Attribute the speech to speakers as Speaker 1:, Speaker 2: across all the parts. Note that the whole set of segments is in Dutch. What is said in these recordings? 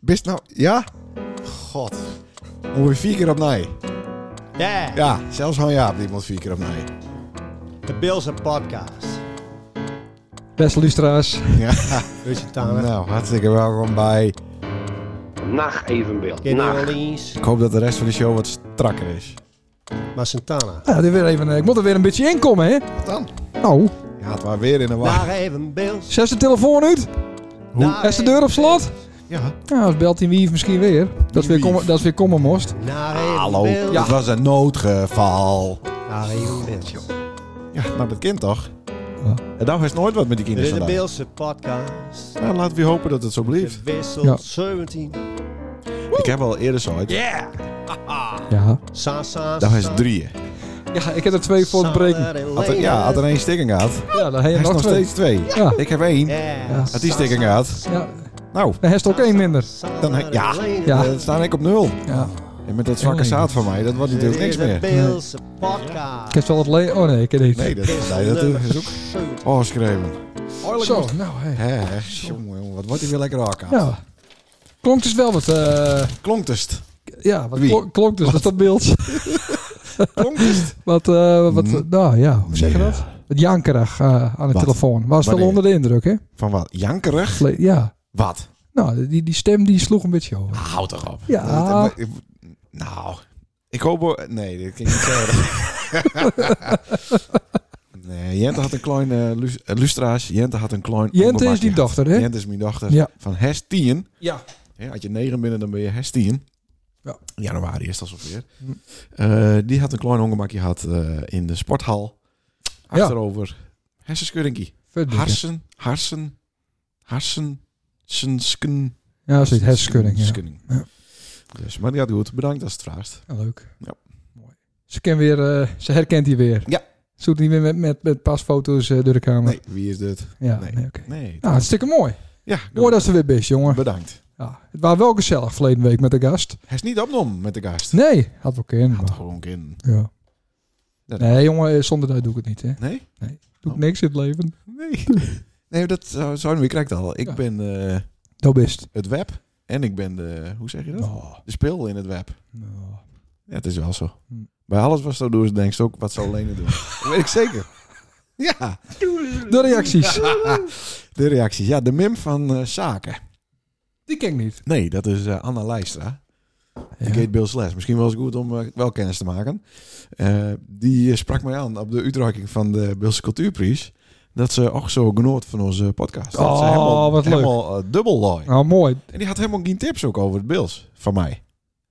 Speaker 1: Bist nou... Ja?
Speaker 2: God.
Speaker 1: Ongeveer vier keer op nee.
Speaker 2: Yeah.
Speaker 1: Ja, zelfs Han Jaap die moet vier keer op nee.
Speaker 2: De Bills en Podcast.
Speaker 3: Beste luisteraars,
Speaker 1: Ja.
Speaker 2: Weet je, Tamer?
Speaker 1: Nou, hartstikke welkom bij...
Speaker 4: Nacht evenbeeld.
Speaker 2: Kenny
Speaker 4: Nacht.
Speaker 2: Orleans,
Speaker 1: Ik hoop dat de rest van de show wat strakker is.
Speaker 2: maar Santana.
Speaker 3: nou, dit weer even, eh, ik moet er weer een beetje in komen, hè?
Speaker 1: Wat dan?
Speaker 3: Nou,
Speaker 1: Je had maar weer in de wacht.
Speaker 2: Daar even Bills.
Speaker 3: zet de telefoon uit.
Speaker 2: Daar
Speaker 3: Is de deur op slot?
Speaker 1: Ja.
Speaker 3: Nou, als belt hij wie misschien weer. Dat is weer,
Speaker 1: Wie
Speaker 3: komen, dat is weer komen most.
Speaker 2: Naar even
Speaker 1: Hallo,
Speaker 2: Bills.
Speaker 1: dat was een noodgeval.
Speaker 2: Naar even Bills. Dit
Speaker 1: Ja, nou dat kind toch? En nou is nooit wat met die kinderen
Speaker 2: is de
Speaker 1: vandaag.
Speaker 2: Bills en Podcast.
Speaker 1: Nou, laten we hopen dat het zo blijft.
Speaker 2: De wissel
Speaker 3: Ja.
Speaker 2: 17.
Speaker 1: Ik heb al eerder zoiets.
Speaker 3: Ja.
Speaker 2: Sa, sa,
Speaker 1: Dat is
Speaker 2: sa.
Speaker 1: drieën.
Speaker 3: ja, ik heb er twee voor te breken.
Speaker 2: Sander en
Speaker 1: Had er, ja, had er één stikken gehad.
Speaker 3: Ja, dan heb je
Speaker 1: Hij is
Speaker 3: nog,
Speaker 1: nog
Speaker 3: twee.
Speaker 1: steeds twee.
Speaker 3: Ja.
Speaker 1: Ik heb één.
Speaker 2: Ja.
Speaker 3: Ja.
Speaker 1: Had die stikken gehad.
Speaker 3: Ja,
Speaker 1: Nou,
Speaker 3: dan heeft ook één minder.
Speaker 1: Dan he- ja.
Speaker 3: Ja.
Speaker 1: dan sta ik op nul.
Speaker 3: Ja.
Speaker 1: En met dat zwakke zaad van mij, dat wordt natuurlijk niks meer.
Speaker 2: Bills en
Speaker 3: Ik
Speaker 2: Podcast.
Speaker 3: heb wel het le... Oh nee, ik heb niet.
Speaker 1: Nee, dat, nee, dat is ook. Oh, schreeuwen.
Speaker 3: Zo, nou hé.
Speaker 1: Hè, hè. Jongen, jongen, wat wordt hij weer lekker raak aan?
Speaker 3: Ja. Klonk dus wel wat... eh,
Speaker 1: Klonktest.
Speaker 3: ja, wat
Speaker 1: Wie?
Speaker 3: klonk- klonk dus wat dat beeld.
Speaker 1: Klonktest.
Speaker 3: Wat, eh, wat,
Speaker 1: Mm.
Speaker 3: nou ja, hoe zeg je
Speaker 1: Ja.
Speaker 3: dat? Het jankerig eh, aan de
Speaker 1: Wat?
Speaker 3: telefoon. Was wel
Speaker 1: Wanneer?
Speaker 3: onder de indruk, hè?
Speaker 1: Van wat? Jankerig?
Speaker 3: Vle- Ja.
Speaker 1: Wat?
Speaker 3: Nou, die, die stem die sloeg een beetje over.
Speaker 1: Houd toch op.
Speaker 3: Ja.
Speaker 1: Dat- dat- Nou, ik hoop... wel- Nee, dat kan ik niet zeggen. nee, Jente had een klein... eh, lus- eh, lustra's, Jente had een klein...
Speaker 3: Jente is
Speaker 1: onderbakje
Speaker 3: die
Speaker 1: gehad.
Speaker 3: dochter, hè?
Speaker 1: Jente is mijn dochter.
Speaker 3: Ja.
Speaker 1: Van Hestien.
Speaker 3: Ja.
Speaker 1: Ja, had je negen binnen, dan ben je Hestien.
Speaker 3: Ja.
Speaker 1: Januari is dat zo weer.
Speaker 3: Hm.
Speaker 1: Eh, die had een klein hongermakje gehad eh, in de sporthal.
Speaker 3: Ja.
Speaker 1: Achterover. Hersenschuddinkie.
Speaker 3: Verdikken.
Speaker 1: Harsen, harsen, harsen, sensken.
Speaker 3: ja, zoiets. Hersenschudding. Ja.
Speaker 1: Skunning. Dus, maar die had goed. Bedankt als je het vraagt.
Speaker 3: Ja, leuk.
Speaker 1: Ja.
Speaker 3: Mooi. Ze, ken weer, eh, ze herkent die weer.
Speaker 1: Ja.
Speaker 3: Ze hoeft niet meer met, met, met pasfoto's eh, door de kamer.
Speaker 1: Nee, wie is dit?
Speaker 3: ja,
Speaker 1: nee.
Speaker 3: nee. oké.
Speaker 1: Nee.
Speaker 3: Nou, hartstikke mooi.
Speaker 1: Ja,
Speaker 3: Mooi dat ze weer best, jongen.
Speaker 1: bedankt.
Speaker 3: Ja, het was wel gezellig verleden week met de gast.
Speaker 1: Hij is niet opgenomen met de gast.
Speaker 3: Nee, had wel kunnen.
Speaker 1: Had
Speaker 3: maar-
Speaker 1: gewoon kind.
Speaker 3: Ja.
Speaker 1: Dat-
Speaker 3: Nee, jongen, eh, zonder dat doe ik het niet, hè.
Speaker 1: Nee?
Speaker 3: Doe ik
Speaker 1: Oh.
Speaker 3: niks in het leven.
Speaker 1: Nee. Nee, dat zou zou ik krijgt al. Ik
Speaker 3: Ja.
Speaker 1: ben eh,
Speaker 3: Dat best.
Speaker 1: het web en ik ben de, hoe zeg je dat?
Speaker 3: Oh,
Speaker 1: De speel in het web.
Speaker 3: nou.
Speaker 1: Ja, het is wel zo.
Speaker 3: Hm.
Speaker 1: Bij alles wat zo doen, denk je ook wat zou Lene doen. dat weet ik zeker. Ja,
Speaker 3: De reacties.
Speaker 1: de reacties. Ja, de mim van eh, zaken.
Speaker 3: Die ken ik niet.
Speaker 1: Nee, dat is eh, Anna Leistra.
Speaker 3: Ja.
Speaker 1: De Kate Bill Slash. Misschien wel eens goed om eh, wel kennis te maken. Eh, die eh, sprak mij aan op de uitreiking van de Beelse Cultuurprijs. Dat ze ook zo genoot van onze podcast. dat ze
Speaker 3: Oh, wat leuk.
Speaker 1: Helemaal eh, dubbel looi.
Speaker 3: Nou, mooi.
Speaker 1: En die had helemaal geen tips ook over het Bills. Van mij.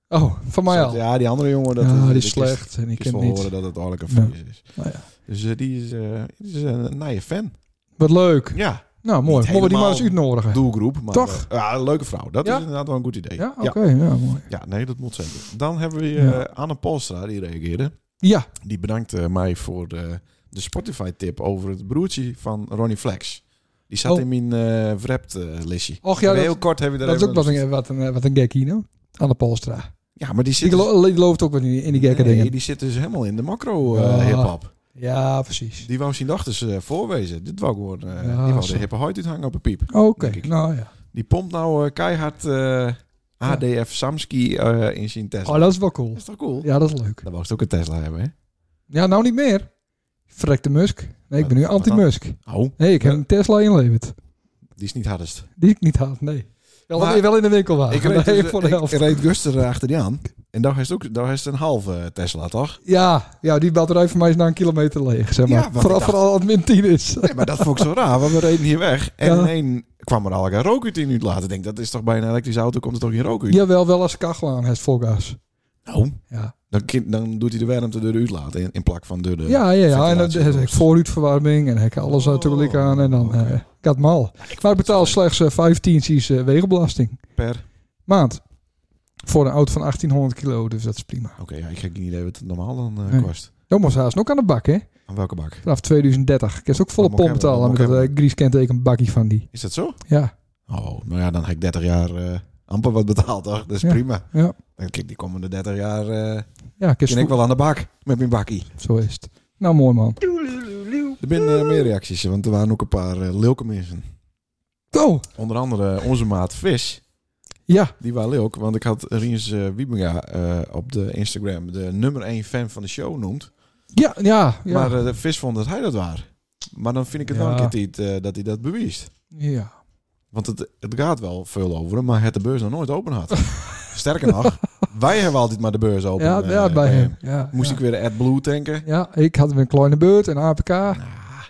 Speaker 3: Oh, van mij al.
Speaker 1: Ja, die andere jongen. Dat,
Speaker 3: ja, die
Speaker 1: ik
Speaker 3: is
Speaker 1: is-
Speaker 3: slecht en ik
Speaker 1: Ik
Speaker 3: ken
Speaker 1: heb
Speaker 3: het
Speaker 1: niet
Speaker 3: niet.
Speaker 1: horen dat het eigenlijk een
Speaker 3: Ja.
Speaker 1: vries is.
Speaker 3: Nou ja.
Speaker 1: Dus eh, die is, eh, die is een naaie fan.
Speaker 3: Wat leuk.
Speaker 1: Ja,
Speaker 3: Nou, mooi.
Speaker 1: Niet
Speaker 3: Mogen we die maar eens
Speaker 1: helemaal
Speaker 3: uitnodigen?
Speaker 1: doelgroep. Maar,
Speaker 3: Toch?
Speaker 1: eh, ja, een leuke vrouw. Dat
Speaker 3: Ja?
Speaker 1: is inderdaad wel een goed idee.
Speaker 3: Ja, oké.
Speaker 1: ja.
Speaker 3: ja, mooi.
Speaker 1: Ja, nee, dat moet zeker. Dan hebben we eh,
Speaker 3: Ja.
Speaker 1: Anne Polstra, die reageerde.
Speaker 3: Ja,
Speaker 1: Die bedankt eh, mij voor de, de Spotify-tip over het broertje van Ronnie Flex. Die zat
Speaker 3: Oh.
Speaker 1: in mijn eh wrapped eh, listje.
Speaker 3: och ja,
Speaker 1: En heel
Speaker 3: dat,
Speaker 1: kort heb je daar
Speaker 3: dat is
Speaker 1: even
Speaker 3: ook wat
Speaker 1: een-
Speaker 3: een, wat een, wat een gek hier, nou. Aan de Polstra.
Speaker 1: Ja, maar die
Speaker 3: Die
Speaker 1: zit, dus,
Speaker 3: gelo- die gelooft ook wel in die, in die gekke
Speaker 1: nee,
Speaker 3: dingen.
Speaker 1: die zit dus helemaal in de macro
Speaker 3: Ja.
Speaker 1: eh hip-hop.
Speaker 3: Ja, precies.
Speaker 1: Die wou zijn dochters eh, voorwezen. Dit wou gewoon eh,
Speaker 3: Ja,
Speaker 1: die wou
Speaker 3: zo.
Speaker 1: de hippe huid uithangen op een piep.
Speaker 3: Oké,
Speaker 1: denk ik.
Speaker 3: nou ja.
Speaker 1: Die pompt nou eh, keihard eh, ADF Samski eh, in zijn Tesla.
Speaker 3: Oh, dat is wel cool.
Speaker 1: Dat is toch cool?
Speaker 3: Ja, dat is leuk.
Speaker 1: Dan wou ze ook een Tesla hebben, hè?
Speaker 3: Ja, nou niet meer. Vrek de Musk. Nee, ik ben nu
Speaker 1: Wat- wat
Speaker 3: anti-Musk.
Speaker 1: Oh,
Speaker 3: Nee, ik heb een Tesla inleverd.
Speaker 1: die is niet hardest.
Speaker 3: Die ik niet had, nee. Wel,
Speaker 1: Maar-
Speaker 3: wel in de winkel waren.
Speaker 1: Ik reed,
Speaker 3: Ah, Nee,
Speaker 1: dus,
Speaker 3: voor de
Speaker 1: ik
Speaker 3: helft.
Speaker 1: reed Guster eh, achter die aan. En daar is ook daar is een halve eh, Tesla, toch?
Speaker 3: Ja, ja, die batterij voor mij is na een kilometer leeg, zeg
Speaker 1: Ja,
Speaker 3: maar.
Speaker 1: want ik
Speaker 3: vooral,
Speaker 1: dacht-
Speaker 3: vooral als het min 10 is.
Speaker 1: Nee, maar dat vond ik zo raar, want we reden hier weg. En
Speaker 3: Ja.
Speaker 1: ineens kwam er al een rook uit in uur later. Ik denk, dat is toch bij een elektrische auto, komt er toch geen rook uit?
Speaker 3: Jawel, wel als kachel aan, het volgas.
Speaker 1: Nou,
Speaker 3: Ja,
Speaker 1: dan, kin- dan doet hij de warmte door de uur laten in, in plak van door de...
Speaker 3: ja, ja. ja. En dan
Speaker 1: ventilatie-
Speaker 3: heb ik vooruitverwarming en heb ik alles
Speaker 1: Oh,
Speaker 3: natuurlijk aan. En dan
Speaker 1: oké.
Speaker 3: eh ik had het mal.
Speaker 1: Ja,
Speaker 3: Maar
Speaker 1: vond
Speaker 3: ik
Speaker 1: het
Speaker 3: betaal
Speaker 1: zo
Speaker 3: slechts eh, 15 cies eh, wegenbelasting.
Speaker 1: Per...
Speaker 3: Maand. Voor een auto van 1800 kilo, dus dat is prima.
Speaker 1: Oké, ja, ik heb geen idee wat het normaal dan eh,
Speaker 3: Nee.
Speaker 1: kost.
Speaker 3: Dat moest haast ook aan de bak, hè?
Speaker 1: Aan welke bak?
Speaker 3: Vanaf 2030. Ik heb ook volle
Speaker 1: Dat moet
Speaker 3: pomp
Speaker 1: ik hebben,
Speaker 3: betalen
Speaker 1: dat
Speaker 3: met
Speaker 1: moet ik
Speaker 3: dat uh, grieskenteken bakkie van die.
Speaker 1: Is dat zo?
Speaker 3: Ja,
Speaker 1: Oh, nou ja, dan heb ik 30 jaar eh, amper wat betaald, toch? Dat is
Speaker 3: Ja.
Speaker 1: prima.
Speaker 3: ja.
Speaker 1: Dan kijk, die komende 30 jaar eh
Speaker 3: Ja, ik heb
Speaker 1: kan ik wel aan de bak met mijn bakkie.
Speaker 3: Zo is het. Nou, mooi man.
Speaker 1: Er zijn eh, meer reacties, want er waren ook een paar eh leuke mensen.
Speaker 3: Go!
Speaker 1: Onder andere onze maat Vis.
Speaker 3: Ja,
Speaker 1: Die waren leuk, want ik had Riens eh Wiebinga eh, op de Instagram de nummer 1 fan van de show noemd.
Speaker 3: ja, ja. ja.
Speaker 1: Maar eh, de vis vond dat hij dat was. Maar dan vind ik het wel
Speaker 3: Ja.
Speaker 1: een keer tijd, eh, dat hij dat bewijst.
Speaker 3: ja.
Speaker 1: Want het, het gaat wel veel over hem, maar het de beurs nog nooit open had. Sterker nog, wij hebben altijd maar de beurs open.
Speaker 3: Ja,
Speaker 1: eh,
Speaker 3: ja, bij hem. Ja,
Speaker 1: Moest
Speaker 3: ja.
Speaker 1: ik weer de AdBlue tanken.
Speaker 3: Ja, ik had weer een kleine beurt, een APK.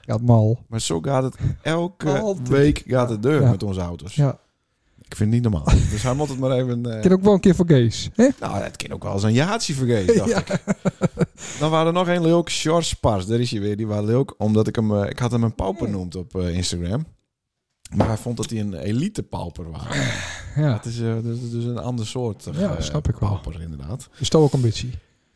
Speaker 3: Ik had mal.
Speaker 1: Maar zo gaat het elke
Speaker 3: Altijd.
Speaker 1: week gaat het deur
Speaker 3: Ja.
Speaker 1: met onze auto's.
Speaker 3: Ja.
Speaker 1: Ik vind het niet normaal. dus hij moet het maar even... eh,
Speaker 3: Ik ken ook wel een keer voor Kees. hè?
Speaker 1: Nou, het kan ook wel eens een jaartje vergeten, dacht
Speaker 3: Ja.
Speaker 1: ik. Dan waren er nog een leuk, George Pars. Daar is hij weer. Die was leuk, omdat ik hem... eh, Ik had hem een pauper noemd op eh, Instagram. Maar hij vond dat hij een elite pauper was.
Speaker 3: Ja,
Speaker 1: Dat is, eh, dat is dus een ander soort eh,
Speaker 3: Ja, snap ik wel.
Speaker 1: pauper, inderdaad.
Speaker 3: dus dat ook een beetje.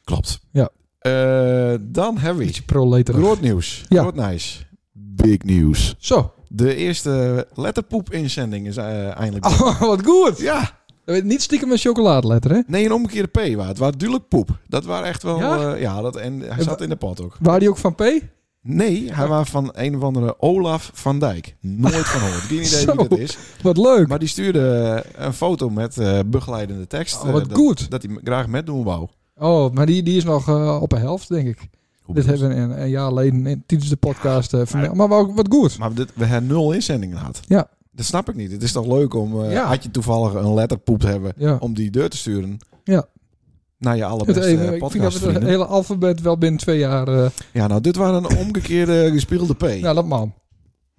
Speaker 1: Klopt.
Speaker 3: Ja.
Speaker 1: Eh, dan hebben we
Speaker 3: Beetje proleterig.
Speaker 1: groot nieuws.
Speaker 3: Ja.
Speaker 1: Groot nieuws. Big nieuws.
Speaker 3: Zo.
Speaker 1: De eerste letterpoep-inzending is eh, eindelijk...
Speaker 3: Oh, wat goed.
Speaker 1: Ja,
Speaker 3: Niet stiekem een chocoladeletter, hè?
Speaker 1: nee, een omgekeerde P. Waar. Het was duidelijk poep. Dat was echt wel...
Speaker 3: Ja?
Speaker 1: Ja, ja dat, en hij
Speaker 3: En
Speaker 1: zat in de pot ook.
Speaker 3: Waar die ook van P?
Speaker 1: Nee, hij was van een of andere Olaf van Dijk. Nooit van hoort. Geen idee
Speaker 3: Zo.
Speaker 1: wie dat is.
Speaker 3: Wat leuk.
Speaker 1: Maar die stuurde eh, een foto met eh, begeleidende tekst.
Speaker 3: Oh,
Speaker 1: eh,
Speaker 3: wat
Speaker 1: dat,
Speaker 3: goed.
Speaker 1: Dat hij m- graag met doen wou.
Speaker 3: Oh, maar die, die is nog eh, op de helft, denk ik.
Speaker 1: Hoe
Speaker 3: Dit
Speaker 1: bedoel je?
Speaker 3: hebben we een, een jaar geleden in- tijdens de podcast eh vermeld. Maar wat, wat goed.
Speaker 1: Maar dit, we hebben nul inzendingen gehad.
Speaker 3: Ja.
Speaker 1: Dat snap ik niet. Het is toch leuk om, eh,
Speaker 3: Ja.
Speaker 1: had je toevallig een letterpoep te hebben,
Speaker 3: Ja.
Speaker 1: om die deur te sturen.
Speaker 3: Ja.
Speaker 1: Naar je
Speaker 3: Het
Speaker 1: allerbeste
Speaker 3: even,
Speaker 1: eh,
Speaker 3: ik vind dat we het
Speaker 1: podcastvrienden.
Speaker 3: hele alfabet wel binnen twee jaar... eh,
Speaker 1: Ja, nou, dit waren een omgekeerde gespiegelde P.
Speaker 3: Nou, dat man.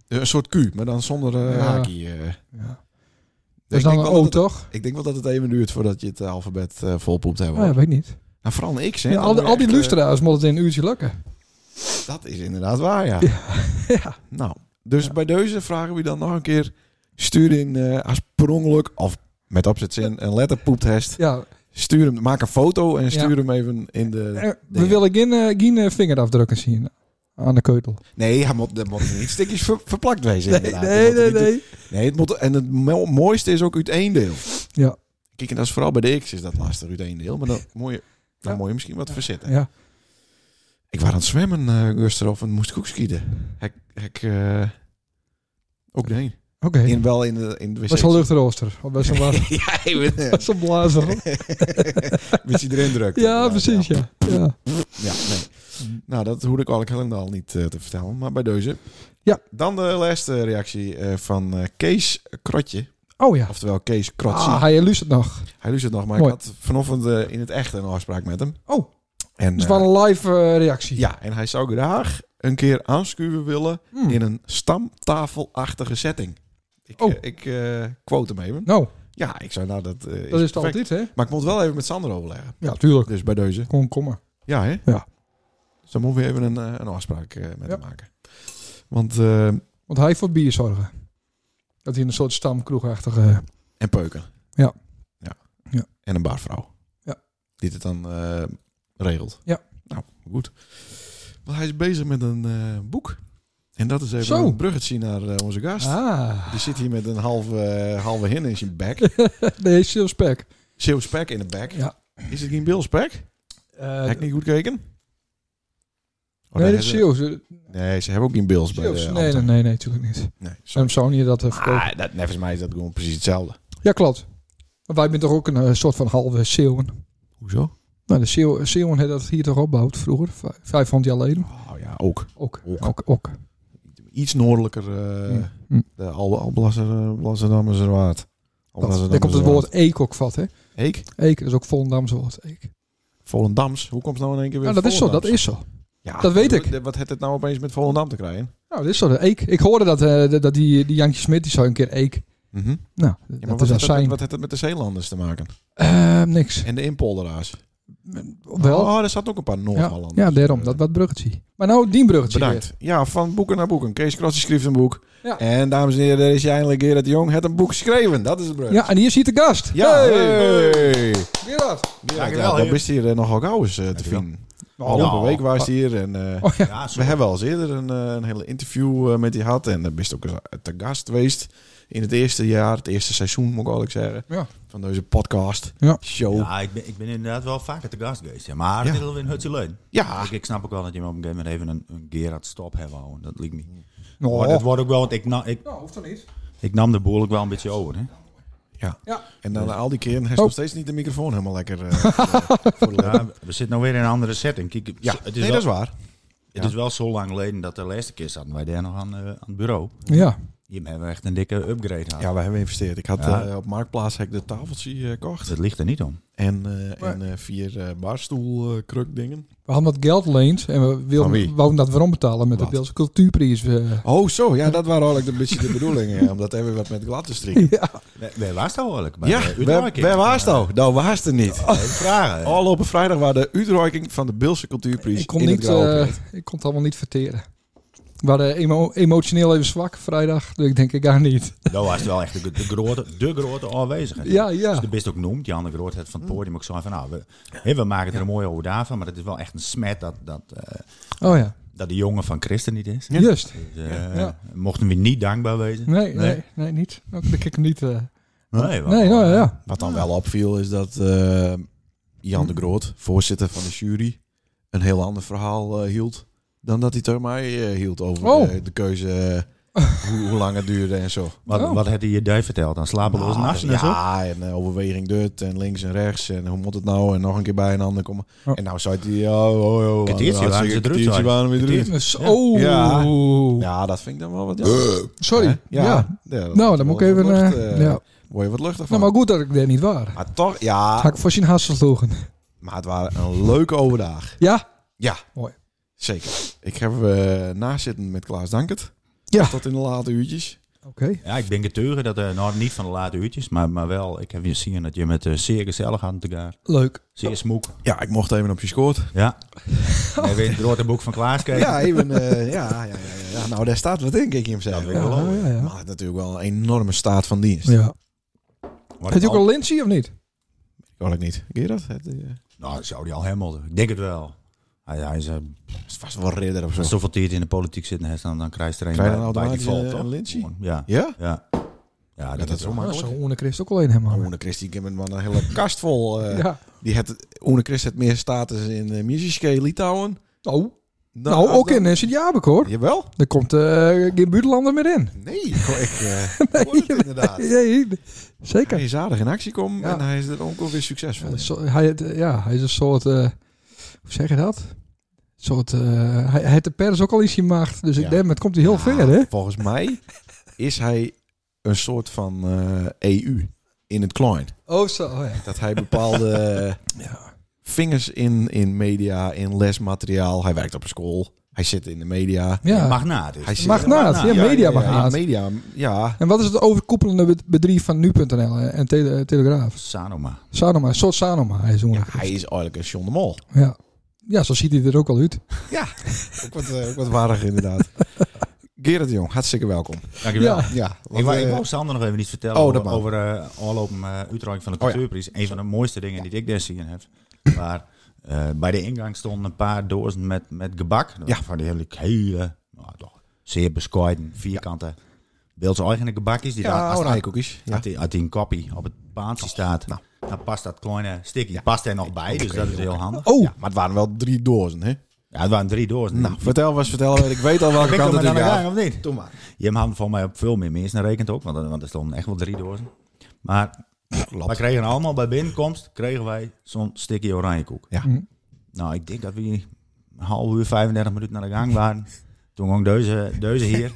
Speaker 1: Een soort Q, maar dan zonder eh
Speaker 3: Ja.
Speaker 1: haakje. eh.
Speaker 3: Ja.
Speaker 1: Ik
Speaker 3: Dat
Speaker 1: denk
Speaker 3: is dan een
Speaker 1: wel dat
Speaker 3: O,
Speaker 1: het-
Speaker 3: toch? Ah,
Speaker 1: Ik denk wel dat het even duurt voordat je het eh, alfabet eh, volpoept hebt.
Speaker 3: Oh, Ja, weet ik niet.
Speaker 1: Nou, vooral een X, hè?
Speaker 3: Ja,
Speaker 1: Dan
Speaker 3: al, die-
Speaker 1: moet je
Speaker 3: al die
Speaker 1: echt, eh,
Speaker 3: lustra's moet het in een uurtje lukken.
Speaker 1: Dat is inderdaad waar, ja.
Speaker 3: Ja.
Speaker 1: Nou, dus
Speaker 3: Ja.
Speaker 1: bij deze vragen we dan nog een keer... Stuur in eh, als per ongeluk, of met opzetzin, een letterpoeptest.
Speaker 3: ja.
Speaker 1: Stuur hem, maak een foto en stuur
Speaker 3: Ja.
Speaker 1: hem even in de...
Speaker 3: Eh, We willen geen, eh, geen eh, vingerafdrukken zien eh, aan de keutel.
Speaker 1: Nee, hij moet, er moeten niet stukjes ver- verplakt wezen. inderdaad. Die
Speaker 3: nee,
Speaker 1: moeten
Speaker 3: nee.
Speaker 1: niet-
Speaker 3: nee.
Speaker 1: nee het moet, en het mo- mooiste is ook uit één deel.
Speaker 3: Ja.
Speaker 1: Kijk, en dat is vooral bij de X is dat lastig uit één deel. Maar dan moet je, dan
Speaker 3: Ja.
Speaker 1: moet je misschien wat verzetten.
Speaker 3: Ja.
Speaker 1: Ik was aan het zwemmen, eh Gustav, en moest ik ook skieden. Ik, ik eh, ook nee.
Speaker 3: Oké.
Speaker 1: In, wel in de, in de wc.
Speaker 3: Was een luchtrooster. Of best wel
Speaker 1: ja, even, eh,
Speaker 3: best wel blazer.
Speaker 1: met je erin drukt.
Speaker 3: Ja, precies. Ja. Ja.
Speaker 1: Ja, nee. Nou, dat hoorde ik eigenlijk helemaal niet eh, te vertellen, maar bij deze.
Speaker 3: Ja.
Speaker 1: Dan de laatste reactie eh, van eh, Kees Krotje,
Speaker 3: Oh ja.
Speaker 1: oftewel Kees Krotje.
Speaker 3: Ah, hij luistert nog.
Speaker 1: Hij luistert nog, maar
Speaker 3: Mooi.
Speaker 1: ik had vanochtend eh, in het echt een afspraak met hem.
Speaker 3: Oh,
Speaker 1: En,
Speaker 3: dus
Speaker 1: eh,
Speaker 3: wel een live eh, reactie.
Speaker 1: ja, en hij zou graag een keer aanschuiven willen
Speaker 3: Hmm.
Speaker 1: in een stamtafelachtige setting. Ik,
Speaker 3: Oh.
Speaker 1: eh, ik eh, quote hem even.
Speaker 3: Nou,
Speaker 1: Ja, ik zou nou dat. eh,
Speaker 3: dat is
Speaker 1: perfect.
Speaker 3: het altijd, hè?
Speaker 1: Maar ik moet wel even met Sander overleggen.
Speaker 3: Ja, tuurlijk.
Speaker 1: Dus bij deze.
Speaker 3: Gewoon komen.
Speaker 1: Ja, hè?
Speaker 3: Ja.
Speaker 1: Dus dan moeten we even een, eh, een afspraak eh, met
Speaker 3: Ja.
Speaker 1: hem maken. Want. eh,
Speaker 3: Want hij voor bier zorgen. Dat hij een soort stamkroegachtige...
Speaker 1: en peuken.
Speaker 3: Ja.
Speaker 1: ja.
Speaker 3: Ja.
Speaker 1: En een barvrouw.
Speaker 3: Ja.
Speaker 1: Die het dan eh, regelt.
Speaker 3: Ja.
Speaker 1: Nou, goed. Want hij is bezig met een eh, boek. En dat is even
Speaker 3: Zo.
Speaker 1: een bruggetje naar eh, onze gast.
Speaker 3: Ah,
Speaker 1: Die zit hier met een halve, eh, halve hin in zijn bek.
Speaker 3: nee, Silspec.
Speaker 1: Zeeuw spek in de bek.
Speaker 3: Ja.
Speaker 1: Is het geen Bill spek? Heb ik Eh, niet goed gekeken? Oh,
Speaker 3: nee,
Speaker 1: daar
Speaker 3: dit is
Speaker 1: hebben-
Speaker 3: Zeeuws.
Speaker 1: Nee, ze hebben ook geen Bills bij de
Speaker 3: Zeeuws. Nee,
Speaker 1: Anton.
Speaker 3: nee, nee, nee, natuurlijk niet.
Speaker 1: Nee, sorry.
Speaker 3: Waarom zou je dat eh, verkopen?
Speaker 1: Ah, dat, nee, volgens mij is dat gewoon precies hetzelfde.
Speaker 3: Ja, klopt. Maar wij zijn toch ook een eh, soort van halve Zeeuwen.
Speaker 1: Hoezo?
Speaker 3: Nou, de Zeeuwen, Zeeuwen hebben dat hier toch opgebouwd vroeger, vij- 500 jaar geleden.
Speaker 1: Oh ja, ook.
Speaker 3: Ook.
Speaker 1: Ook.
Speaker 3: Ook. ook.
Speaker 1: Iets noordelijker. eh
Speaker 3: Hm. Hm.
Speaker 1: De Al- Alblasser- eh, Alblasserdamse Waard.
Speaker 3: Dat, daar komt
Speaker 1: dus, eh,
Speaker 3: het woord eek ook vat, hè?
Speaker 1: Eek?
Speaker 3: Eek, dat is ook Volendamse woord. Eek.
Speaker 1: Volendams. Hoe komt het nou in één keer weer
Speaker 3: Ja, dat is zo, dat
Speaker 1: Volendams?
Speaker 3: is zo.
Speaker 1: Ja,
Speaker 3: dat weet ik.
Speaker 1: d- Wat heeft het nou opeens met Volendam te krijgen?
Speaker 3: Nou, dat is zo. De eek. Ik hoorde dat, eh, dat- dat die, die Jantje Smit, die zou een keer eek.
Speaker 1: Mhm.
Speaker 3: Nou,
Speaker 1: Ja, maar
Speaker 3: dat
Speaker 1: wat,
Speaker 3: is
Speaker 1: heeft
Speaker 3: dat
Speaker 1: dat,
Speaker 3: zijn.
Speaker 1: wat heeft dat met de Zeelanders te maken?
Speaker 3: Ehm, niks.
Speaker 1: En de inpolderaars?
Speaker 3: Wel.
Speaker 1: Oh, er zat ook een paar
Speaker 3: ja,
Speaker 1: Noord-Hollanders.
Speaker 3: ja, daarom.
Speaker 1: Eh,
Speaker 3: Dat wat bruggetje. Maar nou, die bruggetje
Speaker 1: Bedankt.
Speaker 3: weer.
Speaker 1: Ja, van boeken naar boeken. Kees Krasje schreef een boek.
Speaker 3: Ja.
Speaker 1: En dames en heren, daar is je eindelijk Gerard de Jong. Het een boek geschreven. Dat is het brug.
Speaker 3: Ja, en hier is hier de gast.
Speaker 1: Ja, hey.
Speaker 3: Gerard.
Speaker 1: Ja,
Speaker 5: Dankjewel,
Speaker 1: dan
Speaker 5: heer.
Speaker 1: is hier eh, nogal gauw eens eh, te vinden. Afgelopen
Speaker 5: Nou,
Speaker 1: week was hij hier en eh,
Speaker 3: Oh ja.
Speaker 5: Ja,
Speaker 1: we hebben al eens eerder een, eh, een hele interview eh, met die gehad. En dan bist ook eens te gast geweest in het eerste jaar, het eerste seizoen moet ik eigenlijk zeggen,
Speaker 3: Ja.
Speaker 1: van deze podcast,
Speaker 3: Ja.
Speaker 1: show. Ja,
Speaker 5: ja ik, ben, ik ben inderdaad wel vaker te gast geweest. Ja. Maar
Speaker 1: Ja.
Speaker 5: het is wel weer een hutje leun. Ik, ik snap ook wel dat je op een gegeven moment even een, een Gerard stop hebt houden. Dat liep Oh. me. Maar dat wordt ook wel, want ik, na, ik,
Speaker 3: Nou, hoeft toch niet?
Speaker 5: ik nam de boel ook wel een beetje over. Hè?
Speaker 1: Ja.
Speaker 3: Ja.
Speaker 1: En dan al die keren heeft
Speaker 3: Oh.
Speaker 1: nog steeds niet de microfoon helemaal lekker. eh, voor de- voor de
Speaker 5: Ja, we zitten nou weer in een andere setting. Kijk,
Speaker 1: ja,
Speaker 5: het, is
Speaker 1: nee,
Speaker 5: wel,
Speaker 1: dat is waar.
Speaker 5: het is wel zo lang geleden dat de laatste keer zaten wij daar nog aan, eh, aan het bureau.
Speaker 3: Ja.
Speaker 5: Hier hebben we echt een dikke upgrade gehad.
Speaker 1: Ja, wij hebben geïnvesteerd. Ik had
Speaker 5: Ja.
Speaker 1: eh, op Marktplaats heb ik de tafeltje eh, gekocht.
Speaker 5: Het ligt er niet om.
Speaker 1: En, eh,
Speaker 3: Maar-
Speaker 1: en eh, vier eh, barstoelkruk dingen.
Speaker 3: We hadden dat geld leend en we
Speaker 1: Van
Speaker 3: wilden,
Speaker 1: wie?
Speaker 3: we wouden dat weer ombetalen met
Speaker 1: Wat?
Speaker 3: de Beelse Cultuurprijs. eh.
Speaker 1: Oh, zo. Ja, dat waren eigenlijk een beetje de bedoelingen. Omdat hebben we wat met glad te strikken.
Speaker 3: ja.
Speaker 5: Wij- Wij waren het al eigenlijk. bij
Speaker 1: Ja,
Speaker 5: de
Speaker 1: waar
Speaker 5: uitreiking.
Speaker 1: was nou? Nou, was er niet.
Speaker 5: Eh, Vragen.
Speaker 1: Al op een vrijdag waren de uitreiking van de Bilse Cultuurprijs
Speaker 3: Ik kon,
Speaker 1: in
Speaker 3: niet,
Speaker 1: het Grauwe
Speaker 3: eh,
Speaker 1: Plet.
Speaker 3: ik kon het allemaal niet verteren. We waren emo- emotioneel even zwak vrijdag, dus ik denk ik ga niet.
Speaker 5: Dat was wel echt de, de grote, de grote aanwezige.
Speaker 3: Ja,
Speaker 5: Dus
Speaker 3: ja. Mm.
Speaker 5: de best ook noemt, Jan de Groot, het van het podium ook zo van, nou, we, hè, we maken er een mooie ode van, maar het is wel echt een smet dat, dat, eh,
Speaker 3: Oh ja,
Speaker 5: dat de jongen van Christen niet is.
Speaker 3: juist.
Speaker 5: Dus, eh,
Speaker 3: Ja.
Speaker 5: Mochten we niet dankbaar wezen.
Speaker 3: Nee, nee, nee, niet. Ook dat ik hem niet. eh,
Speaker 5: Nee, wel.
Speaker 3: nee, nou ja, ja.
Speaker 1: Wat dan wel opviel is dat eh, Jan de
Speaker 3: Hm.
Speaker 1: Groot, voorzitter van de jury, een heel ander verhaal eh, hield dan dat hij tegen mij eh, hield over
Speaker 3: Oh.
Speaker 1: de, de keuze, eh, hoe, hoe lang het duurde en zo.
Speaker 5: Wat,
Speaker 3: Oh.
Speaker 5: wat had hij je daar verteld? Dan slapeloos
Speaker 1: Nou,
Speaker 5: nachts en zo?
Speaker 1: ja, en eh, overweging dit en links en rechts en hoe moet het nou en nog een keer bij een ander komen.
Speaker 3: Oh.
Speaker 1: En nou zei hij, oh, oh, oh, oh,
Speaker 5: Kwartiertje
Speaker 1: hartstikke
Speaker 5: waren ze druk,
Speaker 1: kwartiertje
Speaker 5: zei hij.
Speaker 1: waren we druk.
Speaker 5: Kwartiertje.
Speaker 3: Dus-
Speaker 5: Ja.
Speaker 3: Oh.
Speaker 1: Ja. Ja, dat vind ik dan wel wat jammer.
Speaker 3: Sorry.
Speaker 1: Hè?
Speaker 3: Ja.
Speaker 1: dat
Speaker 3: Nou, dan
Speaker 1: wel
Speaker 3: moet ik even...
Speaker 1: wat lucht,
Speaker 3: eh,
Speaker 1: eh,
Speaker 3: ja.
Speaker 1: Word je wat luchtig van.
Speaker 3: Nou, maar goed dat ik daar niet waar.
Speaker 1: maar toch, ja,
Speaker 3: Had ik voor zijn hassel sloegen.
Speaker 1: Maar het waren een leuke overdag.
Speaker 3: Ja?
Speaker 1: Ja.
Speaker 3: Mooi.
Speaker 1: Zeker. Ik heb eh nazitten met Klaas Dankert.
Speaker 3: Ja.
Speaker 1: Tot in de late uurtjes.
Speaker 3: Oké.
Speaker 5: Ja, ik ben getuige dat, eh nou niet van de late uurtjes, maar, maar wel, ik heb weer zien dat je met eh, zeer gezellig aan het gaan.
Speaker 3: Leuk.
Speaker 5: Zeer smoek.
Speaker 1: Ja, ik mocht even op je scoort.
Speaker 5: Ja.
Speaker 3: Oh.
Speaker 5: En weer het grote boek van Klaas kijken.
Speaker 1: Ja, even. eh, ja, ja, ja, ja, ja. Nou, daar staat wat in, kijk je hem zelf.
Speaker 5: Dat
Speaker 1: Ja,
Speaker 5: wil ik wel.
Speaker 3: Ja, ja, ja.
Speaker 1: Maar het is natuurlijk wel een enorme staat van dienst.
Speaker 3: ja.
Speaker 5: Wat
Speaker 3: Heet
Speaker 5: ik
Speaker 3: je ook
Speaker 5: al-
Speaker 3: al Lindsay of niet?
Speaker 1: Kan ik niet. Ken je dat? Het, eh,
Speaker 5: Nou, dat zou die al helemaal doen. Ik denk het wel. Hij, hij is eh,
Speaker 1: is vast wel redder of zo.
Speaker 5: Als zoveel tijd in de politiek zitten, hè, dan, dan krijg je er een
Speaker 1: Krijg je
Speaker 5: bij-
Speaker 1: dan
Speaker 5: bij
Speaker 1: automatisch,
Speaker 5: default,
Speaker 1: eh,
Speaker 5: toch?
Speaker 1: een lynchie?
Speaker 5: Gewoon, Ja.
Speaker 1: Ja?
Speaker 5: Ja. Ja,
Speaker 1: dat is wel
Speaker 5: maar.
Speaker 1: maar.
Speaker 3: Ja,
Speaker 1: Makkelijk.
Speaker 3: zo Oene Christ ook alleen helemaal.
Speaker 1: Oene Christ, die kent man een hele kast vol. eh,
Speaker 3: Ja.
Speaker 1: Die had, Oene Christ had meer status in uh, Litouwen.
Speaker 3: Oh.
Speaker 1: dan-
Speaker 3: Nou,
Speaker 1: als
Speaker 3: ook
Speaker 1: dan-
Speaker 3: in eh, Sint-Jabek hoor.
Speaker 1: Jawel.
Speaker 3: Daar komt eh geen buitenlander meer in.
Speaker 1: Nee, ik, eh, hoor het inderdaad.
Speaker 3: Nee, zeker.
Speaker 1: Hij is aardig in actie komen
Speaker 3: Ja.
Speaker 1: en hij is er ook wel weer succesvol.
Speaker 3: Ja, zo- hij, het, eh, ja, hij is een soort, eh, hoe zeg je dat? Een soort, eh, hij, hij heeft de pers ook al iets in macht. Dus
Speaker 1: Ja.
Speaker 3: ik denk, het komt hij heel
Speaker 1: Ja,
Speaker 3: ver hè?
Speaker 1: Nou, Volgens mij is hij een soort van eh, EU in het klein.
Speaker 3: Oh zo, oh, ja.
Speaker 1: Dat hij bepaalde eh,
Speaker 3: Ja.
Speaker 1: vingers in, in media, in lesmateriaal. Hij werkt op een school. Hij zit in de media.
Speaker 3: Ja.
Speaker 5: Magnaat is.
Speaker 1: Hij zit-
Speaker 3: Magnaat, ja, mediamagnaat.
Speaker 1: Ja, media, ja.
Speaker 3: En wat is het overkoepelende be- bedrijf van nu.nl eh, en Tele- Telegraaf?
Speaker 5: Sanoma.
Speaker 3: Sanoma, een soort Sanoma. Hij is
Speaker 1: Ja,
Speaker 3: ja,
Speaker 1: hij is eigenlijk een John de Mol.
Speaker 3: ja. ja, zo ziet hij er ook al uit.
Speaker 1: Ook wat, eh, ook wat waardig inderdaad. Gerard de Jong, hartstikke welkom.
Speaker 5: Dankjewel.
Speaker 3: Ja.
Speaker 1: Ja, want,
Speaker 5: Ik wou, ik
Speaker 1: eh,
Speaker 5: wou Sander nog even iets vertellen
Speaker 1: Oh, dat
Speaker 5: over,
Speaker 1: mag.
Speaker 5: over eh Orloop, eh, Utrecht van de
Speaker 1: Oh, ja.
Speaker 5: Cultuurprijs. Een van de mooiste dingen die ik daar zien heb. Waar eh, bij de ingang stonden een paar dozen met, met gebak.
Speaker 1: Ja.
Speaker 5: Ja. Van die hele, hele nou, toch, zeer bescheiden, vierkante, beeldse eigene gebakjes. Die daar,
Speaker 1: ja,
Speaker 5: als,
Speaker 1: oranje
Speaker 5: als,
Speaker 1: koekjes. Ja.
Speaker 5: als die, als die een kopie op het paantje staat,
Speaker 1: nou.
Speaker 5: dan past dat kleine stikje past er nog bij. Dus dat is heel handig.
Speaker 3: Oh,
Speaker 1: Ja, maar het waren wel drie dozen, hè?
Speaker 5: Ja, het waren drie dozen.
Speaker 1: Nou, vertel was vertel. Ik weet al welke
Speaker 5: ik
Speaker 1: kant
Speaker 5: kan
Speaker 1: het
Speaker 5: aan de
Speaker 1: gaat.
Speaker 5: gang, of niet?
Speaker 1: Doe maar.
Speaker 5: Je had voor mij op veel meer mensen rekent ook, want, er- want er stonden echt wel drie dozen. Maar wij kregen allemaal bij binnenkomst kregen wij zo'n stukje oranjekoek.
Speaker 1: Ja.
Speaker 3: Mhm.
Speaker 5: Nou, ik denk dat we een half uur, 35 minuten naar de gang waren. Toen ging deze, deze hier.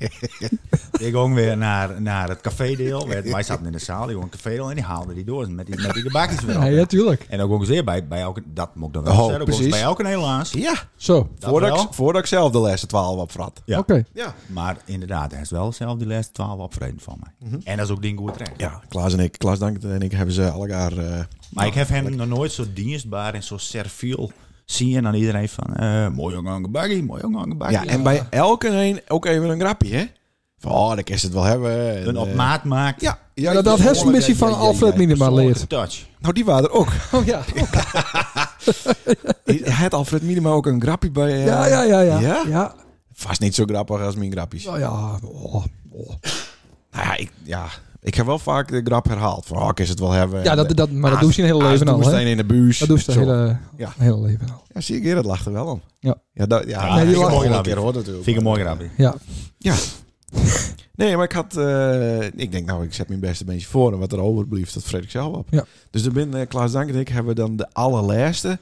Speaker 5: ik ging weer naar, naar het cafédeel. Wij- Wij zaten in de zaal, die ging een cafédeel en die haalde die dozen met die, met die gebakjes weer op.
Speaker 3: ja, ja, tuurlijk.
Speaker 5: En ook ging ze weer bij, bij elke, dat moet ik dan wel
Speaker 1: Oh,
Speaker 5: zeggen, ook
Speaker 1: precies.
Speaker 5: bij elke Nederlands.
Speaker 1: Ja,
Speaker 3: Zo,
Speaker 5: Dat
Speaker 1: voordat
Speaker 5: wel.
Speaker 1: ik, voordat ik zelf de lessen 12 opvrat.
Speaker 5: Ja.
Speaker 3: oké.
Speaker 1: Ja.
Speaker 5: Maar inderdaad, hij is wel zelf die laatste 12 opvreden van mij. En dat is ook ding goed terecht.
Speaker 1: Mhm. ja, Klaas en ik, Klaas Dank en ik hebben ze elkaar... eh
Speaker 5: Maar ik heb hem nog nooit zo dienstbaar en zo serviel zien aan iedereen van... eh mooi jongen, een baggy, mooi jongen, een baggy.
Speaker 1: ja, en bij elke een ook even een grapje, hè? Van, oh, dan kan ze het wel hebben. En,
Speaker 5: een op
Speaker 1: eh,
Speaker 5: maat maken.
Speaker 1: Ja. ja
Speaker 3: Ja, dat heeft een
Speaker 1: ja,
Speaker 3: missie
Speaker 1: ja,
Speaker 3: van
Speaker 1: ja, ja,
Speaker 3: Alfred
Speaker 1: ja.
Speaker 3: Minima leert.
Speaker 5: Persoonlijke touch.
Speaker 1: Nou, die waren er ook.
Speaker 3: Oh ja.
Speaker 1: Het Alfred Minima ook een grapje bij... eh,
Speaker 3: Ja, ja, ja, ja.
Speaker 1: Ja?
Speaker 3: Ja? Ja,
Speaker 1: Vast niet zo grappig als mijn grapjes.
Speaker 3: ja. ja. Oh, oh.
Speaker 1: Nou ja, ik, ja, ik heb wel vaak de grap herhaald. Van, oh, kan ze het wel hebben.
Speaker 3: ja dat, dat, maar dat
Speaker 1: Ah,
Speaker 3: doe je een hele
Speaker 1: ah,
Speaker 3: leven
Speaker 1: ze
Speaker 3: al.
Speaker 1: doen
Speaker 3: Hè?
Speaker 1: steen in de buurt.
Speaker 3: Dat doe je een hele,
Speaker 1: Ja.
Speaker 3: hele leven al.
Speaker 1: Ja, zie ik Gerard lacht er wel om.
Speaker 3: eh, Ja.
Speaker 1: Ja, dat, ja,
Speaker 5: Ja,
Speaker 1: dat
Speaker 5: die
Speaker 1: is
Speaker 5: lacht.
Speaker 1: wel een
Speaker 5: Mooi
Speaker 1: keer
Speaker 5: grapje.
Speaker 1: hoor natuurlijk.
Speaker 5: Vind ik een mooi grapje.
Speaker 3: Ja.
Speaker 1: Ja. Nee, maar ik had... eh, ik denk, nou, ik zet mijn beste beetje voor. En wat er overblijft, dat vreet ik zelf op.
Speaker 3: Ja.
Speaker 1: Dus dan ben eh, Klaas Dank en ik hebben dan de allerlaatste.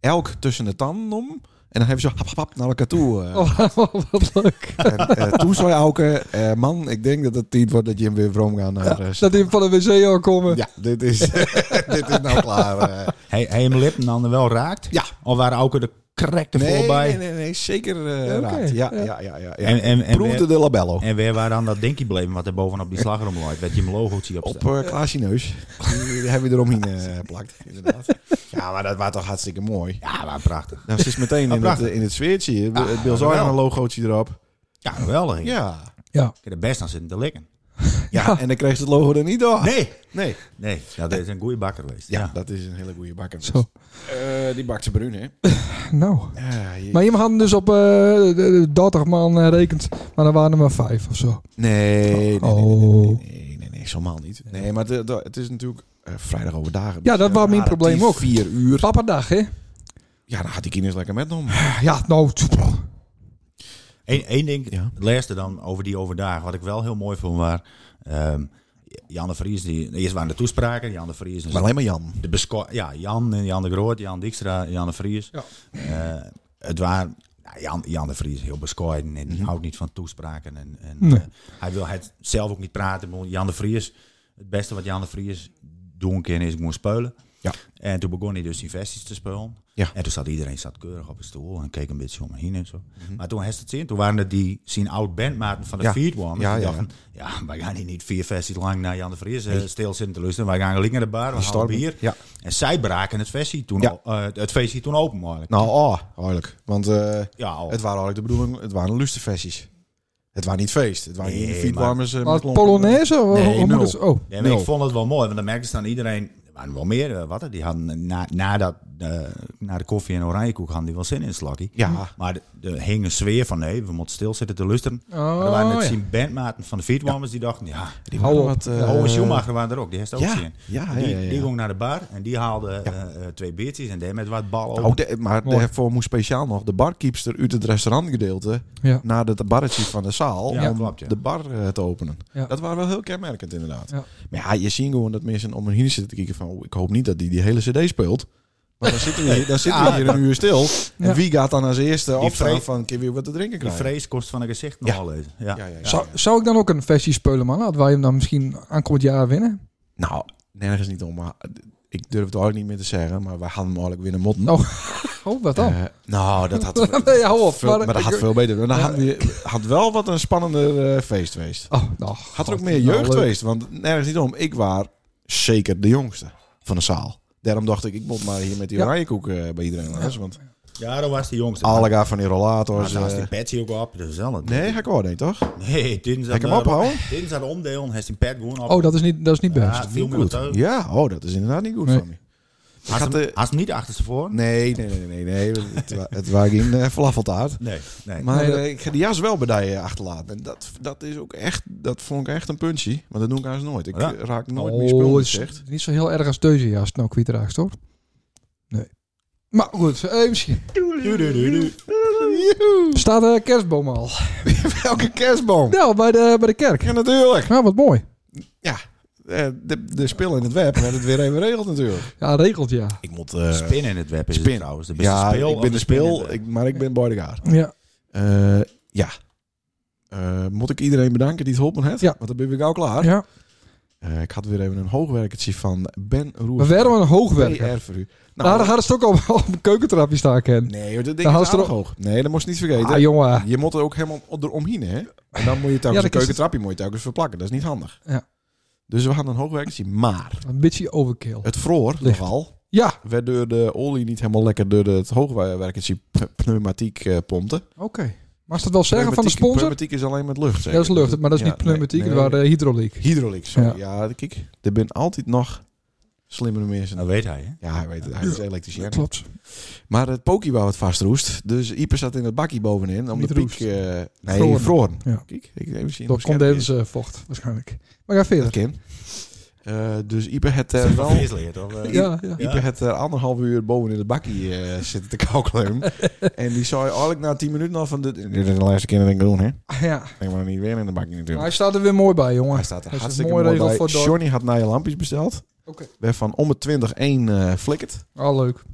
Speaker 1: Elk tussen de tanden om. En dan hebben we zo hap, hap, hap naar elkaar toe. eh.
Speaker 3: Oh, wat leuk.
Speaker 1: En eh, toen zei Auke, eh, man, ik denk dat het tijd wordt dat je hem weer vroom gaat naar... eh,
Speaker 3: Dat die van de wc al komen.
Speaker 1: ja, dit is, dit is nou klaar. eh.
Speaker 5: Hij, hij hem lippen dan wel raakt?
Speaker 1: Ja.
Speaker 5: Of waren ook de correcte
Speaker 1: nee,
Speaker 5: voorbij?
Speaker 1: nee, nee, nee, zeker eh,
Speaker 3: Ja, oké,
Speaker 1: raakt. Ja,
Speaker 3: ja.
Speaker 1: ja, ja. ja, ja.
Speaker 5: En, en, en,
Speaker 1: Proefde
Speaker 5: weer,
Speaker 1: de labello.
Speaker 5: en weer waar dan dat dinkie bleven wat er bovenop die slagroom loopt. Dat je hem logootje op
Speaker 1: Op
Speaker 5: staat.
Speaker 1: eh Klaasje neus. Die hebben we eromheen eh plakt, inderdaad. Ja, maar dat was toch hartstikke mooi.
Speaker 5: Ja, maar prachtig.
Speaker 1: Nou, ze is meteen in, het,
Speaker 5: prachtig.
Speaker 1: eh, in het sfeertje. Het
Speaker 5: Ah,
Speaker 1: ah, Bill
Speaker 5: wel.
Speaker 1: een logootje erop.
Speaker 5: Ja, geweldig. Ik
Speaker 1: Ja.
Speaker 5: heb er best aan zitten te likken.
Speaker 1: ja. En dan kreeg ze het logo er niet door.
Speaker 5: Nee.
Speaker 1: Nee.
Speaker 5: Nee, dat is een goede bakker geweest.
Speaker 1: Ja,
Speaker 5: Ja.
Speaker 1: dat is een hele goede bakker. dus.
Speaker 3: Zo,
Speaker 1: Eh, die bakt ze bruin, hè?
Speaker 3: nou.
Speaker 1: Ja, Ah, je-
Speaker 3: Maar je had hem dus op eh, de- de 30 man eh, rekend, maar er waren er maar vijf of zo.
Speaker 1: nee, nee, nee, nee, nee,
Speaker 3: Oh.
Speaker 1: nee, nee, nee, zomaar niet. Nee, maar de- de- het is natuurlijk eh, vrijdag over dagen.
Speaker 3: Ja, dat was mijn probleem ook.
Speaker 1: Vier uur.
Speaker 3: Papa dag, hè?
Speaker 1: Ja, dan had die kinderen lekker met hem.
Speaker 3: Ja, nou. tch,
Speaker 5: Eén één ding,
Speaker 1: Ja.
Speaker 5: het laatste dan over die overdag, wat ik wel heel mooi vond, was ehm Jan de Vries, die, eerst waren de toespraken, Jan de Vries.
Speaker 1: Maar alleen maar Jan.
Speaker 5: de besco- ja, Jan, en Jan de Groot, Jan Dijkstra, Jan de Vries.
Speaker 3: Ja.
Speaker 5: Eh, het waren, nou, Jan, Jan de Vries is heel bescheiden en die houdt niet van toespraken. En, en,
Speaker 3: Nee.
Speaker 5: eh, hij wil het zelf ook niet praten. Ik bedoel, Jan de Vries, het beste wat Jan de Vries doen kan is gewoon spelen.
Speaker 1: Ja.
Speaker 5: En toen begon hij dus die versies te spelen.
Speaker 1: Ja.
Speaker 5: En toen zat iedereen zat keurig op een stoel en keek een beetje om me heen en zo. Maar toen heeft het zin, toen waren er die zien oud bandmaten van de
Speaker 1: Mhm. Ja.
Speaker 5: Feed One.
Speaker 1: Ja,
Speaker 5: Ja,
Speaker 1: ja,
Speaker 5: dachten, ja. wij gaan hier niet vier versies lang naar Jan de Vries eh, stil zitten te luisteren. Wij gaan linken naar de bar, we halen
Speaker 1: Storm.
Speaker 5: bier.
Speaker 1: Ja.
Speaker 5: En zij braken het, feestje toen
Speaker 1: Ja.
Speaker 5: al- eh, het feestje toen open, eigenlijk.
Speaker 1: Nou, oh, eigenlijk. Want eh,
Speaker 5: ja, al.
Speaker 1: het waren eigenlijk de bedoeling, het waren lusterfestjes. Het waren niet feest. Het waren
Speaker 5: Nee,
Speaker 1: niet feedwarmers. eh,
Speaker 3: Maar
Speaker 1: met
Speaker 3: het
Speaker 1: klompen.
Speaker 3: Polonaise? Hoe-
Speaker 1: Nee,
Speaker 3: hoe moet
Speaker 1: nul.
Speaker 3: het- oh,
Speaker 5: Ja, maar
Speaker 1: nul.
Speaker 5: ik vond het wel mooi, want dan merkte ze dan iedereen, er waren wel meer, eh, wat, hè, die hadden na, na, dat, eh, na de koffie en oranjekoek hadden die wel zin in het slakkie.
Speaker 1: Ja.
Speaker 5: Maar de- er hing een sfeer van, nee, we moeten stilzitten te luisteren.
Speaker 3: Oh,
Speaker 5: Maar er waren net
Speaker 3: ja.
Speaker 5: zien bandmaten van de Feedwarmers die dachten, ja,
Speaker 1: Die
Speaker 3: Hou
Speaker 1: waren
Speaker 3: op.
Speaker 1: wat, eh,
Speaker 5: Owen Schumacher waren er ook, die heeft er ook
Speaker 1: ja,
Speaker 5: zien.
Speaker 1: ja,
Speaker 5: die,
Speaker 1: ja, ja, ja.
Speaker 5: die ging naar de bar en die haalde eh, eh, twee biertjes en deed met wat ballen
Speaker 1: Oh, de- maar
Speaker 3: Mooi.
Speaker 1: daarvoor moest speciaal nog de barkeepster uit het restaurantgedeelte
Speaker 3: Ja.
Speaker 1: naar het barretje van de zaal
Speaker 5: Ja,
Speaker 1: om
Speaker 5: klopt, ja.
Speaker 1: de bar eh, te openen.
Speaker 3: Ja.
Speaker 1: Dat waren wel heel kenmerkend inderdaad.
Speaker 3: Ja.
Speaker 1: Maar ja, je ziet gewoon dat mensen om hun heen zitten te kijken van oh, ik hoop niet dat die die hele cd speelt. Maar dan zitten we hier, dan zitten we hier een uur stil. En
Speaker 3: Ja.
Speaker 1: wie gaat dan als eerste opstaan
Speaker 5: vrees-
Speaker 1: van kun je weer wat te drinken
Speaker 5: Die
Speaker 1: krijgen?
Speaker 5: vrees kost van een gezicht
Speaker 1: Ja.
Speaker 5: nogal lezen. Ja.
Speaker 1: Ja, ja, ja.
Speaker 3: Zou, zou ik dan ook een versie speulen, man? Hadden wij hem dan misschien aankomend jaar winnen?
Speaker 1: Nou, nergens niet om. Maar ik durf het eigenlijk niet meer te zeggen, maar wij hadden hem eigenlijk winnen motten.
Speaker 3: Oh, wat dan?
Speaker 1: Eh, nou, dat had,
Speaker 3: Nee, hou op.
Speaker 1: veel, maar dat had
Speaker 3: ik-
Speaker 1: veel beter. En Dan had, we- had wel wat een spannender eh, feest geweest.
Speaker 3: Oh, nou,
Speaker 1: Had er
Speaker 3: God,
Speaker 1: ook meer
Speaker 3: nou,
Speaker 1: jeugd
Speaker 3: leuk.
Speaker 1: geweest, want nergens niet om. Ik was zeker de jongste van de zaal. Daarom dacht ik, ik moet maar hier met die
Speaker 3: Ja.
Speaker 1: oranjekoek eh, bij iedereen langs. Want
Speaker 5: Ja, dat was die jongste.
Speaker 1: alle gaan van die
Speaker 5: Maar
Speaker 1: rollators.
Speaker 5: daar was
Speaker 1: eh,
Speaker 5: die petje ook op, dus zelf.
Speaker 1: nee, ga ik wel, nee, toch?
Speaker 5: nee, dinsdag.
Speaker 1: Heb ik hem ophouden?
Speaker 5: Dinsdag omdeel, heeft die pet gewoon op.
Speaker 3: Oh, dat is niet, dat is niet
Speaker 5: Ja,
Speaker 3: best.
Speaker 5: viel me goed. Als
Speaker 1: Ja, oh, dat is inderdaad niet goed
Speaker 3: Nee.
Speaker 1: van me. Ik had,
Speaker 5: hem-
Speaker 1: eh,
Speaker 5: als hem niet achter ze voor.
Speaker 1: nee, nee, nee, nee, nee. Het, wa- het was geen eh, falafeltaart.
Speaker 5: Nee, nee.
Speaker 1: Maar
Speaker 3: Nee, dat-
Speaker 1: eh, ik ga die jas wel bij die, eh, achterlaten. En dat, dat is ook echt, dat vond ik echt een puntje. Want dat doe ik haast nooit. Ik
Speaker 5: Ja.
Speaker 1: eh, raak nooit
Speaker 3: Oh,
Speaker 1: meer spul
Speaker 3: het is
Speaker 1: zegt.
Speaker 3: Niet zo heel erg als deze jas, nou kwijtraakt, hoor. Nee. Maar goed, eh, misschien.
Speaker 5: Du- du- du- du.
Speaker 3: Staat de kerstboom al?
Speaker 1: Oh. Welke kerstboom?
Speaker 3: Nou, bij de, bij de kerk.
Speaker 1: Ja, natuurlijk.
Speaker 3: Nou, wat mooi.
Speaker 1: Eh, De, de spil in het web werd het weer even regeld natuurlijk.
Speaker 3: Ja, regelt ja.
Speaker 1: Ik moet... eh,
Speaker 5: Spin in het web is het
Speaker 1: Spin.
Speaker 5: trouwens. De beste
Speaker 1: ja,
Speaker 5: speel
Speaker 1: ik
Speaker 5: of
Speaker 1: ben de
Speaker 5: spin in het
Speaker 1: spil,
Speaker 5: web.
Speaker 1: ik, maar ik ben bodyguard.
Speaker 3: Ja,
Speaker 1: Eh ja. Eh, moet ik iedereen bedanken die het geholpen heeft?
Speaker 3: Ja.
Speaker 1: Want dan ben ik al klaar.
Speaker 3: ja.
Speaker 1: Eh, ik had weer even een hoogwerkertje van Ben Roer.
Speaker 3: We werden een hoogwerker.
Speaker 1: PR voor u.
Speaker 3: Nou, daar hadden ze het ook op, op een keukentrapje staan, Ken.
Speaker 1: nee, dat
Speaker 3: Daar
Speaker 1: ding
Speaker 3: hadden
Speaker 1: is
Speaker 3: ze er
Speaker 1: aardig hoog. Nee, dat moest je niet vergeten.
Speaker 3: Ah, jongen.
Speaker 1: Je moet er ook helemaal eromheen, hè? En dan moet je telkens
Speaker 3: dat
Speaker 1: een
Speaker 3: is-
Speaker 1: keukentrapje moet je telkens verplakken. Dat is niet handig.
Speaker 3: Ja.
Speaker 1: Dus we hadden een hoogwerkertje, maar
Speaker 3: Een beetje overkill.
Speaker 1: het vroor
Speaker 3: Licht.
Speaker 1: nogal
Speaker 3: Ja,
Speaker 1: werd door de olie niet helemaal lekker door het hoogwerkertje p- pneumatiek eh pompte.
Speaker 3: oké. Mag ze dat wel zeggen van de
Speaker 1: Pneumatiek-
Speaker 3: sponsor?
Speaker 1: Pneumatiek is alleen met lucht,
Speaker 3: Ja,
Speaker 1: zeker?
Speaker 3: dat is lucht, maar dat is
Speaker 1: Ja,
Speaker 3: niet pneumatiek,
Speaker 1: nee,
Speaker 3: dat
Speaker 1: nee.
Speaker 3: waren eh, hydrauliek.
Speaker 1: Hydrauliek, sorry. Ja,
Speaker 3: Ja.
Speaker 1: kijk, er zijn altijd nog slimmere mensen.
Speaker 5: Dat Nou, weet hij, hè?
Speaker 1: Ja, hij weet het. Hij is elektricien.
Speaker 3: Klopt.
Speaker 1: Maar het pokie wou het vastroest. Dus Ieper zat in het bakkie bovenin. Om
Speaker 3: Niet
Speaker 1: de piek...
Speaker 3: roest.
Speaker 1: eh nee,
Speaker 3: Vroren.
Speaker 1: vroren.
Speaker 3: Ja.
Speaker 1: Kijk, ik even zien.
Speaker 3: Door condensvocht, eh, waarschijnlijk. Maar ga
Speaker 1: Dat
Speaker 3: verder.
Speaker 1: kan. Eh, dus Ipe het eh,
Speaker 5: Wel.
Speaker 1: wel...
Speaker 5: Verkeersleerd, of? eh?
Speaker 3: Ja, ja.
Speaker 1: Ipe het eh, anderhalf uur boven in de bakkie eh, zitten te kalkleum. en die zei eigenlijk na tien minuten al van... Dit dit is de laatste keer dat ik doen, hè?
Speaker 3: ja.
Speaker 1: Ik maar niet weer in de bakkie
Speaker 3: Maar
Speaker 1: natuurlijk.
Speaker 3: hij staat er weer mooi bij, jongen.
Speaker 1: Hij staat er
Speaker 3: Dat is een
Speaker 1: hartstikke
Speaker 3: mooie
Speaker 1: mooi
Speaker 3: regel
Speaker 1: bij.
Speaker 3: voor Dordt.
Speaker 1: Johnny had naar je lampjes besteld.
Speaker 3: Oké.
Speaker 1: Waarvan om het 20 één eh flikkert.
Speaker 3: Al Ah, leuk.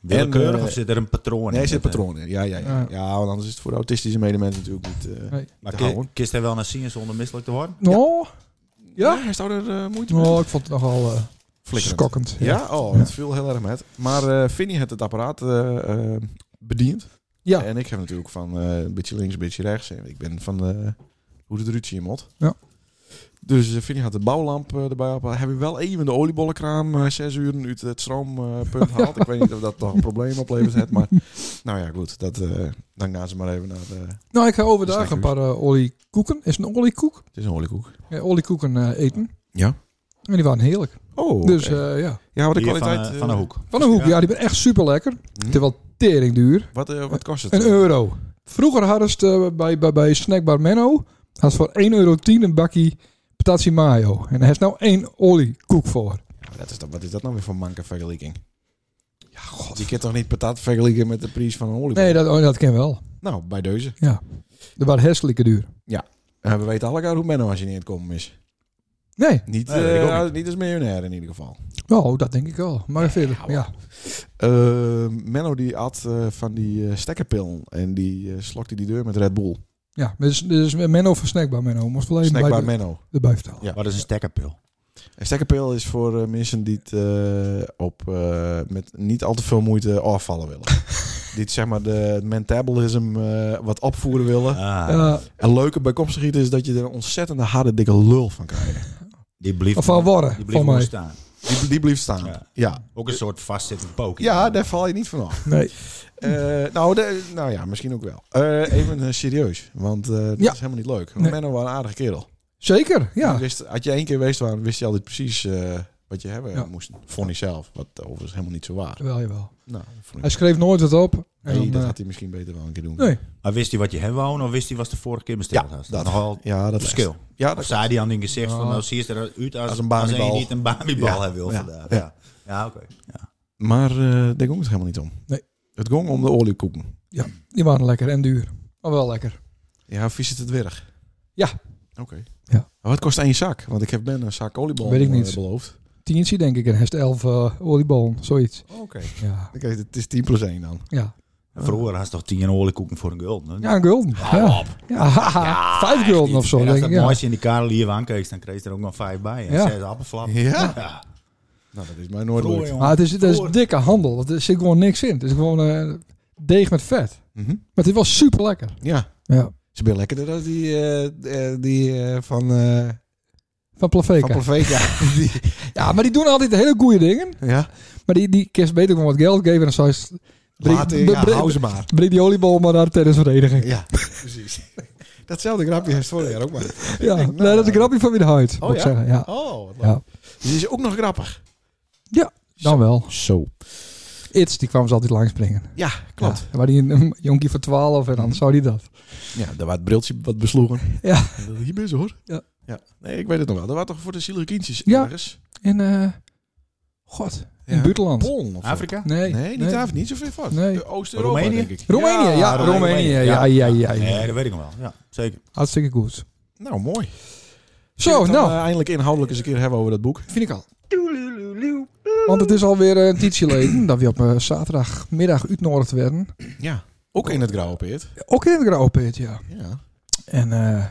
Speaker 5: Willekeurig
Speaker 1: En, eh,
Speaker 5: of zit er een patroon in?
Speaker 1: Nee, er zit
Speaker 5: Dat, eh,
Speaker 1: patroon in. Ja, ja, ja.
Speaker 3: Ja.
Speaker 1: ja, want anders is het voor de autistische medemens natuurlijk niet... eh,
Speaker 3: Nee.
Speaker 5: Maar
Speaker 1: te
Speaker 5: ki-
Speaker 1: houden.
Speaker 5: kist hij wel naar zien zonder misselijk te worden?
Speaker 3: Oh, ja?
Speaker 1: hij zou er eh, moeite mee.
Speaker 3: Oh, ik vond het nogal eh
Speaker 1: Flikkerend.
Speaker 3: schokkend.
Speaker 1: Ja, oh, het viel heel erg met. Maar eh Vinnie had het apparaat eh, eh, bediend.
Speaker 3: Ja.
Speaker 1: En ik heb natuurlijk van eh, een beetje links, een beetje rechts. En ik ben van eh, hoe de ruzie in mot.
Speaker 3: Ja.
Speaker 1: Dus eh, Vinnie had de bouwlamp eh, erbij op. Hebben we wel even de oliebollenkraam eh, zes uur uit het stroompunt gehaald. Ik weet niet of dat toch een probleem oplevert. het, Maar nou ja, goed. Dat, eh, dan gaan ze maar even naar eh, de...
Speaker 3: Nou, ik ga overdag
Speaker 1: Snackers.
Speaker 3: een paar eh, oliekoeken. Is het een oliekoek?
Speaker 1: Het is een oliekoek.
Speaker 3: Ja, oliekoeken eh, eten.
Speaker 1: Ja.
Speaker 3: En die waren heerlijk.
Speaker 1: Oh, oké.
Speaker 3: Dus eh, ja.
Speaker 1: ja, maar de
Speaker 5: Hier van,
Speaker 1: kwaliteit...
Speaker 5: eh,
Speaker 1: eh,
Speaker 5: van de hoek.
Speaker 3: Van de hoek,
Speaker 5: Ja.
Speaker 3: ja, die ben echt super lekker.
Speaker 1: Hm?
Speaker 3: Terwijl tering duur.
Speaker 1: Wat, eh, wat kost het?
Speaker 3: Een euro. Vroeger hadden ze het, eh, bij, bij, bij Snackbar Menno had ze voor 1,10 euro een bakkie patatsi mayo. En daar heeft nou één oliekoek voor.
Speaker 1: Ja, maar dat is dan, wat is dat nou weer voor manke vergelijking? Ja, god. Je kunt toch niet patat vergelijken met de prijs van een oliebol?
Speaker 3: Nee, dat, oh, dat ken wel.
Speaker 1: Nou, bij deze.
Speaker 3: Dat waren hartstikke duur.
Speaker 1: Eh, we weten allemaal hoe Menno als je niet in het komen is.
Speaker 3: Nee,
Speaker 1: Niet,
Speaker 5: Nee, dat weet ik
Speaker 1: eh,
Speaker 5: ook
Speaker 1: niet als miljonair in ieder geval.
Speaker 3: nou, dat denk ik wel. Maar verder,
Speaker 1: maar-
Speaker 3: ja.
Speaker 1: Eh, Menno die at eh, van die eh, stekkerpillen en die eh, slokte die deur met Red Bull.
Speaker 3: Ja, dus, dus Menno van Snackbar Menno. Moest wel even
Speaker 1: Snackbar
Speaker 3: bij,
Speaker 1: Menno.
Speaker 3: erbij vertellen.
Speaker 1: Ja.
Speaker 5: Wat is een stekkerpil?
Speaker 1: Een stekkerpil is voor eh, mensen die het eh, op, eh, met niet al te veel moeite afvallen willen. die het, zeg maar de metabolism eh, wat opvoeren willen.
Speaker 5: Ah,
Speaker 3: Eh,
Speaker 1: En leuke bij komstigheid is dat je er een ontzettende harde dikke lul van krijgt.
Speaker 5: die blieft.
Speaker 3: of van
Speaker 5: Die
Speaker 3: Warren,
Speaker 5: blieft
Speaker 3: van
Speaker 5: moet
Speaker 3: mij.
Speaker 5: staan.
Speaker 1: Die, die bleef staan. Ja.
Speaker 5: Ja.
Speaker 1: Ja.
Speaker 5: Ook een soort vastzittend pook.
Speaker 1: daar val je niet van af.
Speaker 3: Nee.
Speaker 1: Eh, nou, de- nou ja, misschien ook wel. Eh, even eh, serieus, want eh, dat
Speaker 3: Ja.
Speaker 1: is helemaal niet leuk. Want
Speaker 3: Nee.
Speaker 1: Menno was een aardige kerel.
Speaker 3: Zeker,
Speaker 1: Die
Speaker 3: ja.
Speaker 1: Wist, had je één keer geweest waren, wist je altijd precies eh, wat je hebben
Speaker 3: Ja.
Speaker 1: moest. Vond ik zelf, wat eh, overigens helemaal niet zo waar.
Speaker 3: Jawel, jawel.
Speaker 1: Nou, dat vond
Speaker 3: Hij
Speaker 1: ik,
Speaker 3: schreef nooit wat op. En,
Speaker 1: nee, dat
Speaker 3: eh,
Speaker 1: had hij misschien beter wel een keer doen.
Speaker 3: nee.
Speaker 5: Maar wist hij wat je hem wou of wist hij wat de vorige keer besteld had?
Speaker 1: dat-
Speaker 5: nogal
Speaker 1: Ja, dat
Speaker 5: verschil.
Speaker 1: Ja,
Speaker 5: Of
Speaker 1: dat
Speaker 5: zei hij aan in gezicht van
Speaker 3: Ja.
Speaker 5: nou zie je eruit uit als,
Speaker 1: Als
Speaker 5: als
Speaker 1: een
Speaker 5: een
Speaker 1: Bamibal.
Speaker 5: Als je niet een Bamibal
Speaker 1: Ja,
Speaker 5: hebben wil
Speaker 1: ja,
Speaker 5: vandaag.
Speaker 1: ja.
Speaker 5: Ja, ja oké. Ja.
Speaker 1: Maar eh daar ging het helemaal niet om.
Speaker 3: Nee.
Speaker 1: Het ging om de oliekoeken.
Speaker 3: Die waren lekker en duur. Maar wel lekker.
Speaker 1: Ja, vies het het werk?
Speaker 3: Ja.
Speaker 1: Oké.
Speaker 3: Ja.
Speaker 1: Maar Wat kost één zak? Want ik heb Ben een zak oliebol
Speaker 3: Weet ik niet.
Speaker 1: eh, beloofd.
Speaker 3: Tientje denk ik. En heeft elf eh oliebollen, zoiets.
Speaker 1: Oké.
Speaker 3: Ja,
Speaker 1: Oké, het is 10 plus 1 dan.
Speaker 3: ja.
Speaker 5: En Vroeger had ze toch tien oliekoeken voor een gulden? hè?
Speaker 3: ja een gulden. Ja. Ja, haha. Vijf gulden of zo,
Speaker 5: En als
Speaker 3: denk
Speaker 5: dat
Speaker 3: ik. Ja.
Speaker 5: mooiste in die karel hier aankeek, dan kreeg je er ook nog vijf bij. En
Speaker 3: Ja.
Speaker 5: zes appelflappen.
Speaker 1: Ja?
Speaker 5: Ja.
Speaker 1: Nou, dat is mij nooit
Speaker 5: Vroeger,
Speaker 1: leuk.
Speaker 5: jongen.
Speaker 3: Maar het is, dat
Speaker 5: Voor-
Speaker 3: is dikke handel. want Er zit gewoon niks in. Het is gewoon eh, deeg met vet.
Speaker 1: Mhm.
Speaker 3: Maar het was super lekker.
Speaker 1: Ja,
Speaker 3: Ja.
Speaker 1: ze ben lekkerder dan die, eh, eh, die eh, van, eh
Speaker 3: Van
Speaker 1: van
Speaker 3: Plaveka.
Speaker 1: Plaveka. Die-
Speaker 3: Ja, maar die doen altijd hele goede dingen.
Speaker 1: ja,
Speaker 3: Maar die, die kerst beter gewoon wat geld geven. En dan zou je... Breng-
Speaker 1: later, ja,
Speaker 3: breng-
Speaker 1: hou ze maar.
Speaker 3: breng die oliebol maar naar de tennisvereniging.
Speaker 1: Ja, precies. Datzelfde grapje heeft vorig jaar ook maar. Ik
Speaker 3: Ja,
Speaker 1: denk, nou,
Speaker 3: nee, dat is een grapje van wie de huid.
Speaker 1: Oh,
Speaker 3: moet ik
Speaker 1: ja?
Speaker 3: zeggen. Ja.
Speaker 1: Oh, wat leuk.
Speaker 3: Ja.
Speaker 1: Dus die is ook nog grappig.
Speaker 3: Dan wel.
Speaker 1: Zo.
Speaker 3: Its, die kwam ze altijd langs brengen.
Speaker 1: Ja, klopt. Mhm.
Speaker 3: Ja, waar die een, een jonkie van 12 en dan zou die dat.
Speaker 1: Ja, daar was het briltje wat besloegen.
Speaker 3: Ja.
Speaker 1: En dat Hier ben ze hoor.
Speaker 3: Ja.
Speaker 1: ja. Nee, ik weet het nog wel. Dat was toch voor de zielige kindjes
Speaker 3: Ja.
Speaker 1: ergens?
Speaker 3: En, eh god, in
Speaker 1: Ja.
Speaker 3: het buitenland.
Speaker 1: Polen of zo.
Speaker 5: Afrika?
Speaker 3: Nee,
Speaker 1: Nee, niet Afrika. Niet zoveel vast.
Speaker 3: Nee.
Speaker 1: Eh, Oost-Europa,
Speaker 5: Roemenië?
Speaker 1: denk ik.
Speaker 3: Roemenië, ja,
Speaker 5: Ja,
Speaker 3: Roemenië.
Speaker 5: Roemenië,
Speaker 3: Ja, ja,
Speaker 5: ja.
Speaker 3: ja, ja,
Speaker 5: Nee, dat weet ik nog wel. Ja, zeker.
Speaker 3: Hartstikke goed.
Speaker 1: Nou, mooi.
Speaker 3: Zo,
Speaker 1: dan,
Speaker 3: nou,
Speaker 1: eh, eindelijk inhoudelijk eens een keer hebben over dat boek.
Speaker 3: vind ik al. Want het is alweer eh, een tijdje geleden dat we op eh, zaterdagmiddag uitnodigd werden.
Speaker 1: Ja. Ook in het grauwe peert.
Speaker 3: Ook in het Grauwpeet, ja.
Speaker 1: Ja.
Speaker 3: En, eh,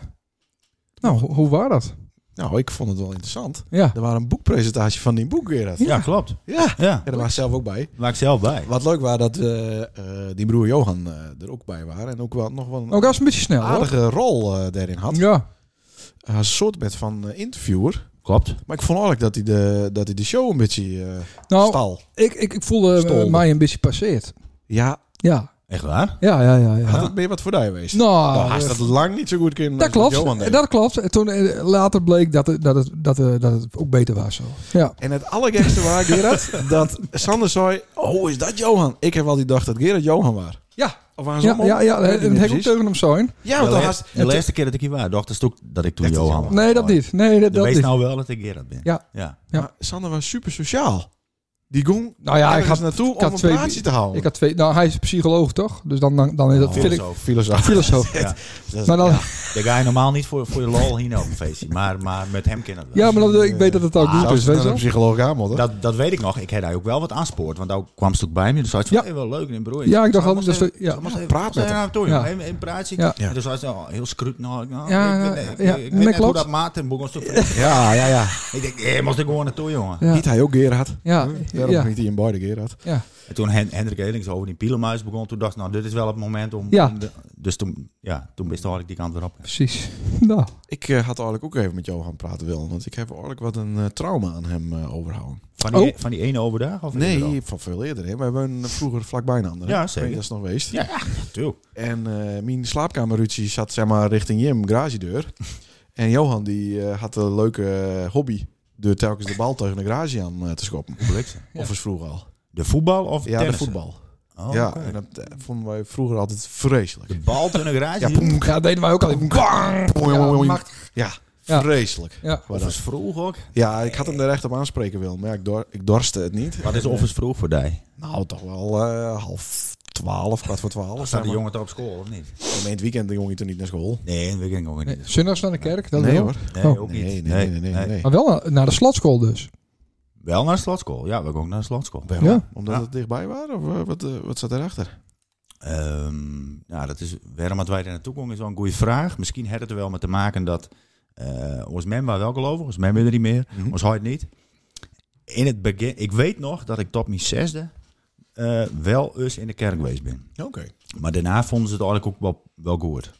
Speaker 3: nou, ho- hoe was dat?
Speaker 1: Nou, ik vond het wel interessant.
Speaker 3: Ja,
Speaker 1: Er was een boekpresentatie van die boek, Gerard.
Speaker 5: Ja, klopt.
Speaker 1: Ja.
Speaker 5: Ja,
Speaker 1: Ja, daar was ik zelf ook bij.
Speaker 5: waar ik zelf bij.
Speaker 1: Wat leuk was dat eh, eh, die broer Johan eh, er ook bij waren. En ook wel, nog wel een
Speaker 3: ook als Oh, een beetje snel, hoor.
Speaker 1: aardige rol eh, daarin had.
Speaker 3: Ja,
Speaker 1: Hij was een soort met van eh, interviewer.
Speaker 5: Klopt.
Speaker 1: Maar ik vond eigenlijk dat hij de, dat hij de show een beetje eh
Speaker 3: nou,
Speaker 1: stal.
Speaker 3: ik, ik, ik voelde
Speaker 1: Stolde.
Speaker 3: eh, mij een beetje passeerd.
Speaker 1: Ja,
Speaker 3: Ja,
Speaker 5: Echt waar?
Speaker 3: ja, ja, ja.
Speaker 1: had
Speaker 3: ja.
Speaker 1: het meer wat voor jou geweest?
Speaker 3: Nou,
Speaker 1: nou, hij is
Speaker 3: eh,
Speaker 1: dat lang niet zo goed kunnen
Speaker 3: dat
Speaker 1: als wat Johan
Speaker 3: klopt.
Speaker 1: deed.
Speaker 3: Dat klopt. En toen eh, later bleek dat het, dat het, dat, eh, dat het ook beter was. Zo. Ja.
Speaker 1: En het allergekste was, Gerard, dat Sander zei... Oh, is dat Johan? Ik heb al die dag dat Gerard Johan was.
Speaker 3: Ja.
Speaker 1: Of waren ze
Speaker 3: Ja,
Speaker 1: allemaal?
Speaker 3: ja, eh, ja,
Speaker 1: Weet ik
Speaker 3: het
Speaker 1: niet
Speaker 3: heeft ook
Speaker 1: precies.
Speaker 3: tegen hem zijn.
Speaker 1: Ja, want
Speaker 5: de
Speaker 1: dan
Speaker 5: la-
Speaker 1: had
Speaker 5: de laatste keer dat ik hier was, dacht ik ook dat ik toen
Speaker 1: Echt dat
Speaker 5: Johan
Speaker 1: je-
Speaker 5: was.
Speaker 3: Nee, dat niet. Nee, dat,
Speaker 5: Dan
Speaker 3: dat
Speaker 5: wees
Speaker 3: niet.
Speaker 5: nou wel dat ik Gerard ben.
Speaker 3: Ja.
Speaker 5: ja.
Speaker 3: Ja.
Speaker 1: Maar Sander was super sociaal. Die gong
Speaker 3: Nou ja, ik
Speaker 1: ergens
Speaker 3: had,
Speaker 1: naartoe
Speaker 3: ik had
Speaker 1: om een
Speaker 3: twee-
Speaker 1: plaatsje te houden.
Speaker 3: ik had twee... Nou, hij is psycholoog, toch? Dus dan, dan, dan is
Speaker 1: Oh,
Speaker 3: dat... vind ik,
Speaker 5: Filosoof.
Speaker 1: filosoof.
Speaker 3: filosoof.
Speaker 5: Ja.
Speaker 3: Maar dan,
Speaker 5: Ja. Daar ga je normaal niet voor, voor de lol hier naar op een feestje. Maar, maar met hem kennen we
Speaker 3: ja, maar dat, ik weet dat het ook
Speaker 5: Ah,
Speaker 3: doet. Dus, weet je
Speaker 1: eh, een
Speaker 3: wel.
Speaker 1: psycholoog aan, moet, hè?
Speaker 5: Dat, dat weet ik nog. Ik heb daar ook wel wat aanspoord. Want ook kwam ze ook bij me. Dus zei ze van,
Speaker 3: Ja.
Speaker 5: hey, wel leuk in broer.
Speaker 3: Ja, ik dacht
Speaker 5: Zal
Speaker 3: altijd
Speaker 5: maar
Speaker 3: dat
Speaker 5: eens
Speaker 3: ze- ja.
Speaker 5: zal maar eens
Speaker 1: Ja,
Speaker 5: even-
Speaker 1: praat
Speaker 5: zal
Speaker 1: met
Speaker 5: je nou toe,
Speaker 3: Ja.
Speaker 5: jongen? Even, even praatje.
Speaker 3: Ja.
Speaker 5: En toen zei ze, oh, heel scrut. Nou, nou,
Speaker 3: Ja,
Speaker 5: ik,
Speaker 3: ja,
Speaker 5: weet- ik,
Speaker 3: ja.
Speaker 5: ik,
Speaker 3: Nee,
Speaker 5: weet net hoe
Speaker 3: klopt.
Speaker 5: dat maakt. En begon ze te
Speaker 1: Ja, ja, ja.
Speaker 5: Ik denk, hé, moest ik gewoon naartoe, jongen.
Speaker 3: Ja.
Speaker 1: Niet hij ook Gerard.
Speaker 3: Ja,
Speaker 1: Daarom
Speaker 3: ja,
Speaker 1: niet hij in beide Gerard.
Speaker 5: En toen Hen Hendrik Helings over die pielenmuis begon, toen dacht ik, nou, dit is wel het moment om...
Speaker 3: Ja.
Speaker 5: om de- dus toen, ja, toen wist ik die kant weer op.
Speaker 3: precies. Nou,
Speaker 1: Ik eh, had eigenlijk ook even met jou gaan praten, Wil. Want ik heb eigenlijk wat een eh, trauma aan hem eh, overhouden.
Speaker 5: Van die, e-,
Speaker 3: Oh.
Speaker 5: van die ene overdag? Of
Speaker 1: Nee, van veel eerder. Hè. We hebben een- eh, vroeger vlakbij een ander. hè.
Speaker 5: Ja,
Speaker 1: Ik weet
Speaker 5: zeker.
Speaker 1: niet of Dat is nog geweest.
Speaker 5: Ja, natuurlijk.
Speaker 1: En eh, mijn slaapkamerruzie zat zeg maar richting Jim, garagedeur. En Johan die eh, had een leuke eh, hobby. Door telkens de bal tegen de garage aan eh, te schoppen. Of is vroeger al.
Speaker 5: De voetbal of
Speaker 1: Ja, de
Speaker 5: tennis?
Speaker 1: voetbal.
Speaker 5: Oh,
Speaker 1: ja,
Speaker 5: oké.
Speaker 1: en dat eh, vonden wij vroeger altijd vreselijk.
Speaker 5: De bal toen een garage.
Speaker 1: Ja,
Speaker 5: Ja,
Speaker 1: poem,
Speaker 3: ja, dat deden wij ook al. Bang! Ja, machtig.
Speaker 1: Ja,
Speaker 3: Ja.
Speaker 1: vreselijk.
Speaker 3: Ja.
Speaker 1: Wat
Speaker 5: is vroeg ook.
Speaker 1: Ja, ik had hem er echt op aanspreken wil, maar ja, ik, dor ik dorste het niet.
Speaker 5: Wat is offers vroeg voor die?
Speaker 1: Nou, toch wel eh, half twaalf, kwart voor twaalf.
Speaker 5: Staat
Speaker 1: Zeg
Speaker 5: de
Speaker 1: maar.
Speaker 5: jongen toch op school of niet?
Speaker 1: En In het weekend ging je toen niet naar school.
Speaker 5: Nee, dat weet ik ook
Speaker 3: Nee,
Speaker 5: niet.
Speaker 3: zondags naar de kerk, dat
Speaker 1: nee
Speaker 3: wel.
Speaker 1: hoor.
Speaker 5: Nee,
Speaker 3: Oh.
Speaker 5: ook niet.
Speaker 1: Nee, nee, nee, nee. nee, nee.
Speaker 3: Maar wel naar- naar de slotschool dus.
Speaker 5: Wel naar de slotschool. Ja, we gaan ook naar de slotschool.
Speaker 1: Waarom?
Speaker 3: Ja.
Speaker 1: Omdat
Speaker 5: Ja.
Speaker 1: het dichtbij waren? Of eh, wat, eh, wat zat erachter?
Speaker 5: Ehm, ja, dat is waarom dat wij er naartoe komen is wel een goede vraag. Misschien had het er wel mee te maken dat eh ons men was wel gelovig, ons men weer er niet meer,
Speaker 1: Mhm.
Speaker 5: ons hart niet. In het begin, ik weet nog dat ik tot mijn zesde eh, wel eens in de kerk geweest ben.
Speaker 1: Oké.
Speaker 5: Maar daarna vonden ze het eigenlijk ook wel, wel goed.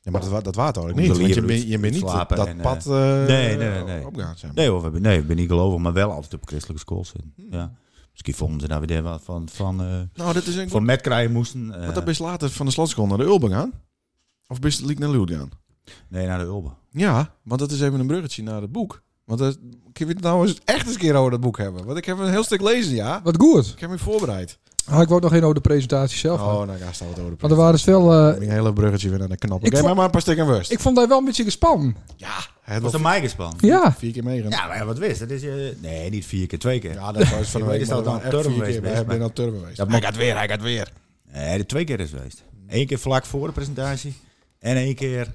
Speaker 1: Ja, maar dat, wa- dat waard het
Speaker 5: Om
Speaker 1: eigenlijk
Speaker 5: de
Speaker 1: niet. Want je
Speaker 5: lieren
Speaker 1: bent je
Speaker 5: uit-
Speaker 1: bent niet dat,
Speaker 5: slapen
Speaker 1: dat
Speaker 5: en, eh,
Speaker 1: pad eh
Speaker 5: nee, nee, nee.
Speaker 1: opgaan. Zeg maar.
Speaker 5: Nee hoor, we hebben- nee, ik ben niet gelovig, maar wel altijd op christelijke school zitten. Ja. Misschien vonden ze daar weer wat van, van, eh
Speaker 1: Nou, dat is een
Speaker 5: van met krijgen moesten. eh,
Speaker 1: Want dat ben je later van de slotschool naar de Ulben gaan. Of ben je liek naar Loerd gaan?
Speaker 5: nee, naar de Ulbe.
Speaker 1: Ja, want dat is even een bruggetje naar het boek. Want dat, ik wil het nou eens echt eens een keer over dat boek hebben. Want ik heb een heel stuk lezen, ja.
Speaker 3: Wat goed.
Speaker 1: Ik heb me voorbereid.
Speaker 3: Ah, ik wou nog één over de presentatie zelf.
Speaker 1: Oh,
Speaker 3: hebben.
Speaker 1: nou, daar staat het over de
Speaker 3: Maar er waren dus wel... eh,
Speaker 1: Een hele bruggetje weer naar de knop.
Speaker 3: Ik
Speaker 1: Oké,
Speaker 3: vond-
Speaker 1: maar maar een paar stikken worst.
Speaker 3: ik vond hij wel een beetje gespannen.
Speaker 1: Ja, het
Speaker 5: Dat
Speaker 1: was
Speaker 5: was een meigerspan.
Speaker 3: Ja.
Speaker 1: vier keer meegaan.
Speaker 5: Ja, maar wat wist? Dat is, eh, nee, niet vier keer, twee keer.
Speaker 1: Ja, dat was van
Speaker 5: Ik
Speaker 1: de
Speaker 5: weet
Speaker 1: week.
Speaker 5: is
Speaker 1: maar
Speaker 5: dat
Speaker 1: we
Speaker 5: dan
Speaker 1: waren
Speaker 5: Turbo
Speaker 1: echt vier
Speaker 5: geweest,
Speaker 1: keer.
Speaker 5: maar-
Speaker 1: Ik ben al turbo geweest.
Speaker 5: Dat
Speaker 1: Hij
Speaker 5: mag-
Speaker 1: gaat weer, hij gaat weer.
Speaker 5: Nee, de twee keer is geweest. Eén keer vlak voor de presentatie en één keer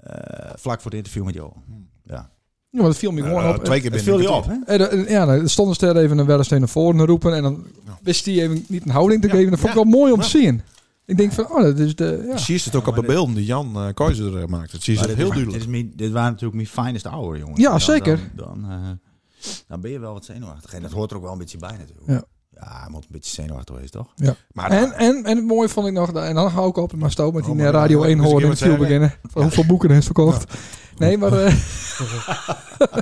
Speaker 5: eh, vlak voor het interview met Johan. Ja.
Speaker 3: Ja, maar dat viel me gewoon op.
Speaker 1: Eh, Twee keer
Speaker 5: Het
Speaker 1: binnen.
Speaker 5: viel je op, hè?
Speaker 3: En, eh, ja, dan stonden ze er even een wellensteen naar voren te roepen. En dan wist hij even niet een houding te geven. Dat vond ik wel mooi om te zien. Ik denk van, oh, dat is de... Ja.
Speaker 1: Zie je het ook op de beelden die Jan eh, Keuzer er maakt. Dat zie je
Speaker 5: Maar
Speaker 1: het
Speaker 5: dit
Speaker 1: heel
Speaker 5: is-
Speaker 1: duidelijk.
Speaker 5: Dit, is mijn- dit waren natuurlijk mijn finest hour, jongen.
Speaker 3: Ja, zeker.
Speaker 5: Dan, dan, eh, dan ben je wel wat zenuwachtig. En dat hoort er ook wel een beetje bij natuurlijk.
Speaker 3: Ja.
Speaker 5: Ja, je moet een beetje zenuwachtig wezen, toch? eh,
Speaker 1: Maar
Speaker 3: En, en, en het mooie vond ik nog, en dan hou ik op met Stoop met die
Speaker 1: Oh,
Speaker 3: eh,
Speaker 1: maar-
Speaker 3: Radio
Speaker 1: dus
Speaker 3: 1
Speaker 1: ik
Speaker 3: horen in
Speaker 1: wil
Speaker 3: het
Speaker 1: zeggen-
Speaker 3: viel beginnen. Van hoeveel boeken hij heeft verkocht. Nee, maar eh,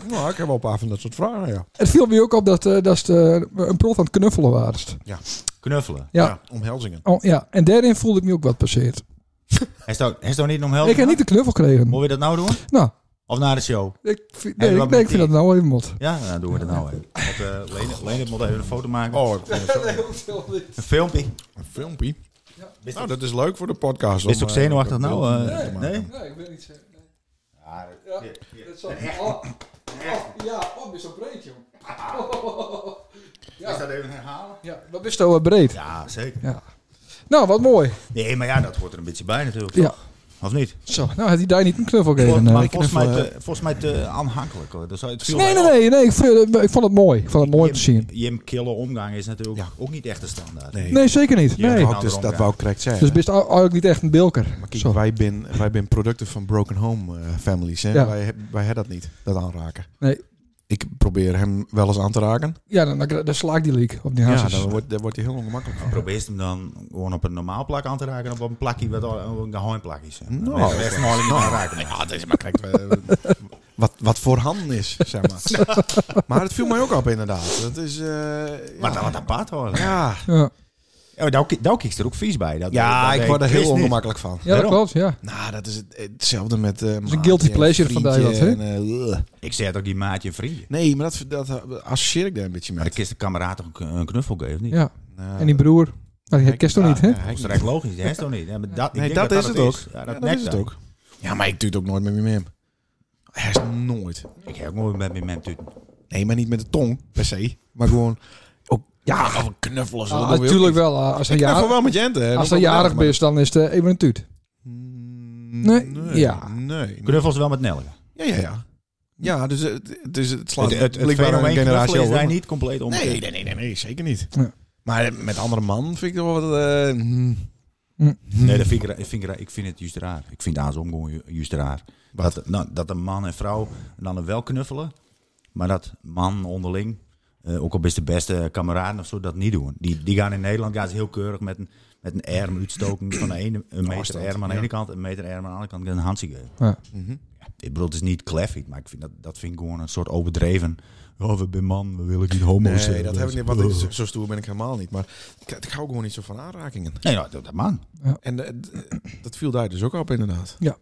Speaker 1: nou, ik heb wel een paar van dat soort vragen, ja.
Speaker 3: het viel me ook op dat, eh, dat ze eh, een prof aan het knuffelen waren.
Speaker 5: Knuffelen.
Speaker 3: Ja.
Speaker 1: Omhelzingen.
Speaker 3: Oh, ja, en daarin voelde ik me ook wat passeerd.
Speaker 5: Hij is toch hij is toch niet omhelzen?
Speaker 3: Ik heb niet de knuffel gekregen.
Speaker 5: Moet je dat nou doen?
Speaker 3: Nou,
Speaker 5: Of na de show?
Speaker 3: ik, vind-
Speaker 5: Hey,
Speaker 3: nee,
Speaker 5: wat
Speaker 3: ik, nee, ik
Speaker 5: met
Speaker 3: vind dat
Speaker 5: die?
Speaker 3: nou even mot.
Speaker 5: Ja, dan doen we dat nou even. Want, eh, Lene, Lene moet even een foto maken.
Speaker 1: Oh, ik vond het zo-
Speaker 5: Een filmpje.
Speaker 1: een filmpje. Nou, dat is leuk voor de podcast.
Speaker 5: Is
Speaker 1: om,
Speaker 5: het ook
Speaker 1: eh,
Speaker 5: zenuwachtig
Speaker 1: dat
Speaker 5: nou?
Speaker 1: beeld
Speaker 5: eh,
Speaker 1: mee te maken.
Speaker 5: nee?
Speaker 3: Nee, ik weet niet zeker.
Speaker 5: Ja,
Speaker 3: Dat zal, oh, ja, oh, best wel breed, joh.
Speaker 5: Is dat even herhalen?
Speaker 3: Ja, dat best wel eh, breed.
Speaker 5: Ja, zeker.
Speaker 3: Nou, wat mooi.
Speaker 5: Nee, maar ja, dat hoort er een beetje bij natuurlijk.
Speaker 3: Ja.
Speaker 5: Of niet?
Speaker 3: Zo, nou had hij daar niet een knuffel
Speaker 5: Vol-
Speaker 3: gegeven.
Speaker 5: maar
Speaker 3: eh.
Speaker 5: volgens mij,
Speaker 1: knuffel,
Speaker 5: te, volgens mij te aanhankelijk hoor. Dus het viel
Speaker 3: Nee,
Speaker 5: mij
Speaker 3: nee,
Speaker 5: op.
Speaker 3: nee, nee ik, vond, ik vond het mooi. Ik vond het mooi om te zien.
Speaker 5: Jim, Jim Kille omgang is natuurlijk
Speaker 1: Ja.
Speaker 5: ook niet echt de standaard.
Speaker 1: Nee.
Speaker 3: Nee, zeker niet.
Speaker 5: Ja,
Speaker 3: Nee.
Speaker 5: nou,
Speaker 1: Dat is- dat wou ik correct zeggen.
Speaker 3: Dus best ou- eigenlijk niet echt een bilker.
Speaker 1: Maar kijk,
Speaker 3: Zo.
Speaker 1: wij zijn wij ben producten van broken home eh, families. Hè?
Speaker 3: Ja.
Speaker 1: Wij, heb- wij hebben dat niet, dat aanraken.
Speaker 3: Nee.
Speaker 1: Ik probeer hem wel eens aan te raken.
Speaker 3: Ja, dan, dan, dan sla ik die leak op die
Speaker 1: Ja,
Speaker 3: haasjes.
Speaker 1: dan wordt, dan wordt hij heel ongemakkelijk. van.
Speaker 5: Probeer hem dan gewoon op een normaal plak aan te raken en op een plakje wat al- een geheimplakje is.
Speaker 1: Nou,
Speaker 5: Dan ben je de rest nog niet aan raken.
Speaker 1: Ja, het is maar kijk, we- Eh, wat, wat voorhanden is, zeg maar. maar het viel mij ook op, inderdaad. Dat is... eh,
Speaker 5: Wat,
Speaker 1: ja.
Speaker 5: wat apart hoor. Ja.
Speaker 1: Ja,
Speaker 3: ja.
Speaker 5: maar daar, ki- daar kijk je er ook vies bij. Dat,
Speaker 1: ja
Speaker 5: dat-
Speaker 1: ik
Speaker 5: dat-
Speaker 1: word er heel
Speaker 5: Chris niet.
Speaker 1: ongemakkelijk van.
Speaker 3: ja, dat
Speaker 5: Waarom?
Speaker 3: klopt. Ja.
Speaker 1: Nou, dat is het, hetzelfde met... eh
Speaker 3: is een guilty pleasure van
Speaker 1: hè?
Speaker 3: Dijland,
Speaker 5: Ik zei toch die maatje en vriendje.
Speaker 1: nee, maar dat, dat eh, associeer ik daar een beetje
Speaker 5: Maar
Speaker 1: mee.
Speaker 5: ik is de kameraad toch een k- een knuffel geven, niet?
Speaker 3: ja.
Speaker 1: Nou,
Speaker 3: En die broer. Maar dat kerst toch niet, hè?
Speaker 1: Ja,
Speaker 5: Dat
Speaker 1: hij
Speaker 5: is
Speaker 1: niet.
Speaker 5: echt logisch, hè? Is toch niet? Ja, maar dat, ik
Speaker 1: Nee,
Speaker 5: denk
Speaker 1: dat, is het ook.
Speaker 5: Ja,
Speaker 1: Ja,
Speaker 5: dat
Speaker 1: dat
Speaker 5: nekt
Speaker 1: is het
Speaker 5: dan.
Speaker 1: ook. Ja, maar ik doe het ook nooit met mijn mem. Hij is nooit.
Speaker 5: Ik heb ook nooit met mijn mem tuten.
Speaker 1: Nee, maar niet met de tong, per se. Maar gewoon... Ook, ja, of een knuffelen.
Speaker 3: Ah, natuurlijk wel. ah, als hij
Speaker 1: Ja,
Speaker 3: jarig,
Speaker 1: wel met Jente. hè.
Speaker 3: als
Speaker 1: Dat
Speaker 3: hij
Speaker 1: wel
Speaker 3: jarig
Speaker 1: maar-
Speaker 3: is, dan is het eh, even een tuut.
Speaker 1: Mm,
Speaker 3: Nee,
Speaker 1: Nee.
Speaker 3: ja.
Speaker 1: Nee.
Speaker 5: Knuffels wel met Nelke.
Speaker 1: Ja, ja, ja. Ja, dus het, het, is, het slaat
Speaker 5: Het, het, het
Speaker 1: blijkbaar
Speaker 5: fenomeen
Speaker 1: een
Speaker 5: knuffelen
Speaker 1: generatie
Speaker 5: is
Speaker 1: over.
Speaker 5: daar niet compleet onbekend.
Speaker 1: Nee, nee, nee, nee, nee, zeker niet.
Speaker 3: Ja.
Speaker 1: Maar met andere man vind ik wel wat... eh, hmm.
Speaker 5: Nee, dat vind ik, ra- ik, vind, ik ra- ik vind het juist raar. Ik vind het andersom gewoon ju- juist raar. Dat, nou, dat een man en vrouw dan wel knuffelen, maar dat man onderling, eh, ook al best de beste kameraden of zo, dat niet doen. Die, die gaan in Nederland gaan ze heel keurig met een, met een arm uitstoken van de ene, een meter
Speaker 1: Afstand,
Speaker 5: arm aan de
Speaker 1: ja.
Speaker 5: ene kant, een meter arm aan de andere kant, een handje geven.
Speaker 3: Ja.
Speaker 1: Mhm.
Speaker 5: Ik bedoel, het is niet kleffig, maar ik vind dat, dat vind ik gewoon een soort overdreven. Oh, we zijn man, we willen niet homo's.
Speaker 1: Nee,
Speaker 5: zijn.
Speaker 1: dat heb ik niet. Want
Speaker 5: Oh.
Speaker 1: ik- zo- zo stoer ben ik helemaal niet. Maar ik, ik hou gewoon niet zo van aanrakingen.
Speaker 5: Nee, nou, dat, dat man.
Speaker 1: En eh, d- dat viel daar dus ook op, inderdaad.
Speaker 3: Ja.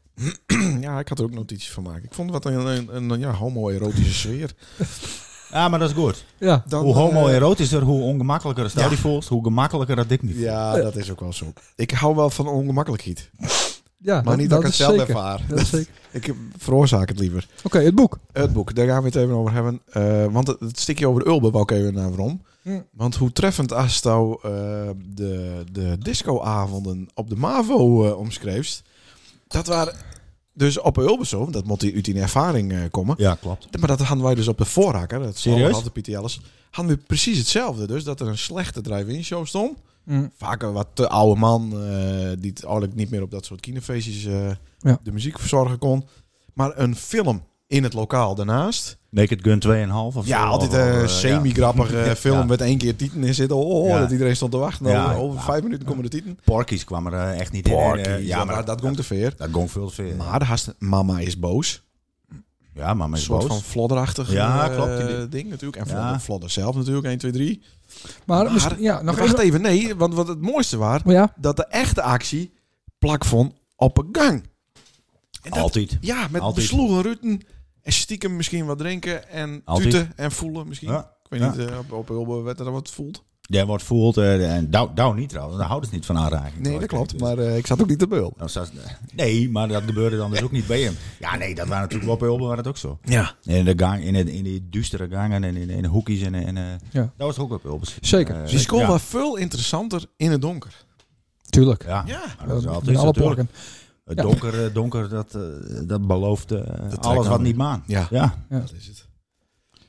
Speaker 1: ja, ik had er ook notities van maken. Ik vond wat een, een, een ja, homoerotische sfeer.
Speaker 5: Ja, Ah, maar dat is goed.
Speaker 3: Ja.
Speaker 1: Dan,
Speaker 5: hoe
Speaker 1: eh,
Speaker 5: homoerotischer, hoe ongemakkelijker het
Speaker 1: Ja.
Speaker 5: die voelt, hoe gemakkelijker dat ik niet. voel.
Speaker 1: ja, dat is ook wel zo. Ik hou wel van ongemakkelijkheid.
Speaker 3: ja
Speaker 1: Maar niet dat ik het
Speaker 3: is
Speaker 1: zelf
Speaker 3: zeker.
Speaker 1: ervaar.
Speaker 3: Dat is zeker.
Speaker 1: Ik veroorzaak het liever.
Speaker 3: Oké, het boek.
Speaker 1: Het boek, daar gaan we het even over hebben. Eh, want het, het stukje over de Ulbe wou ik even naar waarom.
Speaker 3: Hm.
Speaker 1: Want hoe treffend Asto eh de, de discoavonden op de MAVO eh omschreef. Dat waren dus op Ulbe zo, dat moet die- uit die ervaring eh, komen.
Speaker 5: Ja, klopt.
Speaker 1: Maar dat hadden wij dus op de voorraker, dat is
Speaker 5: Serieus?
Speaker 1: de Pieter Jelles, hadden we precies hetzelfde. Dus dat er een slechte drive-in show stond.
Speaker 3: Hm.
Speaker 1: Vaak een wat te oude man, eh, die het eigenlijk niet meer op dat soort kinefeestjes eh,
Speaker 3: Ja.
Speaker 1: de muziek verzorgen kon. Maar een film in het lokaal daarnaast.
Speaker 5: Naked Gun 2,5 of
Speaker 1: Ja,
Speaker 5: zo,
Speaker 1: altijd
Speaker 5: of,
Speaker 1: een
Speaker 5: eh, ja.
Speaker 1: semi-grappige eh, film
Speaker 5: Ja.
Speaker 1: met één keer Tieten in zitten. Oh,
Speaker 5: Ja.
Speaker 1: dat iedereen stond te wachten.
Speaker 5: Ja,
Speaker 1: over over
Speaker 5: ja.
Speaker 1: vijf minuten komen de Tieten.
Speaker 5: Porkies kwam er eh, echt niet in. En, eh,
Speaker 1: ja, maar dat ging
Speaker 5: dat,
Speaker 1: te ver.
Speaker 5: dat ging veel te veel.
Speaker 1: Maar de hast, Mama is boos.
Speaker 5: ja, maar
Speaker 1: Een
Speaker 5: is
Speaker 1: soort
Speaker 5: boos.
Speaker 1: van flodderachtig
Speaker 5: Ja,
Speaker 1: eh,
Speaker 5: klopt, die-
Speaker 1: ding natuurlijk. En
Speaker 5: Ja.
Speaker 1: flodder, flodder zelf natuurlijk, 1, 2, 3.
Speaker 3: Maar,
Speaker 1: Maar-
Speaker 3: misschien- ja, nog
Speaker 1: Nog wacht
Speaker 3: even.
Speaker 1: even, nee, want wat het mooiste was,
Speaker 3: Maar ja,
Speaker 1: dat de echte actie plak vond op een gang. En dat-
Speaker 5: Altijd.
Speaker 1: Ja, met
Speaker 5: Altijd.
Speaker 1: besloegen ruten en stiekem misschien wat drinken en
Speaker 5: Altijd.
Speaker 1: tuten en voelen misschien.
Speaker 5: Ja.
Speaker 1: Ik weet
Speaker 5: Ja.
Speaker 1: niet, eh, op, op Ulbe werd er wat voelt.
Speaker 5: Jij wordt voeld, eh, en Douw Douw niet trouwens, daar houden ze niet van aanraking.
Speaker 1: Nee, dat klopt,
Speaker 5: Dus-
Speaker 1: maar eh, ik zat ook niet te beul.
Speaker 5: Nou, zelfs- nee, maar dat gebeurde dan dus ook niet bij hem. Ja, nee, dat waren natuurlijk wel bij Olben, waren dat ook zo.
Speaker 1: Ja.
Speaker 5: In, de gang, in, het, in die duistere gangen en in, in de hoekjes en, en eh,
Speaker 3: Ja.
Speaker 5: dat was ook op Ulben.
Speaker 3: Zeker.
Speaker 5: Eh,
Speaker 1: Dus Die school
Speaker 5: ja.
Speaker 1: was veel interessanter in het donker.
Speaker 3: tuurlijk.
Speaker 5: Ja,
Speaker 1: Ja.
Speaker 5: maar dat is
Speaker 3: Eh,
Speaker 5: altijd
Speaker 3: in alle
Speaker 5: natuurlijk.
Speaker 3: plakken.
Speaker 5: Het
Speaker 3: Ja.
Speaker 5: donker, eh, donker dat, eh, dat belooft eh, alles
Speaker 1: aan
Speaker 5: wat
Speaker 1: me.
Speaker 5: niet maan.
Speaker 1: Ja.
Speaker 5: ja.
Speaker 3: Ja.
Speaker 1: Dat is het.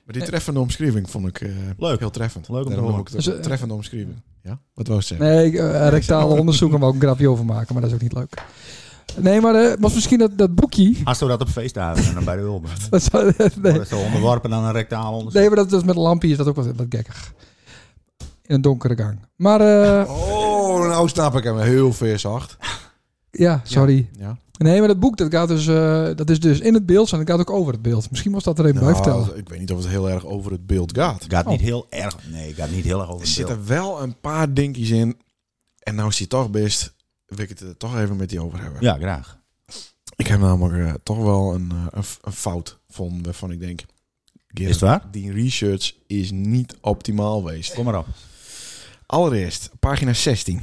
Speaker 1: Maar die treffende omschrijving vond ik eh,
Speaker 5: Leuk.
Speaker 1: heel treffend.
Speaker 5: Leuk om te
Speaker 1: Daarom
Speaker 5: horen.
Speaker 1: noem ik het
Speaker 3: Dus,
Speaker 1: ook
Speaker 3: eh,
Speaker 1: treffende omschrijving. Ja? Wat wou je zeggen?
Speaker 3: Nee, ik, eh, rectale onderzoeken wou ik een grapje over maken, maar dat is ook niet leuk. Nee, maar eh, was misschien dat, dat boekje.
Speaker 5: Als we dat op feestdagen en dan bij de Ulmen.
Speaker 3: Dat zou, nee.
Speaker 5: Worden ze onderworpen aan een rectaal onderzoek.
Speaker 3: nee, maar dat, dat met een lampje is dat ook wat, wat gekkig. In een donkere gang. Maar eh,
Speaker 1: Oh, nou snap ik hem. Heel veel zacht.
Speaker 3: ja, sorry.
Speaker 1: Ja.
Speaker 3: Nee, maar dat boek dat gaat dus, eh, dat is dus in het beeld en dat gaat ook over het beeld. Misschien was dat er even bij vertellen.
Speaker 1: Nou, ik weet niet of het heel erg over het beeld gaat.
Speaker 5: Gaat niet heel erg. Nee, gaat niet heel erg over
Speaker 1: Er
Speaker 5: de beeld.
Speaker 1: zitten wel een paar dingetjes in. En nou is hij toch best. Wil ik het er toch even met die over hebben.
Speaker 5: Ja, graag.
Speaker 1: Ik heb namelijk eh, toch wel een, eh, een, f- een fout van waarvan ik denk.
Speaker 5: Is het waar?
Speaker 1: Die research is niet optimaal geweest.
Speaker 5: Kom maar op.
Speaker 1: Allereerst, pagina 16.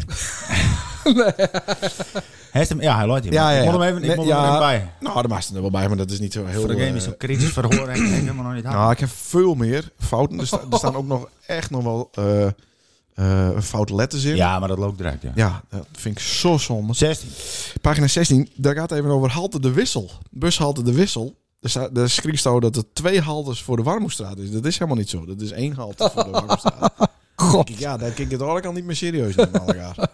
Speaker 5: Hij is hem, ja, hij loopt hier.
Speaker 1: Ja,
Speaker 5: maar
Speaker 1: ja,
Speaker 5: Ik moet
Speaker 1: ja.
Speaker 5: hem even, ik
Speaker 1: Nee,
Speaker 5: moet hem
Speaker 1: ja.
Speaker 5: even bij.
Speaker 1: Nou, de maakt er wel bij, maar dat is niet zo heel...
Speaker 5: Voor de game is
Speaker 1: eh,
Speaker 5: zo'n kritisch verhoor en ik heb helemaal nog niet hard.
Speaker 1: Nou, ik heb veel meer fouten. Er, sta- er staan ook nog echt nog wel eh eh foute letters in.
Speaker 5: ja, maar dat loopt eruit, ja.
Speaker 1: Ja, dat vind ik zo zonde.
Speaker 5: 16.
Speaker 1: Pagina 16, daar gaat het even over halte de wissel. Bushalte de wissel. Er staat- Daar schrijft zo dat er twee haltes voor de Warmoestraat is. Dat is helemaal niet zo. Dat is één halte voor de Warmoestraat.
Speaker 3: God.
Speaker 1: ja, daar kijk ik het eigenlijk al niet meer serieus naar met elkaar.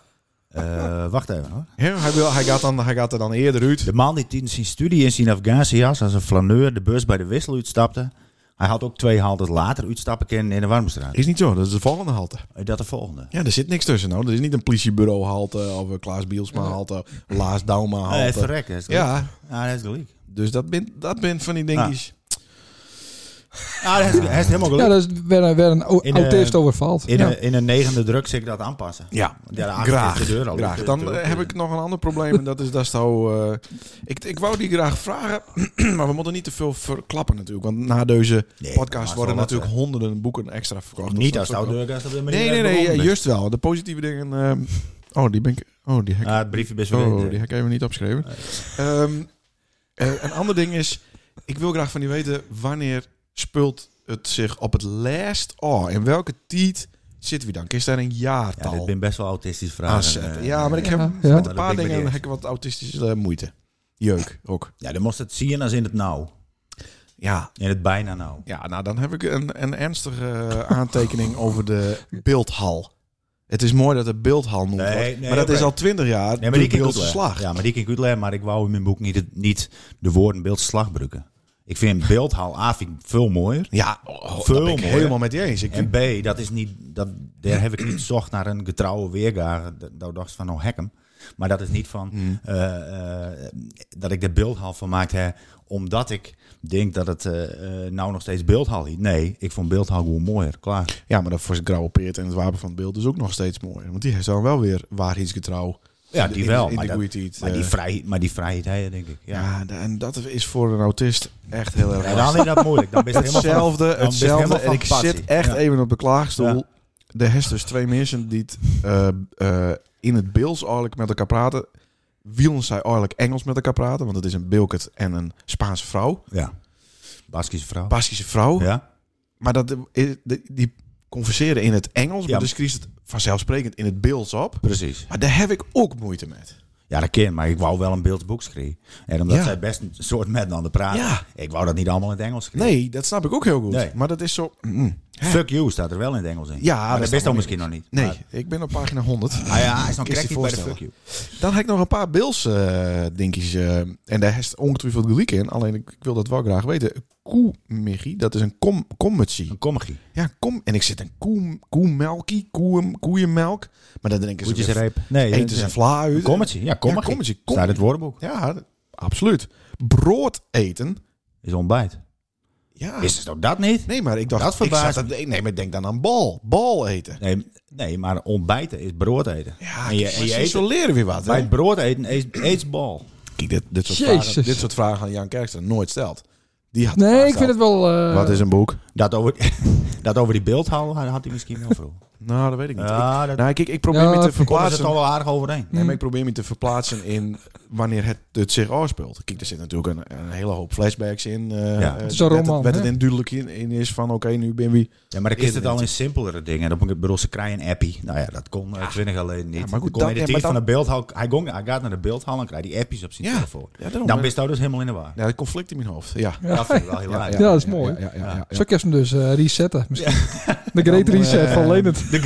Speaker 5: Eh, wacht even hoor.
Speaker 1: Ja, hij, wil, hij, gaat dan, hij gaat er dan eerder uit.
Speaker 5: De man die tijdens zijn studie in zijn Afghaanse jas als een flaneur de bus bij de wissel uitstapte. Hij had ook twee haltes later uitstappen kennen in de Warmstraat.
Speaker 1: Is niet zo, dat is de volgende halte.
Speaker 5: Dat de volgende.
Speaker 1: Ja, er zit niks tussen. Nou. Er is niet een politiebureau halte of een Klaas Bielsma halte, Laas Dauma
Speaker 5: Eh, het
Speaker 1: halte.
Speaker 5: verrek, dat Ah, is gelijk.
Speaker 1: Ja,
Speaker 5: Ja, dat is gelijk.
Speaker 1: dus dat bent dat bent van die dingetjes.
Speaker 5: Ja, dat Ah, is, dat is helemaal
Speaker 3: Ja,
Speaker 5: gelukt.
Speaker 3: dat is waar, waar een au-
Speaker 5: In, eh,
Speaker 3: autist overvalt.
Speaker 5: In,
Speaker 3: ja.
Speaker 5: een, in een negende druk zit ik dat aanpassen.
Speaker 1: Ja,
Speaker 5: Ja, de achtste
Speaker 1: graag.
Speaker 5: is de deur al.
Speaker 1: graag. Dan eh, heb ik nog een ander probleem. En dat is dat zou. eh, ik, ik wou die graag vragen. maar we moeten niet te veel verklappen, natuurlijk. Want na deze
Speaker 5: Nee, maar het
Speaker 1: podcast
Speaker 5: is
Speaker 1: worden
Speaker 5: wel wat,
Speaker 1: natuurlijk honderden boeken extra verkocht. Dus
Speaker 5: Niet
Speaker 1: Dat
Speaker 5: als
Speaker 1: is ook wel-
Speaker 5: oudeur, op de manier.
Speaker 1: Nee, nee,
Speaker 5: waarop
Speaker 1: nee.
Speaker 5: het
Speaker 1: ja,
Speaker 5: begonnen is.
Speaker 1: juist wel. De positieve dingen. ehm, oh, die ben ik. Oh, die hek.
Speaker 5: Ah, het briefje best wel.
Speaker 1: Oh, die heb ik even niet opgeschreven. Ehm, eh, een ander ding is, ik wil graag van u weten wanneer speelt het zich op het last oh, in welke tijd zitten we dan? Is daar een
Speaker 5: ja,
Speaker 1: jaartal?
Speaker 5: dit zijn best wel autistische vragen.
Speaker 1: aanzetten?
Speaker 5: eh,
Speaker 1: Ah, ja, maar ik heb
Speaker 3: Ja, ja.
Speaker 1: met
Speaker 5: dat
Speaker 1: een paar
Speaker 5: ben ik
Speaker 1: dingen
Speaker 5: met
Speaker 1: heb ik wat autistische eh, moeite. Jeuk ook.
Speaker 5: Ja, dan moest het zien als in het nauw.
Speaker 1: Ja.
Speaker 5: In het bijna nauw.
Speaker 1: Ja, nou dan heb ik een, een ernstige eh, aantekening over de beeldhal. Het is mooi dat de beeldhal noemt
Speaker 5: Nee,
Speaker 1: wordt,
Speaker 5: nee,
Speaker 1: maar dat
Speaker 5: oké.
Speaker 1: is al twintig jaar
Speaker 5: Nee,
Speaker 1: de
Speaker 5: maar die kan ik goed
Speaker 1: beeldse
Speaker 5: leggen.
Speaker 1: slag.
Speaker 5: Ja, maar die kan ik goed leggen, maar ik wou in mijn boek niet, het- niet de woorden beeldslag gebruiken. Ik vind beeldhaal A vind ik veel mooier.
Speaker 1: Ja, oh, oh, dat
Speaker 5: Veel
Speaker 1: ben ik
Speaker 5: mooier.
Speaker 1: helemaal met je eens. Ik
Speaker 5: En B, dat is niet, dat, daar heb ik niet gezocht naar een getrouwe weergave. Dat- Dat dacht ik van, nou hek hem. Maar dat is niet van
Speaker 1: Mm.
Speaker 5: eh, eh, dat ik er beeldhaal van maakte, hè, omdat ik denk dat het eh, eh, nou nog steeds beeldhaal is. Nee, ik vond beeldhaal gewoon mooier. Klaar.
Speaker 1: Ja, maar dat voor zijn grauwe peert en het wapen van het beeld is ook nog steeds mooier. Want die is dan wel weer waarheidsgetrouw.
Speaker 5: Ja,
Speaker 1: In de-
Speaker 5: die
Speaker 1: in de-
Speaker 5: wel.
Speaker 1: in
Speaker 5: maar,
Speaker 1: de
Speaker 5: dat-
Speaker 1: goeie tijd,
Speaker 5: maar, die
Speaker 1: eh.
Speaker 5: vrij, maar die vrijheid, hè, denk ik. Ja.
Speaker 1: Ja, en dat is voor een autist echt heel erg
Speaker 5: Ja,
Speaker 1: lastig.
Speaker 5: dan is dat moeilijk. Dan ben je helemaal van-
Speaker 1: Hetzelfde,
Speaker 5: dan ben je
Speaker 1: hetzelfde.
Speaker 5: helemaal
Speaker 1: En
Speaker 5: van
Speaker 1: ik
Speaker 5: passie.
Speaker 1: zit echt
Speaker 5: Ja.
Speaker 1: even op de klaagstoel.
Speaker 5: Ja.
Speaker 1: Er is dus twee mensen die het, eh, eh, in het Beels eigenlijk met elkaar praten. Wielen zij eigenlijk Engels met elkaar praten? Want het is een Bilket en een Spaanse vrouw.
Speaker 5: Ja. Baskische vrouw.
Speaker 1: Baskische vrouw.
Speaker 5: Ja.
Speaker 1: Maar dat, eh, die, die converseren in het Engels.
Speaker 5: Ja.
Speaker 1: Maar dus kriest het vanzelfsprekend in het Beels op.
Speaker 5: Precies.
Speaker 1: Maar daar heb ik ook moeite met.
Speaker 5: Ja, dat kan, maar ik wou wel een beeldsboek schrijven. En omdat
Speaker 1: Ja.
Speaker 5: zij best een soort met aan de praten,
Speaker 1: Ja.
Speaker 5: ik wou dat niet allemaal in het Engels schrijven.
Speaker 1: Nee, dat snap ik ook heel goed.
Speaker 5: Nee.
Speaker 1: Maar dat is zo... Mm. Hè?
Speaker 5: Fuck you staat er wel in het Engels in.
Speaker 1: Ja,
Speaker 5: maar
Speaker 1: dat
Speaker 5: dat
Speaker 1: staat
Speaker 5: wist dan
Speaker 1: er
Speaker 5: misschien nog niet.
Speaker 1: Nee,
Speaker 5: Maar,
Speaker 1: ik ben op pagina 100.
Speaker 5: ah ja, hij is nog
Speaker 1: Kun je je
Speaker 5: krek bij de
Speaker 1: voorstellen.
Speaker 5: fuck you.
Speaker 1: Dan heb ik nog een paar Bills eh dingetjes. eh, en daar heeft ongetwijfeld gelijk in. Alleen ik, ik wil dat wel graag weten. Koemichi, dat is een kom, kommetsie.
Speaker 5: Een comedy.
Speaker 1: Ja, kom. En ik zit een koe, koemelkie, koe, koeienmelk. Maar dan denken ze...
Speaker 5: Goedjes
Speaker 1: weer,
Speaker 5: reep. Nee,
Speaker 1: Eten ze een vla uit.
Speaker 5: Een comedy. Ja, comedy.
Speaker 1: Ja, comedy, comedy.
Speaker 5: Staat in het woordenboek.
Speaker 1: Ja, dat- absoluut. Brood eten.
Speaker 5: Is ontbijt.
Speaker 1: Ja.
Speaker 5: Wist het ook dat niet?
Speaker 1: Ah. Nee, maar ik dacht...
Speaker 5: Dat
Speaker 1: ik zat
Speaker 5: verbaast
Speaker 1: aan- nee, maar denk dan aan bal. Bal eten.
Speaker 5: Nee, nee, maar ontbijten is brood eten.
Speaker 1: Ja,
Speaker 5: en je, en je
Speaker 1: ze
Speaker 5: eet-
Speaker 1: isoleren weer wat. hè?
Speaker 5: bij het brood eten eet, eet bal.
Speaker 1: Kijk, dit, dit, soort
Speaker 3: Jezus.
Speaker 1: vragen, dit soort vragen aan Jan Kerkster nooit stelt. Die had
Speaker 3: Nee,
Speaker 1: vraag
Speaker 3: ik vind het
Speaker 1: gesteld.
Speaker 3: wel... eh,
Speaker 1: Wat is een boek?
Speaker 5: Dat over, dat over die beeldhouw had had hij misschien wel vroeg.
Speaker 1: Nou, dat weet ik niet.
Speaker 5: Ja,
Speaker 1: ik,
Speaker 5: dat-
Speaker 1: nou, kijk, ik probeer
Speaker 3: Ja,
Speaker 1: me te
Speaker 3: dat-
Speaker 5: Komt het
Speaker 1: verplaatsen.
Speaker 5: al wel aardig overeen.
Speaker 1: Nee, maar ik probeer me te verplaatsen in wanneer het, het zich afspeelt. Kijk, er zit natuurlijk een, een hele hoop flashbacks in. eh,
Speaker 5: Ja.
Speaker 1: eh,
Speaker 5: Het
Speaker 3: is een
Speaker 1: dat het-
Speaker 3: roman,
Speaker 1: Dat het
Speaker 3: hè?
Speaker 1: in duidelijk in, in is van, oké, nu ben wie...
Speaker 5: Ja, maar dan is het
Speaker 1: Internet.
Speaker 5: al in simpelere dingen. Dan moet ik bedoel, ze krijgen een appie. Nou ja, dat kon twintig jaar geleden niet.
Speaker 1: Ja, maar
Speaker 5: maar
Speaker 1: goed,
Speaker 5: goed,
Speaker 1: dan-
Speaker 5: in de
Speaker 1: ja,
Speaker 5: tijd
Speaker 1: maar
Speaker 5: van de
Speaker 1: dan-
Speaker 5: beeldhouw. Hij, gong, hij gaat naar de beeldhouw en krijgt die appies op zijn
Speaker 1: Ja,
Speaker 5: telefoon.
Speaker 1: ja, daarom.
Speaker 5: dan ben je dus helemaal in de war.
Speaker 1: Ja, het conflict in mijn hoofd. Nou, Ja,
Speaker 5: Dat vind ik wel heel aardig.
Speaker 3: Ja, dat is mooi.
Speaker 1: Ja, ja, ja, ja, ja.
Speaker 3: Zo kun je hem dus eh, resetten misschien. De great reset van Leonard.
Speaker 5: De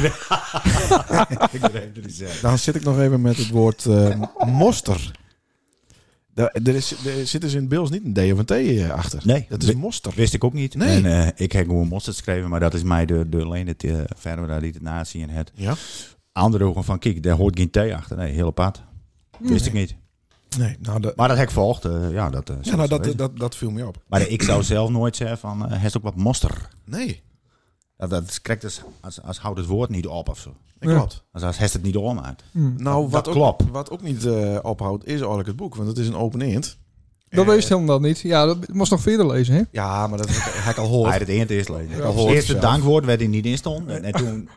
Speaker 5: gre- Ik begrijp het niet zeggen.
Speaker 1: Dan zit ik nog even met het woord eh, moster. Daar- Er, is, er zit dus in het Bills niet een D of een T eh, achter.
Speaker 5: Nee.
Speaker 1: Dat is moster.
Speaker 5: Wist ik ook niet.
Speaker 1: Nee.
Speaker 5: En, eh, ik heb gewoon mosterd geschreven, maar dat is mij door de het eh, verder daar liet het nazi en het
Speaker 1: Ja?
Speaker 5: andere ogen van kijk, daar hoort geen thee achter. Nee, heel pad. Wist ik niet.
Speaker 1: Nee, nou, dat,
Speaker 5: Maar dat heb ik volgd. eh, ja, dat, eh,
Speaker 1: Ja, nou,
Speaker 5: zo
Speaker 1: dat,
Speaker 5: weet ik.
Speaker 1: dat, dat viel me op.
Speaker 5: Maar ik zou zelf nooit zeggen van, eh, hij is ook wat moster.
Speaker 1: Nee,
Speaker 5: Dat, dat krijgt dus als, als houdt het woord niet op of zo.
Speaker 1: dat
Speaker 3: Ja.
Speaker 1: klopt.
Speaker 5: Als, als heeft het niet ommaakt.
Speaker 1: Nou,
Speaker 5: Dat
Speaker 1: wat, ook,
Speaker 5: klopt.
Speaker 1: wat ook niet eh, ophoudt, is eigenlijk het boek. Want het is een open-end.
Speaker 3: Dat wist helemaal niet. Ja, dat moest nog verder lezen, hè?
Speaker 1: Ja, maar dat heb ik al
Speaker 5: Hij
Speaker 1: gehoord.
Speaker 5: had het eerst eerst lezen.
Speaker 1: Ja,
Speaker 5: het
Speaker 1: hoort
Speaker 5: eerste
Speaker 1: zelf.
Speaker 5: dankwoord werd hij niet in stond. En, en toen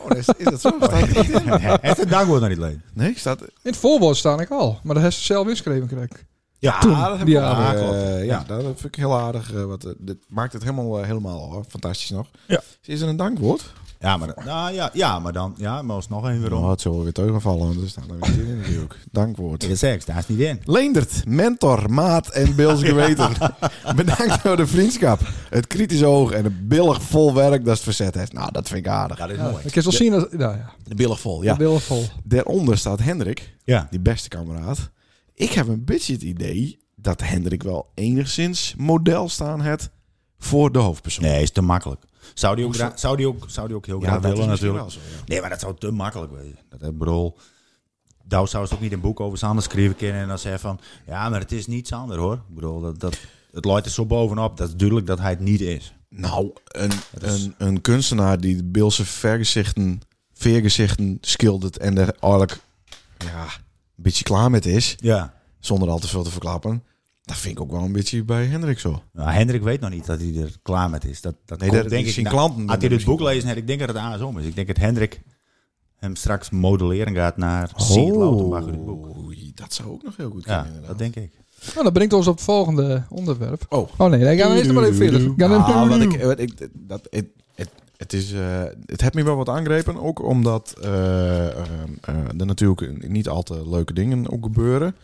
Speaker 1: Oh, is, is dat zo? Staat het niet in?
Speaker 5: hij heeft het dankwoord nog niet lezen.
Speaker 1: Nee, staat...
Speaker 3: In het voorwoord staan ik al. Maar dat heeft ze zelf ingeschreven, krijg ik.
Speaker 5: Ja,
Speaker 3: Toen,
Speaker 1: Ah, dat heb ik
Speaker 3: die
Speaker 1: ook,
Speaker 3: avond.
Speaker 1: eh, ja, dat
Speaker 5: Ja.
Speaker 1: vind ik heel aardig. eh, wat, eh, dit maakt het helemaal, eh, helemaal hoor. fantastisch nog.
Speaker 5: Ja.
Speaker 1: Is er een dankwoord?
Speaker 5: ja, maar, dan- nou, ja, ja, maar dan, ja, maar alsnog even weer om.
Speaker 1: Oh, het zullen we weer teugenvallen, want er staat er weer in natuurlijk. Dankwoord.
Speaker 5: Ik zeg, daar is niet in.
Speaker 1: Leendert, mentor, maat en Bils geweten. Bedankt voor de vriendschap, het kritische oog en het billig vol werk dat het verzet heeft. Nou, dat vind ik aardig.
Speaker 5: Dat is
Speaker 3: Ja,
Speaker 5: mooi.
Speaker 3: ik kan wel zien dat... Nou ja,
Speaker 1: Billig vol,
Speaker 3: ja.
Speaker 1: ja.
Speaker 3: vol.
Speaker 1: Daaronder staat Hendrik,
Speaker 5: Ja.
Speaker 1: die beste kameraad. Ik heb een beetje het idee dat Hendrik wel enigszins model staan het voor de hoofdpersoon.
Speaker 5: Nee, is te makkelijk. Zou die ook, gra- zou die ook, zou die ook heel graag
Speaker 1: dat is
Speaker 5: willen
Speaker 1: misschien
Speaker 5: natuurlijk.
Speaker 1: wel zo, ja.
Speaker 5: Nee, maar dat zou te makkelijk zijn. Dat ik bedoel, daar zou ze ook niet een boek over Sander schrijven kunnen en dan zeggen van, ja, maar het is niet Sander hoor. Ik bedoel, dat, dat, het looit er zo bovenop. Dat is duidelijk dat hij het niet is.
Speaker 1: Nou, een,
Speaker 5: is-
Speaker 1: een, een kunstenaar die de Beelse vergezichten, veergezichten schildert en er eigenlijk ja, een beetje klaar met is,
Speaker 5: Ja.
Speaker 1: zonder al te veel te verklappen, dat vind ik ook wel een beetje bij Hendrik zo.
Speaker 5: Nou, Hendrik weet nog niet dat hij er klaar met is. Dat, dat
Speaker 1: Nee,
Speaker 5: komt,
Speaker 1: dat
Speaker 5: denk
Speaker 1: is
Speaker 5: ik
Speaker 1: zijn
Speaker 5: na-
Speaker 1: klanten
Speaker 5: Had hij
Speaker 1: dan
Speaker 5: dit boek
Speaker 1: misschien.
Speaker 5: lezen, ik denk dat het andersom is. Ik denk dat Hendrik hem straks modelleren gaat naar oh. dit boek.
Speaker 1: Oei, dat zou ook nog heel goed
Speaker 5: Ja,
Speaker 1: kunnen. inderdaad.
Speaker 5: dat denk ik.
Speaker 3: Nou, dat brengt ons op het volgende onderwerp.
Speaker 1: Oh.
Speaker 3: Oh nee, nee gaan we eerst maar even verder. Gaan we
Speaker 1: Ah, wat ik, wat ik, dat, het, het, het, is, eh, het heeft me wel wat aangrepen, ook omdat eh, ehm, eh, er natuurlijk niet al te leuke dingen ook gebeuren.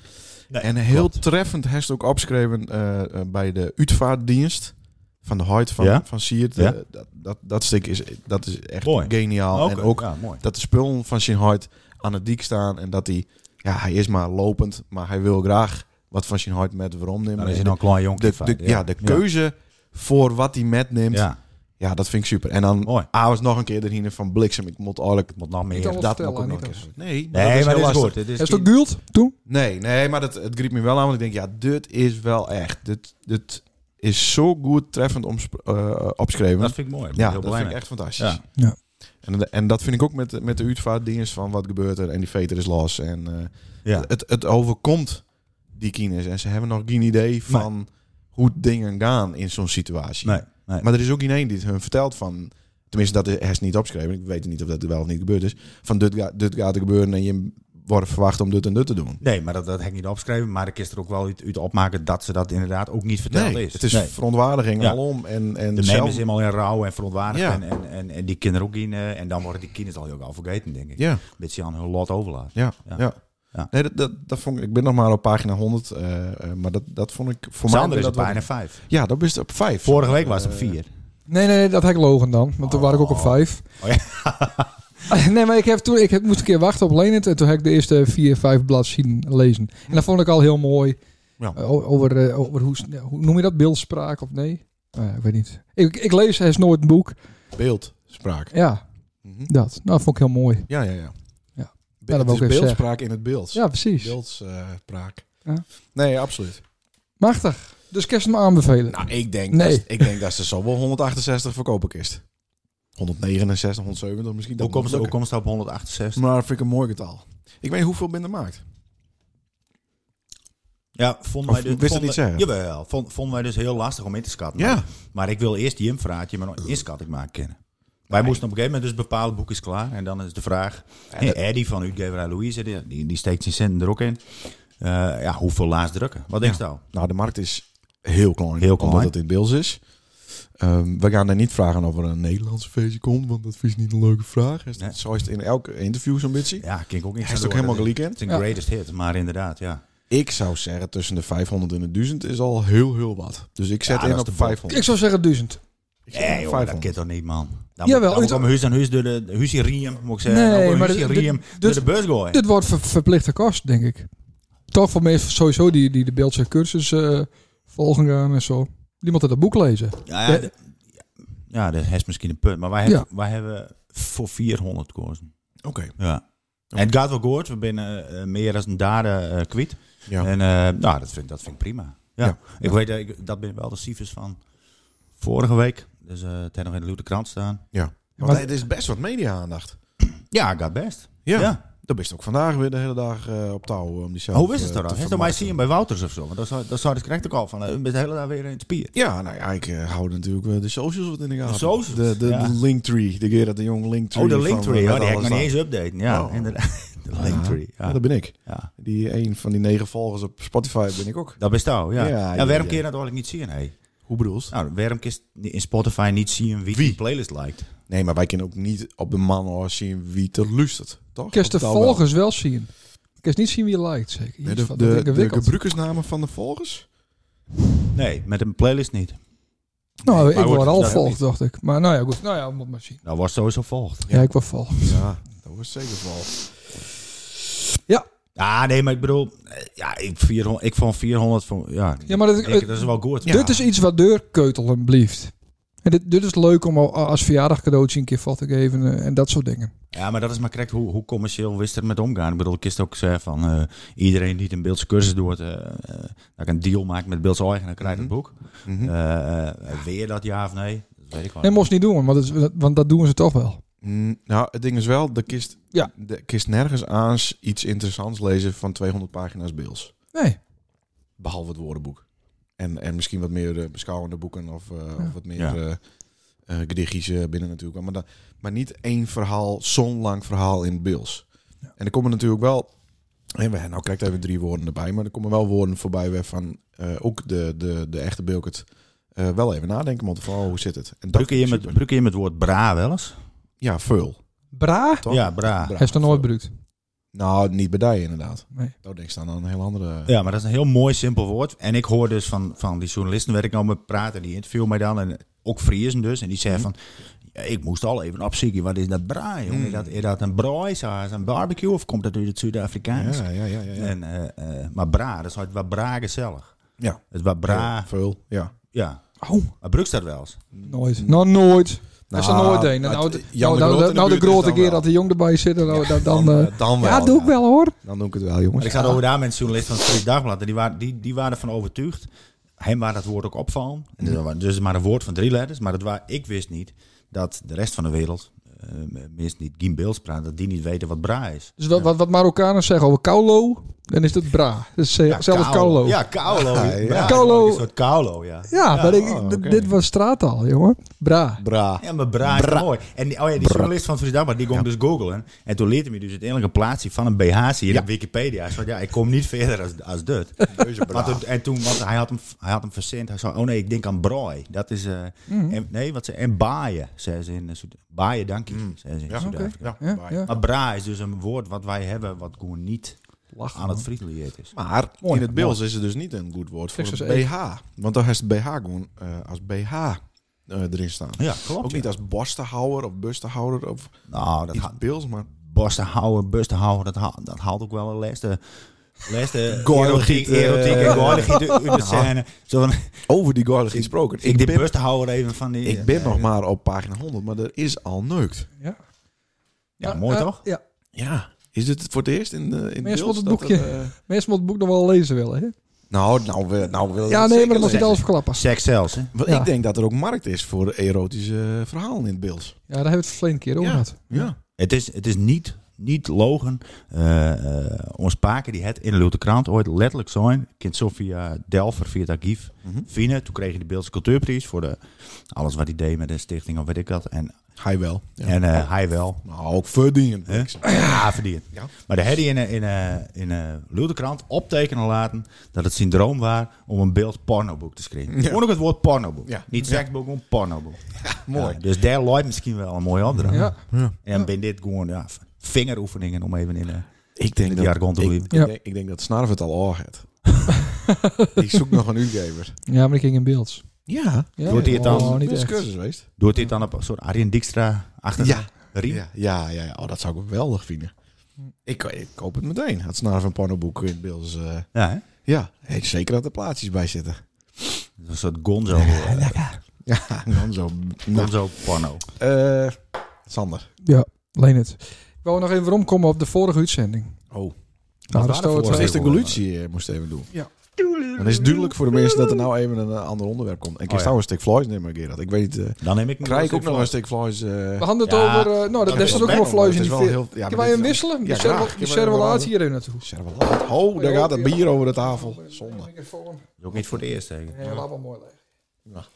Speaker 5: Nee,
Speaker 1: en heel
Speaker 5: klopt.
Speaker 1: treffend heeft het ook opgeschreven eh, eh, bij de uitvaartdienst van de huid van,
Speaker 5: Ja?
Speaker 1: van Siert.
Speaker 5: Ja?
Speaker 1: Eh, dat, dat, dat stuk is, dat is echt
Speaker 5: Mooi.
Speaker 1: geniaal.
Speaker 5: Oké,
Speaker 1: Nou, En ook
Speaker 5: ja, mooi.
Speaker 1: dat de spullen van zijn huid aan het dik staan en dat hij, ja, hij is maar lopend, maar hij wil graag wat van zijn huid met waarom nemen.
Speaker 5: Dan Nou, is
Speaker 1: En
Speaker 5: hij nog een klein
Speaker 1: de,
Speaker 5: jonkje.
Speaker 1: de- ja, de keuze voor wat hij metneemt, ja.
Speaker 5: Ja, Oh.
Speaker 1: dat vind ik super. En dan
Speaker 5: Mooi.
Speaker 1: Avers nog een keer erin van bliksem. Ik moet eigenlijk
Speaker 5: moet nog meer.
Speaker 3: Niet alles
Speaker 1: dat
Speaker 3: vertellen,
Speaker 1: moet ik ook nog
Speaker 3: niet
Speaker 1: een keer.
Speaker 3: alles.
Speaker 1: Nee, maar dat
Speaker 5: Nee,
Speaker 1: is
Speaker 5: maar
Speaker 1: heel
Speaker 5: dit is
Speaker 1: lastig.
Speaker 5: goed. Dit is
Speaker 3: Is dat Gult toen?
Speaker 1: Nee, nee, maar dat, het griep me wel aan, want ik denk, ja, dit is wel echt. Dit, dit is zo goed treffend omsp- eh, opgeschreven.
Speaker 5: Dat vind ik mooi.
Speaker 1: ja,
Speaker 5: heel
Speaker 1: dat vind ik
Speaker 5: belangrijk.
Speaker 1: echt fantastisch.
Speaker 5: Ja.
Speaker 3: Ja.
Speaker 1: En, en dat vind ik ook met, met de uitvaartdienst van wat gebeurt er en die veter is los. En eh,
Speaker 5: Ja.
Speaker 1: het, het overkomt die kines en ze hebben nog geen idee van hoe dingen gaan in zo'n situatie.
Speaker 5: Nee, nee.
Speaker 1: Maar er is ook geen één die het hun vertelt van... Tenminste, dat is hij is niet opgeschreven. Ik weet niet of dat wel of niet gebeurd is. Van dit, ga- dit gaat er gebeuren en je wordt verwacht om dit en dit te doen.
Speaker 5: Nee, maar dat, dat heb ik niet opgeschreven. Maar ik is er ook wel uit, uit opmaken dat ze dat inderdaad ook niet verteld
Speaker 1: Nee,
Speaker 5: is.
Speaker 1: het is
Speaker 5: Nee.
Speaker 1: verontwaardiging
Speaker 5: Ja.
Speaker 1: alom. En, en
Speaker 5: De mem
Speaker 1: zelf-
Speaker 5: is helemaal in rouw en verontwaardigd.
Speaker 1: Ja.
Speaker 5: En, en, en, en die kinderen ook in. eh, en dan worden die kinderen al heel gauw vergeten, denk ik.
Speaker 1: Ja,
Speaker 5: Een beetje aan hun lot overlaat.
Speaker 1: ja, ja.
Speaker 5: Ja. Ja.
Speaker 1: Nee, dat, dat, dat vond ik, ik ben nog maar op pagina 100, eh, eh, maar dat, dat vond ik voor mij...
Speaker 5: Sander is
Speaker 1: dat
Speaker 5: het
Speaker 1: wel- Eh,
Speaker 5: bijna vijf.
Speaker 1: Ja, dat is op vijf.
Speaker 5: Vorige week was het op vier.
Speaker 3: Nee, nee, nee, dat heb ik logen dan. Want toen waren ik ook op vijf.
Speaker 5: Oh ja.
Speaker 3: Nee, maar ik, heb toen, ik heb- moest een keer wachten op Lenert. En toen heb ik de eerste vier, vijf bladzijden lezen. En dat vond ik al heel mooi.
Speaker 1: Ja.
Speaker 3: Eh, o- over, eh, over hoe, s- hoe noem je dat? Beeldspraak of nee? Nou ja, ik weet niet. Ik, ik lees hij is nooit een boek.
Speaker 1: Beeldspraak.
Speaker 3: Ja,
Speaker 1: Mhm.
Speaker 3: dat. Nou, dat vond ik heel mooi.
Speaker 1: Ja, ja, ja.
Speaker 3: Ja.
Speaker 1: Be- het
Speaker 3: Ja, dat wou
Speaker 1: is
Speaker 3: ik even zeggen.
Speaker 1: beeldspraak in het beeld.
Speaker 3: Ja, precies.
Speaker 1: Beeldspraak.
Speaker 3: Ja.
Speaker 1: Nee, absoluut.
Speaker 3: Machtig. Dus kerst hem aanbevelen.
Speaker 1: Nou, ik denk,
Speaker 3: Nee.
Speaker 1: dat, ik denk dat ze zo wel 168 verkopen kist. 169, 170 misschien. Dat
Speaker 5: Hoe komt ze-
Speaker 1: moet
Speaker 5: hoe
Speaker 1: lukken.
Speaker 5: komt ze op 168?
Speaker 1: Maar dat vind ik een mooi getal. Ik weet niet hoeveel binnen maakt.
Speaker 5: Ja, vond
Speaker 1: Of
Speaker 5: mij dus,
Speaker 1: wist het
Speaker 5: vond-
Speaker 1: niet zeggen?
Speaker 5: Jawel, vond, vond mij dus heel lastig om in te schatten.
Speaker 1: Ja.
Speaker 5: Maar, maar ik wil eerst die invraatje, maar nog inskat ik maar kennen. Wij moesten op een gegeven moment dus bepaalde boekjes klaar. En dan is de vraag, hey, Eddie van Uitgeverij Louise, die, die, die steekt zijn centen er ook in. Eh, ja, hoeveel laars drukken? Wat denk je nou?
Speaker 1: Nou, de markt is heel klein.
Speaker 5: Heel klein.
Speaker 1: Omdat het in beeld is. Ehm, we gaan er niet vragen of er een Nederlandse feestje komt, want dat is niet een leuke vraag. Is dat-
Speaker 5: Nee.
Speaker 1: Zo is het in elke interview zo'n beetje.
Speaker 5: Ja, ik denk ook niet.
Speaker 1: Hij is ook helemaal gelijk in.
Speaker 5: Het is een
Speaker 3: Ja.
Speaker 5: greatest hit, maar inderdaad, ja.
Speaker 1: Ik zou zeggen, tussen de 500 en de 1000 is al heel, heel wat. Dus ik zet
Speaker 5: Ja,
Speaker 1: in
Speaker 5: dat is
Speaker 1: op
Speaker 5: de
Speaker 1: de
Speaker 5: bol.
Speaker 1: 500.
Speaker 3: Ik zou zeggen duizend.
Speaker 1: Ik zet in op
Speaker 5: Nee, joh, dat
Speaker 1: 500.
Speaker 5: kent toch niet, man. Dan
Speaker 3: Jawel,
Speaker 5: moet- dan moet
Speaker 3: uit-
Speaker 5: om huis aan huis door de de huis in riem, moet ik zeggen.
Speaker 3: Nee,
Speaker 5: Nee, maar
Speaker 3: maar
Speaker 5: huis in
Speaker 3: dit-
Speaker 5: riem,
Speaker 3: dit-
Speaker 5: door de beurs gooien.
Speaker 3: Dit wordt ver- verplichte kost, denk ik. Toch voor mensen sowieso die, die de beeldse cursus eh, volgen gaan en zo. Die moeten dat boek lezen.
Speaker 5: Ja, ja,
Speaker 3: Ja.
Speaker 5: d- ja, dat is misschien een punt. Maar wij hebben,
Speaker 3: Ja.
Speaker 5: wij hebben voor 400 koersen.
Speaker 1: Oké.
Speaker 5: Ja. En het gaat wel goed. We binnen eh, meer dan een daden eh kwijt.
Speaker 1: Ja.
Speaker 5: En eh, nou, dat vind, dat vind ik prima. Ja.
Speaker 1: Ja.
Speaker 5: Ik weet, dat ik, dat ben wel de cijfers van vorige week. Dus eh het heeft nog in de Lute krant staan.
Speaker 1: Want
Speaker 3: Maar-
Speaker 1: het is best wat media-aandacht.
Speaker 5: Ja, gaat best.
Speaker 1: Ja.
Speaker 5: ja.
Speaker 1: Dan ben je ook vandaag weer de hele dag eh, op touw om die zelf,
Speaker 5: Hoe is het
Speaker 1: eh,
Speaker 5: er
Speaker 1: te
Speaker 5: dan? Heeft er mij
Speaker 1: vermarkten.
Speaker 5: zien bij Wouters of zo? Want dat zou, dat zou ik krijgt ook al van. eh, met de hele dag weer in het spier.
Speaker 1: Ja, nou ja, ik eh, hou natuurlijk eh, de socials wat in de gaten.
Speaker 5: socials,
Speaker 1: De, de,
Speaker 5: ja.
Speaker 1: de Linktree. De Gerard de Jong Linktree.
Speaker 5: Oh, de
Speaker 1: van, eh,
Speaker 5: Linktree.
Speaker 1: met
Speaker 5: Ja, die heb ik
Speaker 1: alles
Speaker 5: nog niet
Speaker 1: aan.
Speaker 5: eens updaten. Ja,
Speaker 1: Oh.
Speaker 5: inderdaad. De
Speaker 1: Ja.
Speaker 5: Linktree.
Speaker 1: Ja,
Speaker 5: Ja.
Speaker 1: dat ben ik.
Speaker 5: ja.
Speaker 1: Die een van die negen volgers op Spotify ben ik ook.
Speaker 5: Dat best jou, ja.
Speaker 1: Ja,
Speaker 5: Ja,
Speaker 1: ja,
Speaker 5: waarom
Speaker 1: ja.
Speaker 5: kun je dat eigenlijk niet zien, hé?
Speaker 1: Hoe bedoel je?
Speaker 5: Nou, waarom kun je in Spotify niet zien wie, die playlist lijkt?
Speaker 1: Nee, maar wij kunnen ook niet op de man hoor zien wie er luistert, toch?
Speaker 3: Kerst de
Speaker 1: Op touw wel.
Speaker 3: volgers wel zien. Kerst niet zien wie je liked, zeker.
Speaker 1: Nee,
Speaker 3: Iets
Speaker 1: de,
Speaker 3: van
Speaker 1: de, de
Speaker 3: ingewikkeld.
Speaker 1: gebruikersnamen van de volgers?
Speaker 5: Nee, met een playlist niet.
Speaker 3: nou,
Speaker 5: maar
Speaker 3: ik
Speaker 5: goed,
Speaker 3: word al
Speaker 5: dat
Speaker 3: volg,
Speaker 5: niet.
Speaker 3: dacht ik. Maar nou ja, goed. Nou ja, moet maar zien.
Speaker 5: Nou, was sowieso volgt.
Speaker 3: Ja, ik word volg.
Speaker 1: Ja, dat was zeker vol.
Speaker 5: Ah, nee, maar ik bedoel, eh, ja, ik, 400, ik vond 400 van, ja,
Speaker 3: Ja, maar dat,
Speaker 5: ik denk, dat is wel goed.
Speaker 3: dit is iets wat deurkeutelen blieft. En dit, dit is leuk om al- als verjaardag cadeautje een keer vat te geven eh, en dat soort dingen.
Speaker 5: Ja, maar dat is maar correct hoe, hoe commercieel wist er met omgaan. Ik bedoel, ik is ook zeggen van eh, iedereen die het een beeldse cursus doet, eh, eh,
Speaker 3: Mhm.
Speaker 5: Mhm.
Speaker 1: Eh,
Speaker 5: dat ik een deal maak met beeldse eigen, dan krijg je het boek. Eh, eh, weer dat ja of nee. weet ik wel.
Speaker 3: Nee, moest niet doen, want, het is- want dat doen ze toch wel.
Speaker 1: Mm, nou, het ding is wel, de kist,
Speaker 3: Ja.
Speaker 1: de kist nergens aan iets interessants lezen van 200 pagina's beels.
Speaker 3: Nee.
Speaker 1: Behalve het woordenboek. En, en misschien wat meer eh, beschouwende boeken of, eh, of wat meer
Speaker 5: Ja.
Speaker 1: eh eh, gedichtjes eh, binnen natuurlijk. Maar, dan- maar niet één verhaal, zo'n lang verhaal in beels. En er komen natuurlijk wel... En we, nou krijgt even drie woorden erbij, maar er komen wel woorden voorbij waarvan eh, ook de, de, de echte Bilkert eh, wel even nadenken moet. Van, oh, hoe zit het? En
Speaker 5: Brukken je, met,
Speaker 1: principe-
Speaker 5: brukken je met het woord bra wel eens?
Speaker 1: Ja, veul.
Speaker 3: Bra?
Speaker 1: Toch?
Speaker 5: Ja, bra.
Speaker 1: Bra.
Speaker 3: Hij is nog nooit bruikt.
Speaker 1: Nou, niet bij die inderdaad.
Speaker 3: Nee.
Speaker 1: Nou, denk staan aan een heel andere.
Speaker 5: Ja, maar dat is een heel mooi, simpel woord. En ik hoor dus van, van die journalisten waar ik nou mee praat en die interview mij dan. En ook Friesen dus. En die
Speaker 1: Mhm.
Speaker 5: zei van, ja, ik moest al even opzoeken, wat is dat braai,
Speaker 1: Mhm.
Speaker 5: jongen? Is, dat, is dat een braaisaus, een barbecue of komt dat uit het Zuid-Afrikaans?
Speaker 1: ja, ja, ja. ja, ja.
Speaker 5: En, eh, eh, maar bra, dat is wat, wat bra gezellig.
Speaker 1: Ja.
Speaker 5: Het is wat bra,
Speaker 1: Veul, ja.
Speaker 5: ja.
Speaker 3: Oh,
Speaker 5: Maar Brux dat wel eens?
Speaker 3: nooit. Nog nooit. Dat is er nooit een.
Speaker 1: het-
Speaker 3: Nou, de-
Speaker 1: Jan de Groot
Speaker 3: nou, nou,
Speaker 1: in
Speaker 3: de-
Speaker 1: de
Speaker 3: nou de
Speaker 1: buurt is
Speaker 3: grote
Speaker 1: dan
Speaker 3: keer
Speaker 1: wel.
Speaker 3: dat de jong erbij zit, dan, dan, dan,
Speaker 1: Dan,
Speaker 3: eh,
Speaker 1: eh, dan wel.
Speaker 3: ja, doe ik wel hoor.
Speaker 1: Dan doe ik het wel,
Speaker 5: Maar
Speaker 1: jongens.
Speaker 5: ik zat over daar met een journalist van het Fries Dagblad. En die waren, die, die waren ervan overtuigd. Hem waar dat woord ook opvallen. En dat was dus maar een woord van drie letters. Maar dat waar, ik wist niet dat de rest van de wereld, eh minstens niet Gim Beels praat, dat die niet weten wat bra is.
Speaker 3: Dus wat, wat, wat Marokkanen zeggen over kaulo, dan is dat bra. Dus, eh, zelfs kaulo.
Speaker 5: Ja, kaulo. Ja, bra.
Speaker 3: Kaulo.
Speaker 5: Een soort kaulo, ja.
Speaker 3: Ja, maar ik,
Speaker 1: oh,
Speaker 3: d-
Speaker 1: oké.
Speaker 3: dit was straattaal, jongen. Bra.
Speaker 1: Bra.
Speaker 5: Ja, maar bra, is mooi. En die, oh ja, die journalist van het Fries Dagblad, die ging dus googlen. En toen leerde hij me dus uiteindelijk een plaatsje van een BH hier op Wikipedia. Ik zei, ja, ik kom niet verder als, als dit. Want, toen- en toen, want hij had hem, hij had hem verzend. Hij zei, oh nee, ik denk aan brooi. Dat is, eh, en, nee, wat ze, en baaien, zei ze in eh, Soed- Baaien, dank je, zei ze in Zuid-Afrika.
Speaker 1: Ja,
Speaker 3: Ja,
Speaker 1: bra.
Speaker 3: ja.
Speaker 5: Maar bra is dus een woord wat wij hebben, wat gewoon niet
Speaker 3: Lachen,
Speaker 5: aan het Friesland is.
Speaker 1: Maar
Speaker 3: Mooi,
Speaker 1: in het Beels is het dus niet een goed woord voor
Speaker 3: Texas
Speaker 1: een
Speaker 3: Ace.
Speaker 1: BH. Want dan heeft het BH gewoon eh, als BH eh, erin staan.
Speaker 5: Ja, klopt.
Speaker 1: Ook
Speaker 5: ja.
Speaker 1: niet als borstenhouwer of bustenhouder of
Speaker 5: Nou, dat
Speaker 1: iets
Speaker 5: ha-
Speaker 1: Beels, maar
Speaker 5: borsten houden, busten houden, dat, haalt- dat haalt ook wel een leste... Leste
Speaker 1: Gordelgiet,
Speaker 5: erotiek,
Speaker 1: eh.
Speaker 5: erotiek en gordelgiet uit de scène. Zo van,
Speaker 1: over die garlic gesproken.
Speaker 5: ik de
Speaker 1: ben,
Speaker 5: busten houden even van die... eh,
Speaker 1: ik ben nog maar op pagina 100, maar er is al neukt.
Speaker 3: Ja.
Speaker 5: Ja, mooi
Speaker 3: eh,
Speaker 5: toch?
Speaker 3: Ja.
Speaker 1: Ja. Is dit voor het eerst in de in
Speaker 3: Mensen
Speaker 1: Beels
Speaker 3: moeten
Speaker 1: dat
Speaker 3: het boekje-
Speaker 1: er, eh,
Speaker 3: Mensen moeten het boek nog wel lezen willen, hè?
Speaker 1: nou, nou, wil- nou wil
Speaker 3: Ja,
Speaker 1: dat
Speaker 3: nee, maar dan mag je
Speaker 1: zeker
Speaker 3: niet alles verklappen.
Speaker 5: Seks zelfs, hè?
Speaker 1: Want
Speaker 3: Ja.
Speaker 1: ik denk dat er ook markt is voor erotische eh, verhalen in het beeld.
Speaker 3: Ja, daar hebben we het verleden keer over gehad.
Speaker 1: Ja.
Speaker 5: Het is, het is niet, niet logen. Eh, eh, ons paken die het in de Lute Krant ooit letterlijk zijn. Kind Sofia Delver via het archief
Speaker 1: Mhm.
Speaker 5: Vine. Toen kreeg hij de Beeldse Cultuurprijs voor de, alles wat hij deed met de stichting of weet ik wat. En,
Speaker 1: Hij wel. Ja.
Speaker 5: en eh, hij wel.
Speaker 1: Nou, ook verdienen.
Speaker 5: Hè? Ja, verdiend.
Speaker 1: Ja.
Speaker 5: Maar de had hij in een in, een- in, een Ludekrant optekenen laten dat het zijn droom was om een beeld pornoboek te schrijven.
Speaker 1: Ja.
Speaker 5: Gewoon ook het woord pornoboek.
Speaker 1: Ja.
Speaker 5: Niet
Speaker 1: Ja.
Speaker 5: seksboek, gewoon pornoboek.
Speaker 1: Mooi.
Speaker 5: Ja, dus daar loopt misschien wel een mooie opdracht.
Speaker 3: Ja.
Speaker 5: En ben dit gewoon ja, vingeroefeningen om even in... eh,
Speaker 1: Ik denk
Speaker 5: Met die jargon te
Speaker 1: ik,
Speaker 5: boeien.
Speaker 1: ik
Speaker 3: Ja.
Speaker 1: denk, ik denk dat Snarf het al al had. ik zoek nog een uitgever.
Speaker 3: Ja, maar ik ging in beeld.
Speaker 1: Ja.
Speaker 3: Ja,
Speaker 5: Doet hij het
Speaker 3: oh,
Speaker 5: dan?
Speaker 3: Niet
Speaker 1: is
Speaker 3: echt.
Speaker 1: cursus geweest.
Speaker 5: Doet dit dan op een soort Arjen Dijkstra achter
Speaker 1: Ja.
Speaker 5: riem?
Speaker 1: Ja, ja, ja, ja. Oh, dat zou ik geweldig vinden. Ik, ik koop het meteen. Had Snarf een pornoboek in het beeld. eh,
Speaker 5: Ja, hè?
Speaker 1: ja, ik zeker dat er plaatsjes bij zitten.
Speaker 5: Een soort gonzo, eh,
Speaker 1: Ja, dan zo. Nou,
Speaker 5: gonzo porno.
Speaker 1: eh, Sander.
Speaker 3: Ja, leen het. Ik wou nog even rondkomen op de vorige uitzending.
Speaker 1: Oh.
Speaker 3: Nou, dat
Speaker 5: waren
Speaker 3: stoot
Speaker 5: de
Speaker 1: Dat
Speaker 5: vorige?
Speaker 3: twee.
Speaker 1: is de evolutie eh, moest even doen.
Speaker 3: Ja.
Speaker 1: Dan is het duidelijk voor de mensen dat er nou even een eh, ander onderwerp komt. En ik
Speaker 5: Oh, ja.
Speaker 1: zou een stuk Floyd nemen, Gerard. Ik weet, eh
Speaker 5: Dan neem ik een
Speaker 1: krijg ik
Speaker 5: gonzo
Speaker 1: ook nog een stuk Floyd. eh
Speaker 3: We hadden het
Speaker 5: Ja,
Speaker 3: over... eh, nou,
Speaker 1: dat
Speaker 3: dat daar
Speaker 1: is
Speaker 3: zit
Speaker 1: wel
Speaker 3: ook nog
Speaker 1: spannend, dat
Speaker 3: vlees
Speaker 1: is
Speaker 3: in die
Speaker 1: wel
Speaker 3: veer.
Speaker 1: heel- ja, maar
Speaker 3: Kunnen wij
Speaker 1: dit
Speaker 3: hem
Speaker 1: is-
Speaker 3: wisselen?
Speaker 1: Ja,
Speaker 3: Die
Speaker 1: graag.
Speaker 3: servo-
Speaker 1: Kunnen
Speaker 3: Die
Speaker 1: wij
Speaker 3: servolaat
Speaker 1: wel-
Speaker 3: hier in naartoe.
Speaker 1: Servelaat. Oh, daar gaat dat bier over de tafel. Zonde.
Speaker 5: Dat is ook niet voor het eerst, hè?
Speaker 3: Ja, laat wel mooi leeg.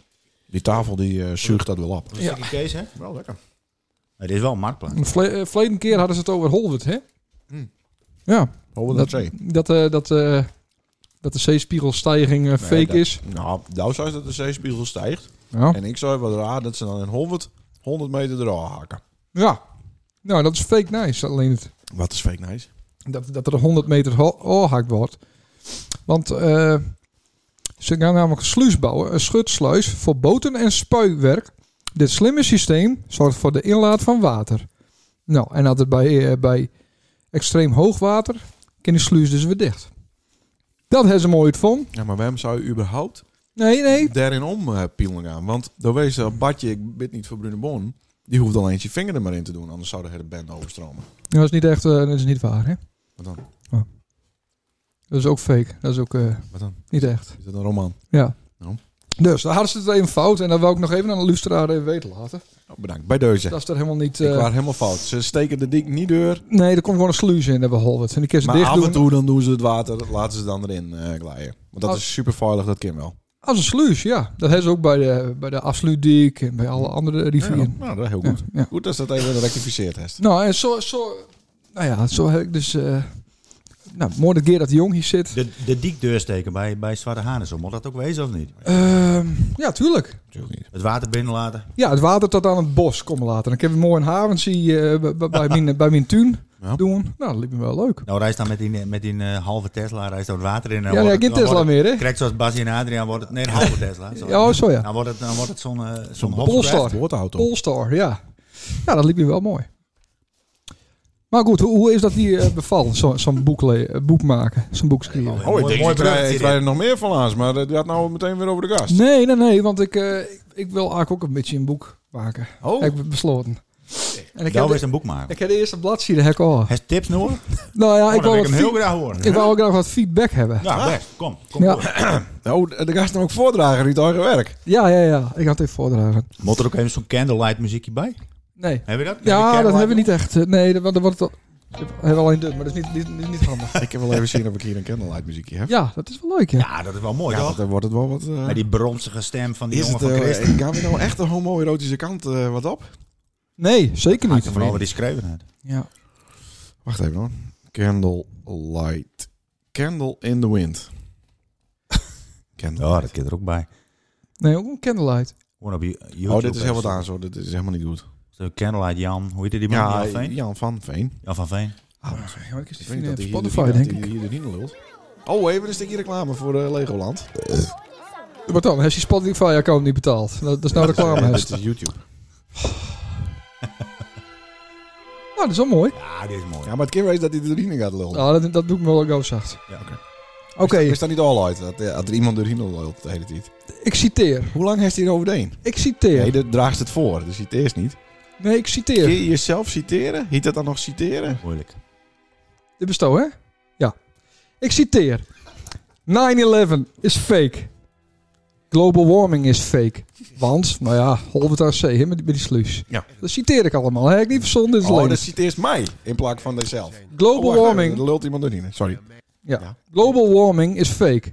Speaker 1: Die tafel die eh zuigt dat wel op.
Speaker 5: Een
Speaker 3: Ja.
Speaker 5: stukje Kees, hè?
Speaker 1: Wel lekker.
Speaker 5: Het is wel een marktplaats.
Speaker 3: Een vle- eh, Verleden keer hadden ze het over Holwert, hè? Ja,
Speaker 1: Hoe dat
Speaker 3: dat,
Speaker 1: Hmm. zee?
Speaker 3: dat, eh, dat, eh, dat de zeespiegelstijging eh, fake
Speaker 1: dat-
Speaker 3: is.
Speaker 1: Nou, nou zou dat de zeespiegel stijgt.
Speaker 3: Ja.
Speaker 1: En ik zou wel raar dat ze dan in 100, 100 meter eraf hakken.
Speaker 3: ja, nou dat is fake nice. Alleen het,
Speaker 1: Wat is fake nice?
Speaker 3: dat, dat er 100 meter ho- gehakt wordt. Want eh, ze gaan namelijk een sluis bouwen, een schutsluis voor boten en spuiwerk. Dit slimme systeem zorgt voor de inlaat van water. Nou, en dat het bij, eh, bij extreem hoog water kan die sluis dus weer dicht. Dat hebben ze mooi uitvonden.
Speaker 1: Ja, maar waarom zou je überhaupt
Speaker 3: Nee, nee.
Speaker 1: daarin om eh, pielen gaan? Want dan wees je Badje, ik bid niet voor Brune Bon. Die hoeft alleen zijn vinger er maar in te doen, anders zou de hele band overstromen.
Speaker 3: Dat is niet echt, eh, dat is niet waar, hè? Oh.
Speaker 1: Wat dan?
Speaker 3: Dat is ook fake. Dat is ook eh,
Speaker 1: Wat dan?
Speaker 3: niet echt.
Speaker 1: Is dat een roman?
Speaker 3: Ja.
Speaker 1: Nou.
Speaker 3: Dus daar hadden ze het even fout. En dat wil ik nog even aan de luisteraar even weten laten.
Speaker 1: Nou, bedankt. Bij deuze.
Speaker 3: Dat is er helemaal niet...
Speaker 1: Ik
Speaker 3: eh,
Speaker 1: was helemaal fout. Ze steken de dik niet door.
Speaker 3: nee, er komt gewoon een sluis in, hebben we geholpen. En die kun je ze
Speaker 1: Maar
Speaker 3: dicht
Speaker 1: af en
Speaker 3: doen.
Speaker 1: toe dan doen ze het water, laten ze dan erin eh glijden. Want dat
Speaker 3: Als-
Speaker 1: is super veilig, dat kan wel.
Speaker 3: Als een sluis, ja. Dat hebben ze ook bij de, bij de afsluitdijk en bij alle andere rivieren.
Speaker 1: nou, dat is heel
Speaker 3: Ja,
Speaker 1: goed.
Speaker 3: ja.
Speaker 1: Goed dat ze dat even rectificeerd heeft.
Speaker 3: Nou, en zo, zo... Nou ja, zo heb ik dus... eh, nou, mooi dat Gerard de Jong hier zit.
Speaker 5: De, de diekdeur steken bij, bij Zwarte Hanensom, moet dat ook wezen of niet?
Speaker 3: Ehm, ja, tuurlijk.
Speaker 1: Natuurlijk niet.
Speaker 5: Het water binnenlaten.
Speaker 3: Ja, het water tot aan het bos komen laten. Ik heb een mooi een havensie eh, b- b- bij, mijn, bij mijn tuin
Speaker 1: Ja.
Speaker 3: doen. Nou, dat liep me wel leuk.
Speaker 5: Nou, reis dan met die, met die eh, halve Tesla, reis dan het water in. en dan
Speaker 3: Ja,
Speaker 5: wordt
Speaker 3: nee,
Speaker 5: het-
Speaker 3: geen
Speaker 5: dan
Speaker 3: Tesla
Speaker 5: wordt
Speaker 3: meer, hè?
Speaker 5: het- Krijgt zoals Basie en Adriaan, wordt het... Nee, een halve Tesla. sorry.
Speaker 3: Ja, oh, zo ja.
Speaker 5: Dan wordt het, dan wordt het zo'n... eh, zo'n
Speaker 3: Polestar.
Speaker 5: hotspot.
Speaker 1: Woordauto.
Speaker 3: Polestar, ja. Ja, dat liep me wel mooi. Maar goed, hoe, hoe is dat hier eh, bevallen? Zo- Zo'n boek, le- eh, boek maken, zo'n boek schrijven.
Speaker 1: Oh, ik
Speaker 5: Mooi-
Speaker 1: denk
Speaker 5: mooi
Speaker 1: dat wij-
Speaker 5: bruggetje
Speaker 1: dat wij er nog meer van laatst, maar dat gaat nou meteen weer over de gast.
Speaker 3: Nee, nee, nee, want ik, eh, ik, ik wil eigenlijk ook een beetje een boek maken.
Speaker 1: Oh,
Speaker 3: Heb ik besloten. En ik heb,
Speaker 5: Nou
Speaker 3: de,
Speaker 5: is een boek maken.
Speaker 3: ik heb de eerste bladzijde hek al.
Speaker 5: Heb je tips nodig?
Speaker 3: Nou ja,
Speaker 5: Ik
Speaker 3: ik
Speaker 5: wil
Speaker 3: wil
Speaker 5: ik
Speaker 3: wat
Speaker 5: hem heel
Speaker 3: feed-
Speaker 5: graag horen.
Speaker 3: ik wou ook nog wat feedback hebben.
Speaker 5: Ja, best. Kom, kom
Speaker 3: Ja.
Speaker 5: door.
Speaker 1: nou, de gast nog ook voordrager uit eigen werk.
Speaker 3: Ja, ja, ja. Ik had het even voordragen.
Speaker 5: Moet er ook even zo'n candlelight muziekje bij?
Speaker 3: Nee.
Speaker 5: Hebben we dat?
Speaker 3: Ja, dat hebben we
Speaker 5: candlelight?
Speaker 3: niet echt. Eh, Nee, dat, dat wordt het al... We hebben alleen dun, maar dat is niet, niet, niet, niet handig.
Speaker 1: Ik heb wel even zien of ik hier een candlelight muziekje heb.
Speaker 3: Ja, dat is wel leuk, ja.
Speaker 5: Ja, dat is wel mooi,
Speaker 1: Ja,
Speaker 5: toch?
Speaker 1: want dan wordt het wel wat... eh,
Speaker 5: Met die bronsige stem van die
Speaker 1: is
Speaker 5: jongen
Speaker 1: het,
Speaker 5: van
Speaker 1: eh,
Speaker 5: Christen.
Speaker 1: gaan we nou echt de homoerotische kant eh, wat op?
Speaker 3: Nee, zeker niet.
Speaker 5: Vooral wat die schreven had.
Speaker 3: Ja.
Speaker 1: Wacht even hoor. Candlelight. Candle in the wind. Candle.
Speaker 5: Ja, dat keert er ook bij.
Speaker 3: Nee, ook een candlelight.
Speaker 5: Gewoon op you- YouTube.
Speaker 1: Oh, dit is heel wat aan zo. Dit is helemaal niet goed.
Speaker 5: Zo'n candlelight Jan. Hoe heet die man?
Speaker 1: Ja,
Speaker 5: Jan Veen?
Speaker 1: Jan van Veen.
Speaker 5: Jan van Veen.
Speaker 3: Ja, maar Ah, ik is
Speaker 1: Ah, Ik
Speaker 3: die
Speaker 1: weet niet
Speaker 3: vinden
Speaker 1: dat
Speaker 3: op
Speaker 1: hij
Speaker 3: Spotify, denk
Speaker 1: hier
Speaker 3: ik.
Speaker 1: de Nino lult. Oh, even een stukje reclame voor eh, Legoland.
Speaker 3: Wat dan? Heeft je Spotify-account niet betaald? Dat, dat is nou reclame.
Speaker 1: Ja,
Speaker 3: hè?
Speaker 1: dit is YouTube.
Speaker 3: nou, dat is wel mooi.
Speaker 5: Ja, dit is mooi.
Speaker 1: Ja, maar het kan wezen dat hij de urine gaat lullen.
Speaker 3: Nou, dat, dat doe ik me wel ook zacht.
Speaker 5: Ja, oké.
Speaker 3: Oké,
Speaker 1: Is dat niet al uit? Dat, eh, dat er iemand de urine lult de hele tijd.
Speaker 3: ik citeer.
Speaker 1: Hoe lang heeft hij erover deen?
Speaker 3: Ik citeer.
Speaker 1: Nee, dat draagt het voor. Dus citeert niet.
Speaker 3: Nee, ik
Speaker 1: Kun
Speaker 3: citeer.
Speaker 1: je jezelf citeren? Heet dat dan nog citeren?
Speaker 5: Moeilijk.
Speaker 3: Dit bestel, hè? Ja. Ik citeer. 9-11 is fake. Global warming is fake. Want, nou ja, halve het AC, hè, met, die- met die sluis.
Speaker 1: Ja.
Speaker 3: Dat citeer ik allemaal, hè? Ik niet verzonnen, dit is
Speaker 1: Oh,
Speaker 3: alleen.
Speaker 1: dat Oh, citeert mij in plaats van jezelf.
Speaker 3: Global warming.
Speaker 1: Er lult iemand de urine. Sorry.
Speaker 3: Global warming is fake.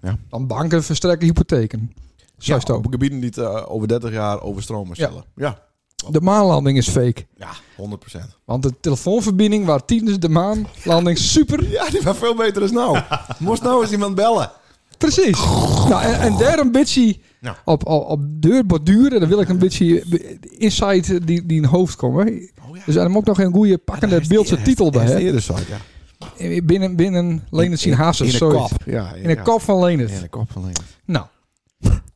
Speaker 1: Ja.
Speaker 3: Dan banken verstrekken hypotheken. Zo is het ook.
Speaker 1: Op gebieden die het eh, over 30 jaar overstromen
Speaker 3: Ja.
Speaker 1: zullen. Ja.
Speaker 3: De maanlanding is fake.
Speaker 1: Ja, 100%.
Speaker 3: Want de telefoonverbinding waar tijdens de maanlanding super...
Speaker 1: Ja, die was veel beter dan nou. Moest nou eens iemand bellen.
Speaker 3: Precies. Nou, en, en daar een beetje
Speaker 1: Nou.
Speaker 3: op, op, op deur borduren. Dan wil ik een beetje insight die, die in het hoofd komen.
Speaker 1: Oh ja.
Speaker 3: Dus daar moet ik nog een goede pakkende beeldse titel bij.
Speaker 1: Is de
Speaker 3: hè.
Speaker 1: eerder site, ja.
Speaker 3: Binnen, binnen Leendert zien
Speaker 1: In
Speaker 3: Hazes.
Speaker 1: de
Speaker 3: zoiets.
Speaker 1: kop. Ja,
Speaker 3: In de kop van Leendert.
Speaker 1: In de kop van Leendert.
Speaker 3: Nou,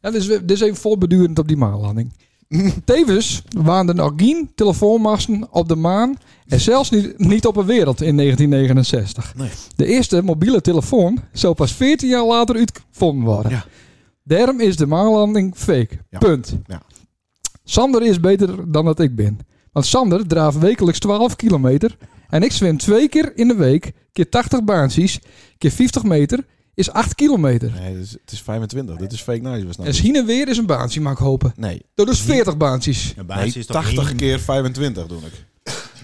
Speaker 3: ja, dus, we- dus even voorbedurend op die maanlanding. Tevens waren er nog geen telefoonmasten op de maan en zelfs niet, niet op de wereld in 1969.
Speaker 1: Nee.
Speaker 3: De eerste mobiele telefoon zou pas 14 jaar later uitgevonden worden.
Speaker 1: Ja.
Speaker 3: Daarom is de maanlanding fake.
Speaker 1: Ja.
Speaker 3: Punt.
Speaker 1: Ja.
Speaker 3: Sander is beter dan dat ik ben. Want Sander draaft wekelijks 12 kilometer en ik zwem twee keer in de week, keer 80 baantjes, keer 50 meter, is 8 kilometer.
Speaker 1: Nee, dus het is 25. Dit is fake nice. Was nou
Speaker 3: En is heen en weer is een baantje, mag ik hopen.
Speaker 1: Nee,
Speaker 3: Dat is 40 baantjes.
Speaker 5: Een
Speaker 1: nee,
Speaker 5: baas is toch
Speaker 1: 80
Speaker 5: één-
Speaker 1: keer 25 doe ik.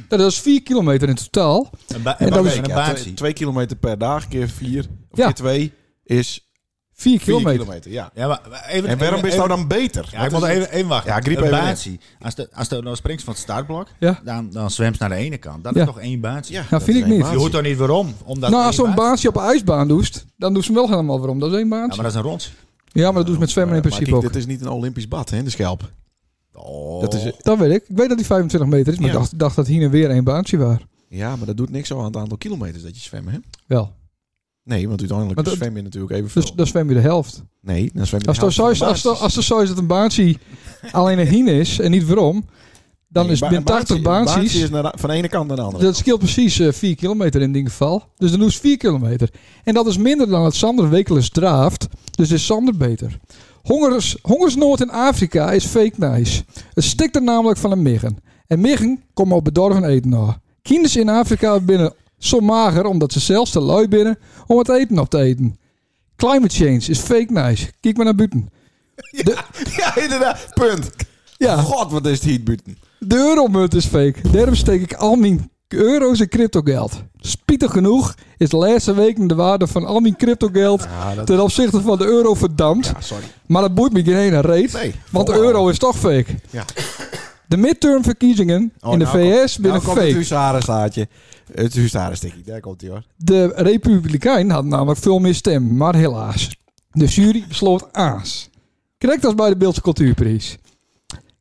Speaker 3: Dat is 4 kilometer in totaal.
Speaker 5: Een, ba-
Speaker 3: En
Speaker 5: een,
Speaker 3: dat
Speaker 5: ba-
Speaker 3: is-
Speaker 5: een
Speaker 1: Ja,
Speaker 5: baas.
Speaker 1: twee, twee kilometer per dag keer 4 of
Speaker 3: Ja.
Speaker 1: keer 2 is
Speaker 3: 4
Speaker 1: 4
Speaker 3: kilometer.
Speaker 1: kilometer. ja.
Speaker 5: Ja, maar even,
Speaker 1: En waarom
Speaker 5: even-
Speaker 1: is nou dan beter?
Speaker 5: Ja, ik moet even, even wachten.
Speaker 1: Ja, griep
Speaker 5: een
Speaker 1: even in.
Speaker 5: baasie. Als de, als de nou springt van het startblok,
Speaker 3: Ja.
Speaker 5: dan, dan zwemt ze naar de ene kant. Dat
Speaker 3: Ja.
Speaker 5: is toch één baantje.
Speaker 3: Ja, Nou, vind ik niet.
Speaker 5: Je hoort toch niet waarom? Omdat
Speaker 3: nou,
Speaker 5: één
Speaker 3: als zo'n
Speaker 5: baantje-
Speaker 3: baantje op een ijsbaan doet, dan doen ze hem wel helemaal waarom. Dat is één
Speaker 5: Ja,
Speaker 3: baantje.
Speaker 5: maar dat is een rond.
Speaker 3: Ja, maar dat doen ze met zwemmen in principe ook.
Speaker 1: Dit is niet een Olympisch bad, hè, de schelp.
Speaker 5: Oh.
Speaker 1: Dat is,
Speaker 3: Dat weet ik. Ik weet dat die 25 meter is, maar
Speaker 1: Ja.
Speaker 3: ik dacht, dacht dat hier en weer één baantje was.
Speaker 1: ja, maar dat doet niks zo aan het aantal kilometers dat je zwemmen, hè?
Speaker 3: Wel.
Speaker 1: Nee, want uiteindelijk
Speaker 3: Maar dat-
Speaker 1: zwem je natuurlijk even
Speaker 3: Dus
Speaker 1: veel.
Speaker 3: dan zwem je de helft.
Speaker 1: nee, dan zwem je
Speaker 3: Als
Speaker 1: de helft
Speaker 3: het zo is,
Speaker 1: van de
Speaker 3: als, het-
Speaker 1: basis.
Speaker 3: als het zo is dat een baantje alleen een hien is en niet waarom, dan
Speaker 1: Nee,
Speaker 3: is
Speaker 1: ba-
Speaker 3: het binnen
Speaker 1: een baantje-
Speaker 3: 80
Speaker 1: een baantje
Speaker 3: baantjes.
Speaker 1: is naar de- van de ene kant naar de andere.
Speaker 3: Dat scheelt precies 4 kilometer in dit geval. Dus dan is 4 kilometer. En dat is minder dan het Sander wekelijks draaft. Dus is Sander beter. Hongers, hongersnood in Afrika is fake nice. Het stikt er namelijk van een miggen. En miggen komen op bedorven eten na. Kinders in Afrika binnen zo mager omdat ze zelfs te lui binnen om het eten op te eten. Climate change is fake nice. Kijk maar naar buiten.
Speaker 1: Ja, inderdaad. Punt.
Speaker 3: Ja,
Speaker 1: God, wat is het hier buiten.
Speaker 3: de euromunt is fake. Daarom steek ik al mijn euro's in cryptogeld. Spietig genoeg is de laatste weken de waarde van al mijn cryptogeld ten opzichte van de euro verdampt.
Speaker 1: Ja, sorry.
Speaker 3: Maar dat boeit me geen ene reet,
Speaker 1: Nee. oh.
Speaker 3: want de euro is toch fake.
Speaker 1: Ja.
Speaker 3: De midtermverkiezingen
Speaker 1: Oh,
Speaker 3: in de
Speaker 1: nou
Speaker 3: VS
Speaker 1: Nou
Speaker 3: binnen
Speaker 1: komt het
Speaker 3: fake.
Speaker 1: huzarenstaartje. Het huzarenstikkie. Daar komt hij hoor.
Speaker 3: De Republikein had namelijk veel meer stem, maar helaas. De jury besloot aas. Correct als bij de Beeldse Cultuurprijs.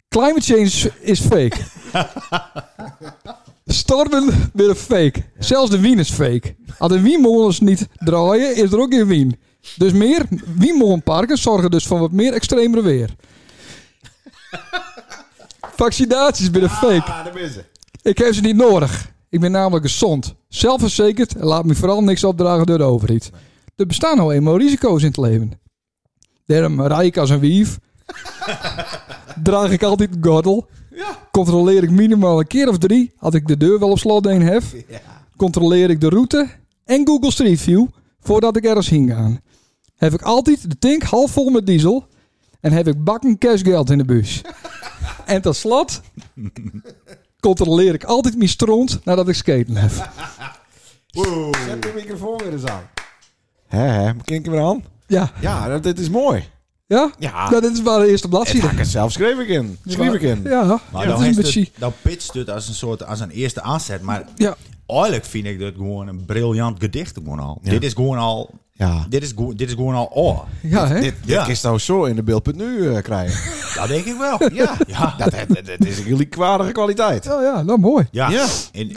Speaker 3: Climate change is fake. Stormen weer fake. Zelfs de wien is fake. Als de wienmolens niet draaien, is er ook geen wien. Dus meer wienmolenparken zorgen dus voor wat meer extremere weer. Vaccinaties binnen fake.
Speaker 1: Ah, daar ben ze.
Speaker 3: Ik heb ze niet nodig. Ik ben namelijk gezond, zelfverzekerd en laat me vooral niks opdragen door de overheid. Er bestaan nou eenmaal risico's in het leven. Daarom rij ik als een wief. Draag ik altijd een gordel. Controleer ik minimaal een keer of drie had ik de deur wel op slot heen heb. Controleer ik de route en Google Street View voordat ik ergens heen ga. Heb ik altijd de tank half vol met diesel en heb ik bakken cashgeld in de bus. en tot slot controleer ik altijd mijn stront nadat ik skaten heb.
Speaker 1: Zet de microfoon weer eens aan. Hé, hé. Kink hem weer aan.
Speaker 3: Ja,
Speaker 1: Ja, dat, dit is mooi.
Speaker 3: ja?
Speaker 1: Ja.
Speaker 3: Nou, dit is maar de eerste
Speaker 1: Het hak
Speaker 3: bladzijde.
Speaker 1: het zelf schreef ik in. Schreef ik in.
Speaker 3: Ja,
Speaker 5: Maar
Speaker 3: dat is
Speaker 5: dan,
Speaker 3: een
Speaker 5: is
Speaker 3: beetje...
Speaker 5: het, dan pitcht het als een soort als een eerste aanzet. Maar
Speaker 3: Ja,
Speaker 5: eigenlijk vind ik dat gewoon een briljant gedicht gewoon al. Dit is gewoon al.
Speaker 1: Ja.
Speaker 5: Dit is, gewoon- dit is gewoon al oor.
Speaker 3: ja hè?
Speaker 1: Dit,
Speaker 5: Ja.
Speaker 1: dit is nou zo in de beeld.nu eh, krijgen.
Speaker 5: Dat denk ik wel. Ja. Ja.
Speaker 1: Dat, dat, dat- dat is jullie kwadige kwaliteit.
Speaker 3: Ja, ja, nou mooi.
Speaker 5: ja.
Speaker 1: Ja.
Speaker 5: En,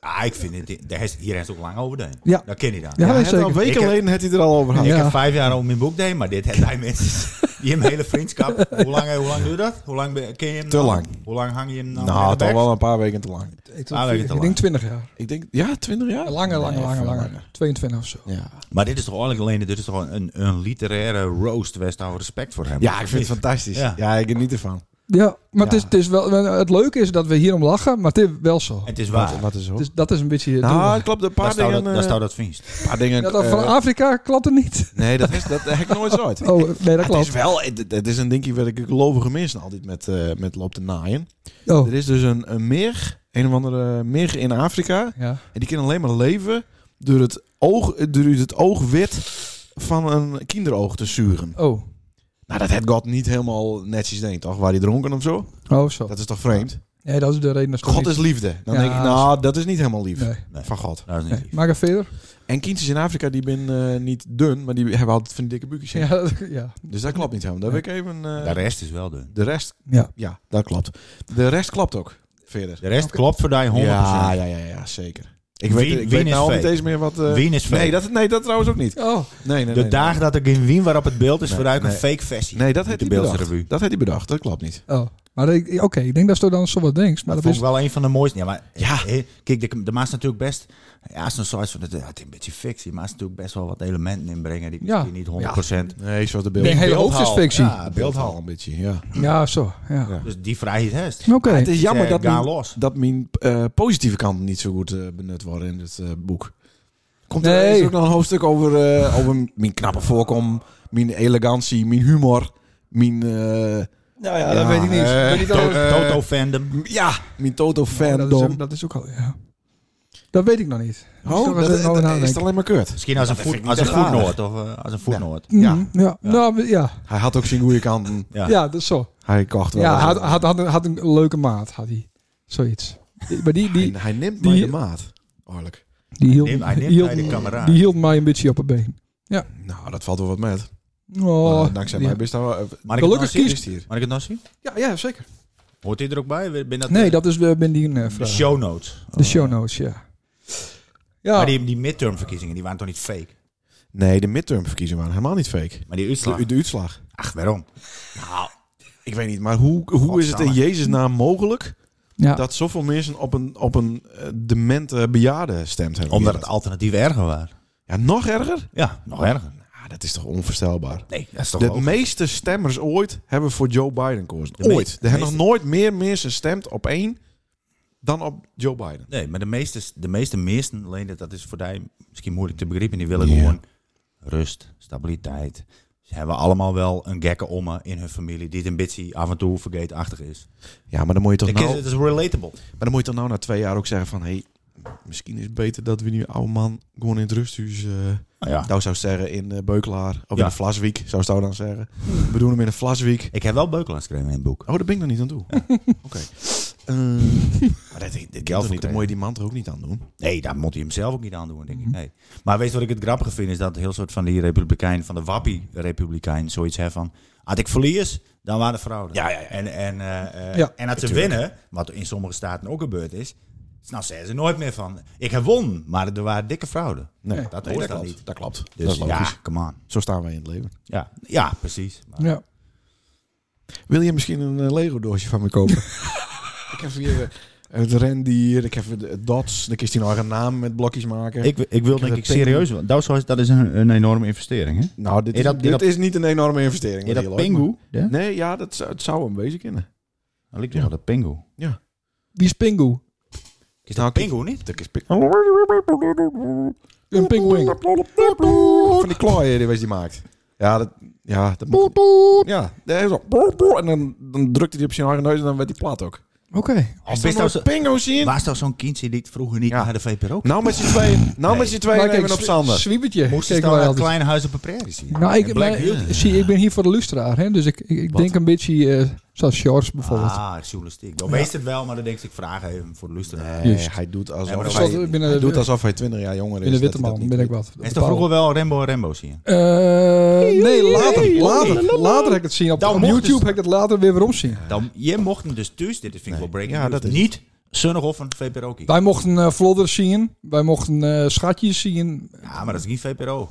Speaker 5: ah, ik vind het, daar is- hier is ook lang over deen.
Speaker 3: Ja.
Speaker 5: Dat ken je dan.
Speaker 3: Ja,
Speaker 1: Ja, het
Speaker 3: zeker.
Speaker 1: al weken
Speaker 5: Ik heb-
Speaker 1: geleden had hij er al over gehad.
Speaker 5: Nou, Ik
Speaker 3: Ja.
Speaker 5: heb vijf jaar om mijn boek deed, maar dit hebben wij mensen die een hele vriendschap. Hoe lang, hoe lang duurt dat? Hoe lang ben- ken je hem?
Speaker 1: Te
Speaker 5: nou?
Speaker 1: lang.
Speaker 5: Hoe lang hang je hem nou? aan
Speaker 1: Nou,
Speaker 5: de
Speaker 1: toch
Speaker 5: bek?
Speaker 1: wel een paar weken te lang.
Speaker 5: Ah, weet ik het al
Speaker 3: ik denk 20 jaar.
Speaker 1: Ik denk, ja, 20 jaar?
Speaker 3: Langer, langer,
Speaker 1: Nee,
Speaker 3: langer,
Speaker 1: veel
Speaker 3: langer. 22 of zo.
Speaker 1: Ja.
Speaker 5: Maar dit is toch eigenlijk alleen dit is toch gewoon een, een literaire roast. Wij staan respect voor hem.
Speaker 1: ja, ik vind het fantastisch. Ja,
Speaker 5: Ja.
Speaker 1: ik geniet ervan.
Speaker 3: Ja, maar Het,
Speaker 1: Ja.
Speaker 3: is, het, is wel, het leuke is dat we hierom lachen, maar het is wel zo.
Speaker 5: Het is waar.
Speaker 1: Wat is ook.
Speaker 3: Dus dat is een beetje... het
Speaker 1: Nou,
Speaker 3: doel.
Speaker 1: het klopt. Een
Speaker 5: Daar
Speaker 1: paar
Speaker 5: staat
Speaker 1: dingen...
Speaker 5: dat, daar
Speaker 1: eh,
Speaker 5: staat dat vriendst.
Speaker 1: Een paar dingen...
Speaker 3: Ja, dat van
Speaker 1: eh,
Speaker 3: Afrika klopt er niet.
Speaker 1: nee, dat, is, dat heb ik nooit zo uit.
Speaker 3: Oh, nee, dat
Speaker 1: Het is
Speaker 3: klopt.
Speaker 1: wel... Het, het is een dingje waar ik gelovige mensen altijd met, eh, met loop te naaien.
Speaker 3: Oh,
Speaker 1: Er is dus een, een merg, een of andere merg in Afrika.
Speaker 3: ja.
Speaker 1: En die kan alleen maar leven door het, oog, door het oogwit van een kinderoog te zuren.
Speaker 3: Oh,
Speaker 1: Nou, dat had God niet helemaal netjes denkt, toch? Waar hij dronken of zo?
Speaker 3: oh zo.
Speaker 1: Dat is toch vreemd?
Speaker 3: Nee, dat is de reden. dat
Speaker 1: God
Speaker 3: niet-
Speaker 1: is liefde. Dan
Speaker 3: Ja,
Speaker 1: denk ik, nou, dat is niet helemaal lief
Speaker 3: Nee,
Speaker 1: van God.
Speaker 5: Dat is niet
Speaker 3: nee.
Speaker 5: lief.
Speaker 3: Maak het verder.
Speaker 1: En kindjes in Afrika, die zijn eh, niet dun, maar die hebben altijd van die dikke buikjes.
Speaker 3: Ja, dat- ja.
Speaker 1: Dus dat klopt niet helemaal. Daar ben ik even... eh,
Speaker 5: De rest is wel dun.
Speaker 1: de rest,
Speaker 3: ja.
Speaker 1: ja, dat klopt. De rest klopt ook, verder.
Speaker 5: De rest klopt voor die 100%.
Speaker 1: Ja, ja, ja, ja, zeker. Ik
Speaker 5: Wien-
Speaker 1: weet, ik
Speaker 5: Wien
Speaker 1: weet
Speaker 5: is
Speaker 1: nou niet
Speaker 5: fake.
Speaker 1: eens meer wat... eh,
Speaker 5: Wien is fake.
Speaker 1: nee, dat, nee, dat trouwens ook niet.
Speaker 3: Oh,
Speaker 1: Nee, nee,
Speaker 5: De
Speaker 1: nee, nee.
Speaker 5: dagen dat ik in Wien waar op het beeld is,
Speaker 1: Nee,
Speaker 5: vooruit
Speaker 1: nee.
Speaker 5: een fake versie.
Speaker 1: Nee, dat heeft
Speaker 5: de
Speaker 1: hij
Speaker 5: Beeldse
Speaker 1: bedacht.
Speaker 5: Revue.
Speaker 1: Dat heeft hij bedacht, dat klopt niet.
Speaker 3: oh. Maar ik- oké, ik denk dat ze dan zo wat denkt. Maar
Speaker 5: Dat
Speaker 3: dat,
Speaker 5: vond
Speaker 3: is
Speaker 5: ik wel een van de mooiste. Ja, maar
Speaker 1: Ja.
Speaker 5: eh, kijk, de, de maas natuurlijk best. Ja, zo'n soort van. Het, ja, het is een beetje fictie, maar is natuurlijk best wel wat elementen inbrengen die
Speaker 3: Ja.
Speaker 5: misschien niet 100%.
Speaker 1: Nee, zoals de
Speaker 3: Nee,
Speaker 1: beeld.
Speaker 3: hele hoofd is
Speaker 5: Beeldhal.
Speaker 3: fictie.
Speaker 5: Ja,
Speaker 1: Beeldhal
Speaker 5: beeldhal.
Speaker 1: een beetje, ja.
Speaker 3: Ja, zo. Ja.
Speaker 1: Ja.
Speaker 5: Dus die vrijheid heeft.
Speaker 3: Oké.
Speaker 1: het is jammer
Speaker 5: eh,
Speaker 1: dat
Speaker 5: ga
Speaker 1: mijn,
Speaker 5: los.
Speaker 1: dat mijn eh, positieve kanten niet zo goed eh, benut worden in het eh, boek. Komt er
Speaker 3: Nee.
Speaker 1: is er ook nog een hoofdstuk over, eh, over mijn knappe voorkom, mijn elegantie, mijn humor, mijn... eh,
Speaker 3: Nou ja,
Speaker 1: dat weet ik niet. eh, Weet ik
Speaker 5: To-
Speaker 1: Eh,
Speaker 5: Toto fandom.
Speaker 1: m- ja, mijn Toto-fandom.
Speaker 3: Nou, dat, is, dat is ook al, ja. Dat weet ik nog niet.
Speaker 1: oh, dat,
Speaker 3: dat,
Speaker 1: dat- dat is
Speaker 3: ja.
Speaker 1: alleen maar kut.
Speaker 5: Misschien als een
Speaker 1: dat vind
Speaker 5: voet-
Speaker 1: ik
Speaker 5: als een
Speaker 1: niet echt aardig.
Speaker 5: voetnoot. Of eh, als een voetnoot.
Speaker 1: Ja.
Speaker 3: Mhm, ja. Nou, maar- ja.
Speaker 1: Hij had ook zijn goede kanten.
Speaker 5: Ja.
Speaker 3: Ja. dat is zo.
Speaker 1: Hij kocht wel.
Speaker 3: Ja,
Speaker 1: eens
Speaker 3: had,
Speaker 1: wat.
Speaker 3: had, had, een, had een leuke maat, had hij. Zoiets. Die- Maar die, die,
Speaker 1: En hij neemt
Speaker 3: die-
Speaker 1: mij de maat. Oorlijk.
Speaker 3: die, hield,
Speaker 5: Neem- hij
Speaker 3: die,
Speaker 5: neemt
Speaker 3: hield,
Speaker 5: bij de camera.
Speaker 3: die hield mij een beetje op het been.
Speaker 1: Nou, dat valt wel wat met.
Speaker 3: Oh,
Speaker 1: Maar dankzij
Speaker 3: ja.
Speaker 1: mij best wel... eh,
Speaker 5: Mag ik het nou
Speaker 3: Gelukkig
Speaker 5: zien?
Speaker 1: is het hier.
Speaker 5: Mag ik het nou zien?
Speaker 3: Ja, ja, zeker.
Speaker 5: Hoort hij er ook bij? Ben dat
Speaker 3: Nee,
Speaker 5: de-
Speaker 3: dat is de, ben die een eh,
Speaker 5: de
Speaker 3: vraag.
Speaker 5: show notes.
Speaker 3: De show notes, ja. Ja,
Speaker 5: Maar die, die midtermverkiezingen, die waren toch niet fake?
Speaker 1: Nee, de midtermverkiezingen waren helemaal niet fake.
Speaker 5: Maar die
Speaker 1: De,
Speaker 5: uitslag.
Speaker 1: de uitslag.
Speaker 5: Ach, waarom?
Speaker 1: Ik weet niet, maar hoe, hoe is het in
Speaker 5: Godsamme.
Speaker 1: Jezus naam mogelijk
Speaker 3: ja.
Speaker 1: dat zoveel mensen op een, op een eh, demente bejaarde stemt hebben?
Speaker 5: Omdat het alternatief erger was.
Speaker 1: Ja, nog erger?
Speaker 5: Ja, nog erger.
Speaker 1: Ja, dat is toch onvoorstelbaar.
Speaker 5: Oh. Nee, dat is toch
Speaker 1: De
Speaker 5: ook-
Speaker 1: meeste stemmers ooit hebben voor Joe Biden gekozen.
Speaker 5: De me-
Speaker 1: ooit. Er hebben nog
Speaker 5: meeste-
Speaker 1: nooit meer mensen gestemd op één dan op Joe Biden.
Speaker 5: Nee, maar de meeste, de meeste meesten, alleen dat, dat is voor die misschien moeilijk te begrijpen. Die willen
Speaker 1: Ja.
Speaker 5: gewoon rust, stabiliteit, Ze hebben allemaal wel een gekke omme in hun familie die het een beetje af en toe vergeetachtig is.
Speaker 1: Ja, maar dan moet je toch
Speaker 5: Ik is,
Speaker 1: nou,
Speaker 5: het is relatable.
Speaker 1: maar dan moet je toch nou na twee jaar ook zeggen van... Hey, misschien is het beter dat we die oude man gewoon in het rusthuis... eh,
Speaker 5: Nou ja.
Speaker 1: Nou zou zeggen in eh, Beukelaar. Of
Speaker 5: Ja.
Speaker 1: in de Vlaswijk, zou zou dan nou zeggen. We doen hem in de Vlaswijk.
Speaker 5: Ik heb wel Beukelaars gekregen in het boek.
Speaker 1: Oh, daar ben ik nog niet aan toe. Oké. Eh, maar dat, dit, dit
Speaker 5: Geld
Speaker 1: toch niet, dan
Speaker 5: verkregen.
Speaker 1: moet je die man er ook niet aan doen.
Speaker 5: Nee, daar moet hij hem zelf ook niet aan doen, denk
Speaker 3: Mhm.
Speaker 5: ik. Nee. Maar weet je wat ik het grappige vind? Is dat heel soort van die republikein, van de wappie-republikein, zoiets hebben van... Had ik verlies, dan waren de fraude.
Speaker 1: Ja, ja, ja.
Speaker 5: En, en, eh, eh,
Speaker 3: Ja,
Speaker 5: en als ze winnen, wat in sommige staten ook gebeurd is... Nou, zeggen ze nooit meer van, ik heb won, maar er waren dikke fraude.
Speaker 1: Nee,
Speaker 5: dat
Speaker 1: nee,
Speaker 5: hoort
Speaker 1: dat
Speaker 5: dan
Speaker 1: klopt.
Speaker 5: niet.
Speaker 1: Dat klopt.
Speaker 5: Dus
Speaker 1: dat is logisch.
Speaker 5: ja, come on.
Speaker 1: Zo staan wij in het leven.
Speaker 5: Ja, ja precies. Maar-
Speaker 3: Ja.
Speaker 1: Wil je misschien een eh, Lego-doosje van me kopen? ik heb hier eh, het rendier, ik heb het dots. Dan kiest hij nou een naam met blokjes maken.
Speaker 6: Ik, ik wil
Speaker 1: heb
Speaker 6: denk
Speaker 1: een
Speaker 6: ik
Speaker 1: ping.
Speaker 6: serieus, want dat is, dat is een, een enorme investering. Hè?
Speaker 1: nou, dit,
Speaker 6: Is
Speaker 1: is,
Speaker 6: dat-
Speaker 1: dit
Speaker 6: is dat-
Speaker 1: is niet een enorme investering.
Speaker 6: Is
Speaker 1: wat
Speaker 6: dat
Speaker 1: hier loopt,
Speaker 6: Pingu? Ja?
Speaker 1: maar- Nee, ja, dat, zou- het zou hem wezen kunnen.
Speaker 6: Dat Nou, lijkt toch wel dat Pingu.
Speaker 3: Wie is Pingu?
Speaker 5: Is dat Pingu niet?
Speaker 1: Dat is Ping-
Speaker 3: Een pinguïn.
Speaker 1: Van die klooien die was die maakt. Ja, dat, ja, dat moet... Ja, daar is al- En dan, dan drukte hij op zijn eigen neus en dan werd hij plat ook.
Speaker 3: Oké.
Speaker 5: Of
Speaker 1: Is
Speaker 5: is dat
Speaker 1: nou
Speaker 5: zo-
Speaker 1: pingo zien?
Speaker 5: Was dat zo'n kindje die het vroeger niet
Speaker 1: Ja.
Speaker 5: naar de VPRO
Speaker 1: Nou met z'n tweeën, nou met z'n tweeën
Speaker 3: Maar kijk,
Speaker 1: nemen op
Speaker 3: swi-
Speaker 1: Sander.
Speaker 3: Zwiebertje.
Speaker 5: Moesten ze
Speaker 3: Kijken wij
Speaker 5: dan naar
Speaker 3: altijd.
Speaker 5: kleine huis op een prairie zien?
Speaker 3: dus- Nou, ik,
Speaker 5: En Black
Speaker 3: maar-
Speaker 5: Beauty.
Speaker 3: zie, ik ben hier voor de lustraar, hè? dus ik, ik, ik
Speaker 1: Wat?
Speaker 3: denk een beetje eh zoals shorts bijvoorbeeld.
Speaker 5: Ah, journalistiek. Dan wees het wel, maar dan denk ik, ik vraag even voor de luisteraar.
Speaker 1: Nee,
Speaker 3: Juist.
Speaker 1: hij doet
Speaker 5: Ja, maar
Speaker 1: alsof
Speaker 5: dat
Speaker 1: hij,
Speaker 5: was-
Speaker 1: hij
Speaker 3: binnen-
Speaker 1: doet alsof hij 20 jaar jonger is.
Speaker 3: In de
Speaker 1: dat
Speaker 3: witte
Speaker 1: hij dat
Speaker 3: man
Speaker 1: niet
Speaker 3: ben ik
Speaker 1: doet.
Speaker 3: wat.
Speaker 5: Is er vroeger wel Rembo en Rembo zie je?
Speaker 3: Eh, nee, later. Later, later heb ik het zien. Op,
Speaker 5: Dan
Speaker 3: op
Speaker 5: mocht
Speaker 3: YouTube
Speaker 5: het-
Speaker 1: dus-
Speaker 3: heb ik het later weer weer omzien.
Speaker 5: Dan, je mocht hem dus thuis, dit vind ik wel breaking
Speaker 1: Ja,
Speaker 5: news,
Speaker 1: dat is-
Speaker 5: niet Sunnerhof en VPRO kiezen.
Speaker 3: Wij mochten eh vlodders zien. Wij mochten eh, schatjes zien.
Speaker 5: Ja, maar dat is niet VPRO.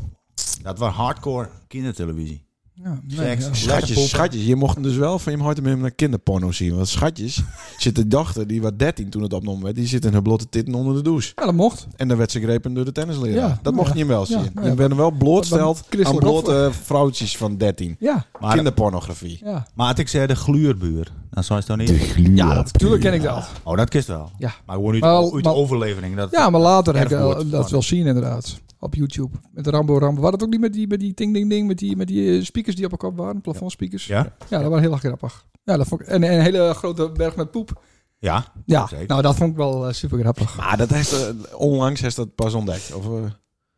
Speaker 5: Dat was hardcore kindertelevisie.
Speaker 3: Ja, nee,
Speaker 5: Seks.
Speaker 3: ja.
Speaker 1: Schatjes, schatjes, je mocht hem dus wel van je hoort hem in een kinderporno zien. Want schatjes zit de dochter, die was 13 toen het opgenomen werd, die zit in haar blote titten onder de douche.
Speaker 3: Ja, dat mocht.
Speaker 1: En dan werd ze grepen door de tennisleraar.
Speaker 3: Ja,
Speaker 1: dat
Speaker 3: nou
Speaker 1: mocht
Speaker 3: ja.
Speaker 1: je hem wel
Speaker 3: Ja,
Speaker 1: zien.
Speaker 3: nou ja.
Speaker 1: Dan werden wel blootsteld
Speaker 3: Wat dan
Speaker 1: aan
Speaker 3: christelijk
Speaker 1: blote eh, vrouwtjes van 13.
Speaker 3: Ja,
Speaker 5: Maar,
Speaker 1: Kinderpornografie.
Speaker 3: ja.
Speaker 5: maar had ik zei de gluurbuur, dan zou je het dan niet.
Speaker 3: ja natuurlijk ken ik dat.
Speaker 5: Oh, dat kist wel.
Speaker 3: Ja.
Speaker 5: Maar gewoon uit,
Speaker 3: Maar-
Speaker 5: uit
Speaker 3: maar-
Speaker 5: de overlevering. Dat,
Speaker 3: Ja, maar later heb ik
Speaker 5: Erfwoord
Speaker 3: eh, dat
Speaker 5: van-
Speaker 3: wel zien inderdaad. Op YouTube. Met de Rambo Rambo. Waren het ook niet met die, met die ding ding ding? Met die, met die eh, speakers die op elkaar waren? Plafondspeakers?
Speaker 5: Ja?
Speaker 3: Ja, dat was heel erg grappig. Ja, dat vond ik, en en een hele grote berg met poep.
Speaker 5: Ja.
Speaker 3: Ja,
Speaker 5: Zeker.
Speaker 3: nou dat vond ik wel eh, super grappig.
Speaker 1: Maar dat heeft, eh, onlangs heeft dat pas ontdekt. Of, eh,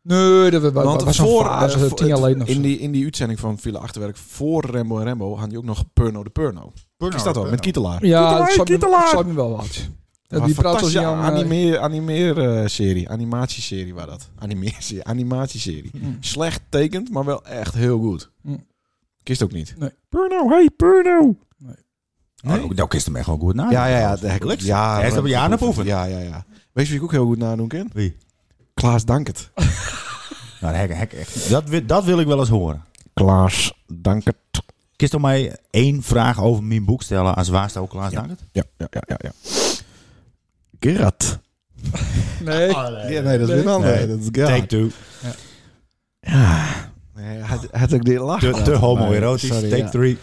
Speaker 3: Nee, dat was,
Speaker 1: want
Speaker 3: was voor,
Speaker 1: voor,
Speaker 3: een
Speaker 1: eh,
Speaker 3: fase,
Speaker 1: voor-
Speaker 3: tien jaar
Speaker 1: het-
Speaker 3: geleden of zo.
Speaker 1: in, die, in die uitzending van Villa Achterwerk voor Rembo en Rembo had je ook nog Purno de Purno. Is dat wel? Met Ah, Kietelaar.
Speaker 3: ja, dat zou me- zou me wel wat.
Speaker 1: Dat
Speaker 3: Ja, die praat als
Speaker 1: fantastische
Speaker 3: Jan... eh,
Speaker 1: animeer, animeer eh, serie, animatieserie was dat. Animeer, animatieserie. Slecht tekend, maar wel echt heel goed.
Speaker 3: Mm.
Speaker 1: Kist ook niet.
Speaker 3: Nee.
Speaker 1: Purno, hey Purno.
Speaker 5: Nee? Oh, dat kist hem echt wel goed na.
Speaker 1: Ja, ja, ja. de hek-
Speaker 5: Gelukkig.
Speaker 1: ja
Speaker 5: Hij is op een jaar naar boven.
Speaker 1: Ja, ja, ja. Weet je wie ik ook heel goed nadoen kan?
Speaker 5: Wie?
Speaker 1: Klaas Dankert.
Speaker 5: Nou, hek, hek, hek. Dat, wi- dat wil ik wel eens horen.
Speaker 1: Klaas Dankert.
Speaker 5: Kist om mij één vraag over mijn boek stellen als waar staat ook klaar? dank het?
Speaker 1: Ja, ja, ja, ja. ja. Gerard.
Speaker 3: Nee.
Speaker 1: Ja, nee, Oh, dat is weer een ander.
Speaker 5: Nee.
Speaker 1: Dat is
Speaker 5: Take
Speaker 1: Gerard.
Speaker 5: two.
Speaker 1: Nee, had, had ik dit lachen.
Speaker 5: Te, te
Speaker 1: laten,
Speaker 5: homoerotisch.
Speaker 1: maar, sorry,
Speaker 5: Take
Speaker 1: ja.
Speaker 5: three.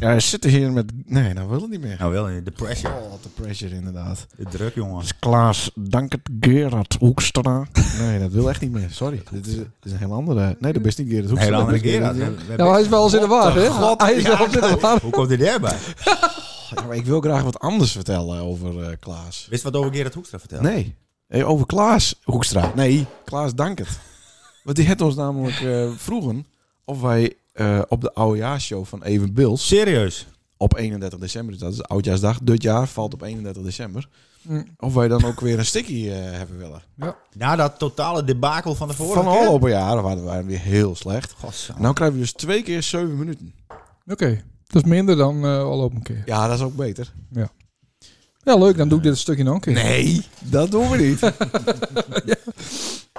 Speaker 1: Ja, hij zit hier met... Nee, nou wil het niet meer.
Speaker 5: Nou wel, de pressure.
Speaker 1: Oh, wat de pressure inderdaad.
Speaker 5: De druk, jongen.
Speaker 1: Dus Klaas Dankert Gerard Hoekstra. Nee, dat wil echt niet meer. Sorry. Dit is, dit is een heel andere... Nee, dat is niet Gerard
Speaker 5: Een
Speaker 1: Hoekstra.
Speaker 5: hele andere
Speaker 1: Dat is
Speaker 5: keer.
Speaker 1: Gerard.
Speaker 5: dat. We- we-
Speaker 3: Nou, hij is wel eens in de war, hè?
Speaker 5: God,
Speaker 3: hij is
Speaker 5: ja,
Speaker 3: wel eens in de war.
Speaker 5: Hoe komt hij daarbij?
Speaker 1: Ja, maar ik wil graag wat anders vertellen over eh, Klaas.
Speaker 5: Wist wat over Gerard Hoekstra vertellen?
Speaker 1: Nee. Eh, Over Klaas Hoekstra. Nee, Klaas Dankert. Want die had ons namelijk eh, vroegen of wij eh, op de oudejaarsshow van Even Bills
Speaker 5: Serieus?
Speaker 1: op 31 december, dus dat is oudjaarsdag, dit jaar valt op 31 december,
Speaker 3: Mm.
Speaker 1: of wij dan ook weer een sticky eh, hebben willen.
Speaker 5: Na dat totale debakel van de vorige
Speaker 1: Van
Speaker 5: keer?
Speaker 1: al op een jaar waren wij weer heel slecht.
Speaker 5: Godzang.
Speaker 1: Nou krijgen we dus twee keer zeven minuten.
Speaker 3: Oké, dat is minder dan eh al op een keer.
Speaker 1: Ja, dat is ook beter.
Speaker 3: Ja, leuk, dan doe ik dit stukje nog een keer.
Speaker 1: Nee, dat doen we niet.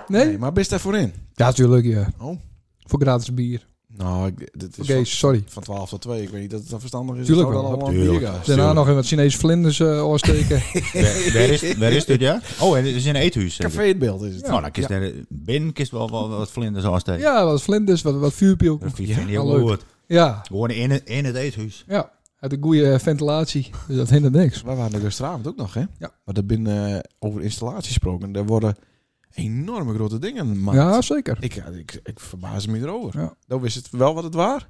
Speaker 3: Nee?
Speaker 1: Nee, maar best daarvoor in.
Speaker 3: Ja, natuurlijk, ja.
Speaker 1: Oh.
Speaker 3: Voor gratis bier.
Speaker 1: Nou, ik, dit
Speaker 3: Voor
Speaker 1: is van,
Speaker 3: gays, sorry.
Speaker 1: van 12 tot 2. Ik weet niet dat het dan verstandig is.
Speaker 3: Tuurlijk
Speaker 1: Zou
Speaker 3: wel.
Speaker 1: dan allemaal
Speaker 5: Tuurlijk.
Speaker 1: bier gaan?
Speaker 3: Daarna nog even wat Chinese vlinders eh oorsteken.
Speaker 5: Waar, waar is, waar is dit, ja? Oh, en het is in een eethuis. zeker?
Speaker 1: Café het beeld is het.
Speaker 5: Nou, dan kist er- binnen kist wel, wel, wel wat vlinders als tegen.
Speaker 3: ja, wat vlinders, wat, wat vuurpiel.
Speaker 5: Dat vind
Speaker 1: Ja,
Speaker 5: ik niet
Speaker 3: wel leuk.
Speaker 5: goed.
Speaker 3: Ja,
Speaker 5: Gewoon in, het- in het eethuis.
Speaker 3: ja. Uit de goede eh, ventilatie. Dus dat hindert niks.
Speaker 1: Wij waren er gisteravond dus ook nog, hè?
Speaker 3: Ja.
Speaker 1: Maar dat binnen eh, over installatie gesproken. Daar worden enorme grote dingen maakt.
Speaker 3: Ja, zeker.
Speaker 1: Ik, ja, ik, ik verbaas me erover.
Speaker 3: Ja.
Speaker 1: Dan wist het wel wat het waar.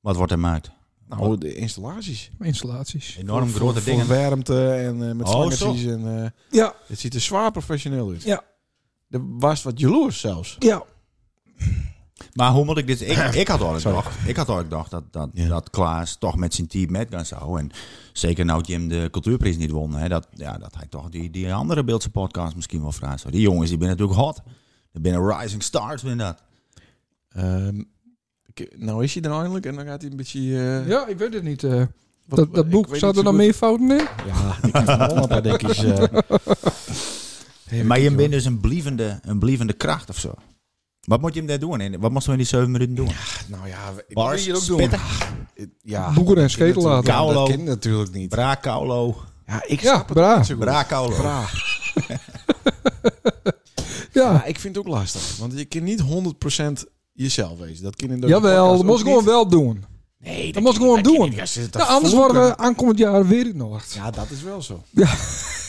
Speaker 5: Wat wordt er gemaakt?
Speaker 1: Nou, de installaties.
Speaker 3: Installaties.
Speaker 5: Enorm
Speaker 1: Voor-
Speaker 5: grote
Speaker 1: voor
Speaker 5: dingen.
Speaker 1: warmte en eh, met
Speaker 5: Oh,
Speaker 1: slangetjes. en, eh,
Speaker 3: Ja,
Speaker 1: het ziet er zwaar professioneel uit.
Speaker 3: Ja.
Speaker 1: Er was wat jaloers zelfs.
Speaker 3: ja.
Speaker 5: Maar hoe moet ik dit... Ik, ik had al
Speaker 1: Sorry.
Speaker 5: gedacht, ik had al gedacht dat, dat,
Speaker 1: Ja.
Speaker 5: dat Klaas toch met zijn team met gaan zou. En zeker nou Jim de cultuurprijs niet won. Hè, dat, ja, dat hij toch die, die andere Beeldse podcast misschien wel vraagt. zou. Die jongens die zijn natuurlijk hot. Er binnen rising stars binnen dat.
Speaker 1: Ehm, ik- nou is hij er eindelijk en dan gaat hij een beetje... eh,
Speaker 3: Ja, ik weet het niet. eh.
Speaker 1: wat-
Speaker 3: dat, dat
Speaker 1: ik
Speaker 3: boek,
Speaker 1: weet
Speaker 3: zaten
Speaker 1: niet zo
Speaker 3: er nog meer fouten in?
Speaker 1: goed. Ja, ik heb nog wel een paar dingetjes. eh. Even
Speaker 5: maar je
Speaker 1: kijken,
Speaker 5: bent dus een blievende, een blievende kracht of zo. Wat moet je hem daar doen? En wat moest we in die zeven minuten doen?
Speaker 1: hoor. Nou ja, ik wil
Speaker 5: Bars,
Speaker 1: hier ook doen. Eh,
Speaker 5: spitten,
Speaker 1: Ja,
Speaker 3: Boeren en
Speaker 1: dat
Speaker 3: schedel
Speaker 1: kind natuurlijk-
Speaker 3: laten.
Speaker 1: Ja,
Speaker 5: Kauwlo.
Speaker 1: Dat kind natuurlijk niet.
Speaker 5: bra kaulo,
Speaker 1: Ja, ik
Speaker 3: Ja,
Speaker 1: snap het
Speaker 3: bra.
Speaker 1: niet zo goed.
Speaker 5: bra kaulo.
Speaker 1: Bra.
Speaker 3: Ja.
Speaker 1: Ja, ik vind het ook lastig. Want je kan niet 100% jezelf wezen. Dat kan in de
Speaker 3: Jawel,
Speaker 1: podcast
Speaker 3: dat
Speaker 1: ook
Speaker 3: moest ik gewoon
Speaker 1: niet.
Speaker 3: wel doen.
Speaker 1: Nee,
Speaker 3: dat moet ik gewoon doen. Nou, anders worden we aankomend jaar weer het nog.
Speaker 1: eh, Ja, dat is wel zo.
Speaker 3: Ja.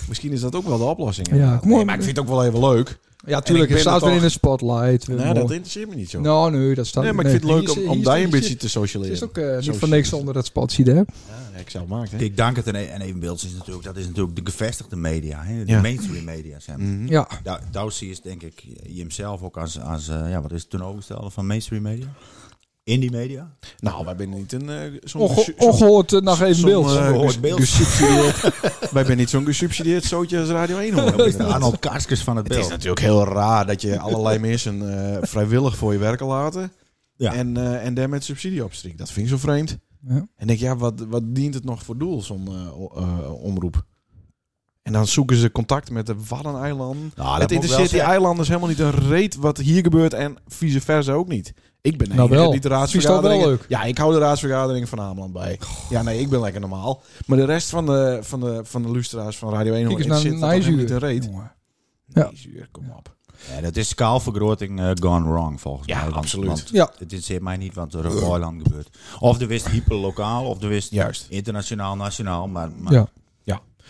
Speaker 1: Misschien is dat ook wel de oplossing.
Speaker 3: Ja,
Speaker 1: inderdaad.
Speaker 3: kom op.
Speaker 1: Nee, maar ik vind het ook wel even leuk.
Speaker 3: Ja,
Speaker 1: ik
Speaker 3: tuurlijk.
Speaker 1: ben
Speaker 3: Het staat
Speaker 1: er
Speaker 3: weer in
Speaker 1: toch.
Speaker 3: de spotlight.
Speaker 1: Nou, dat interesseert me niet zo.
Speaker 3: Nou, nee, dat staat
Speaker 1: nee, maar ik
Speaker 3: nee.
Speaker 1: vind het leuk
Speaker 3: Hier is-
Speaker 1: om,
Speaker 3: hier
Speaker 1: om
Speaker 3: is-
Speaker 1: daar
Speaker 3: hier
Speaker 1: een
Speaker 3: is-
Speaker 1: beetje te socialiseren.
Speaker 3: Het is ook eh, niet voor
Speaker 1: Socialiseren.
Speaker 3: niks onder dat spotje daar.
Speaker 1: Ja, ik zelf maakt, hè.
Speaker 5: Ik dank het en, en evenbeeld is natuurlijk, dat is natuurlijk de gevestigde media, hè, de
Speaker 1: Ja.
Speaker 5: mainstream media. Zeg maar.
Speaker 1: Mhm.
Speaker 3: Ja,
Speaker 5: Daar, daar zie je het, denk ik jemzelf ook als, als eh, ja, wat is het tegenovergestelde van mainstream media? Indie media?
Speaker 1: Nou, wij zijn niet een... eh, zo'n
Speaker 3: onge
Speaker 1: gesu- zo'n-
Speaker 3: ongehoord eh, nog even
Speaker 1: zo'n,
Speaker 3: beeld.
Speaker 1: eh,
Speaker 5: Ongehoord
Speaker 1: ges-
Speaker 5: beeld.
Speaker 1: gesubsidieerd- wij zijn niet zo'n gesubsidieerd zootje als Radio 1. hoor.
Speaker 5: De Arnold Karskens van het
Speaker 1: Het is
Speaker 5: beeld.
Speaker 1: natuurlijk heel raar dat je allerlei mensen eh, vrijwillig voor je werken laten.
Speaker 5: Ja.
Speaker 1: En, eh, en daar met subsidie op strikt. Dat vind ik zo vreemd.
Speaker 3: Ja.
Speaker 1: En denk, ja, wat, wat dient het nog voor doel, zo'n eh, o- eh, omroep? En dan zoeken ze contact met de Waddeneilanden.
Speaker 5: Nou,
Speaker 1: het
Speaker 5: dat moet ik wel
Speaker 1: interesseert die
Speaker 5: zeggen.
Speaker 1: eilanders helemaal niet een reet wat hier gebeurt en vice versa ook niet. Ik ben de
Speaker 3: Nou
Speaker 1: enige
Speaker 3: wel.
Speaker 1: die de
Speaker 3: Vies dat wel
Speaker 1: raadsvergaderingen...
Speaker 3: leuk.
Speaker 1: Ja, ik hou de raadsvergaderingen van Ameland bij. Ja, nee, ik ben lekker normaal. Maar de rest van de, van de, van de lustra's van Radio 1
Speaker 3: Kijk eens naar
Speaker 1: interesseert dat helemaal niet een
Speaker 3: Nijzuur.
Speaker 1: reet.
Speaker 3: jongen. Ja.
Speaker 1: Nee, zuur, kom op.
Speaker 5: Ja, dat is schaalvergroting eh, gone wrong, volgens
Speaker 1: Ja,
Speaker 5: mij. want-
Speaker 1: absoluut.
Speaker 5: want
Speaker 3: Ja.
Speaker 5: Het interesseert mij niet wat er op Roerland gebeurt. Of er wist hyperlokaal, of er wist
Speaker 1: Juist.
Speaker 5: internationaal, nationaal. Maar, maar
Speaker 3: Ja.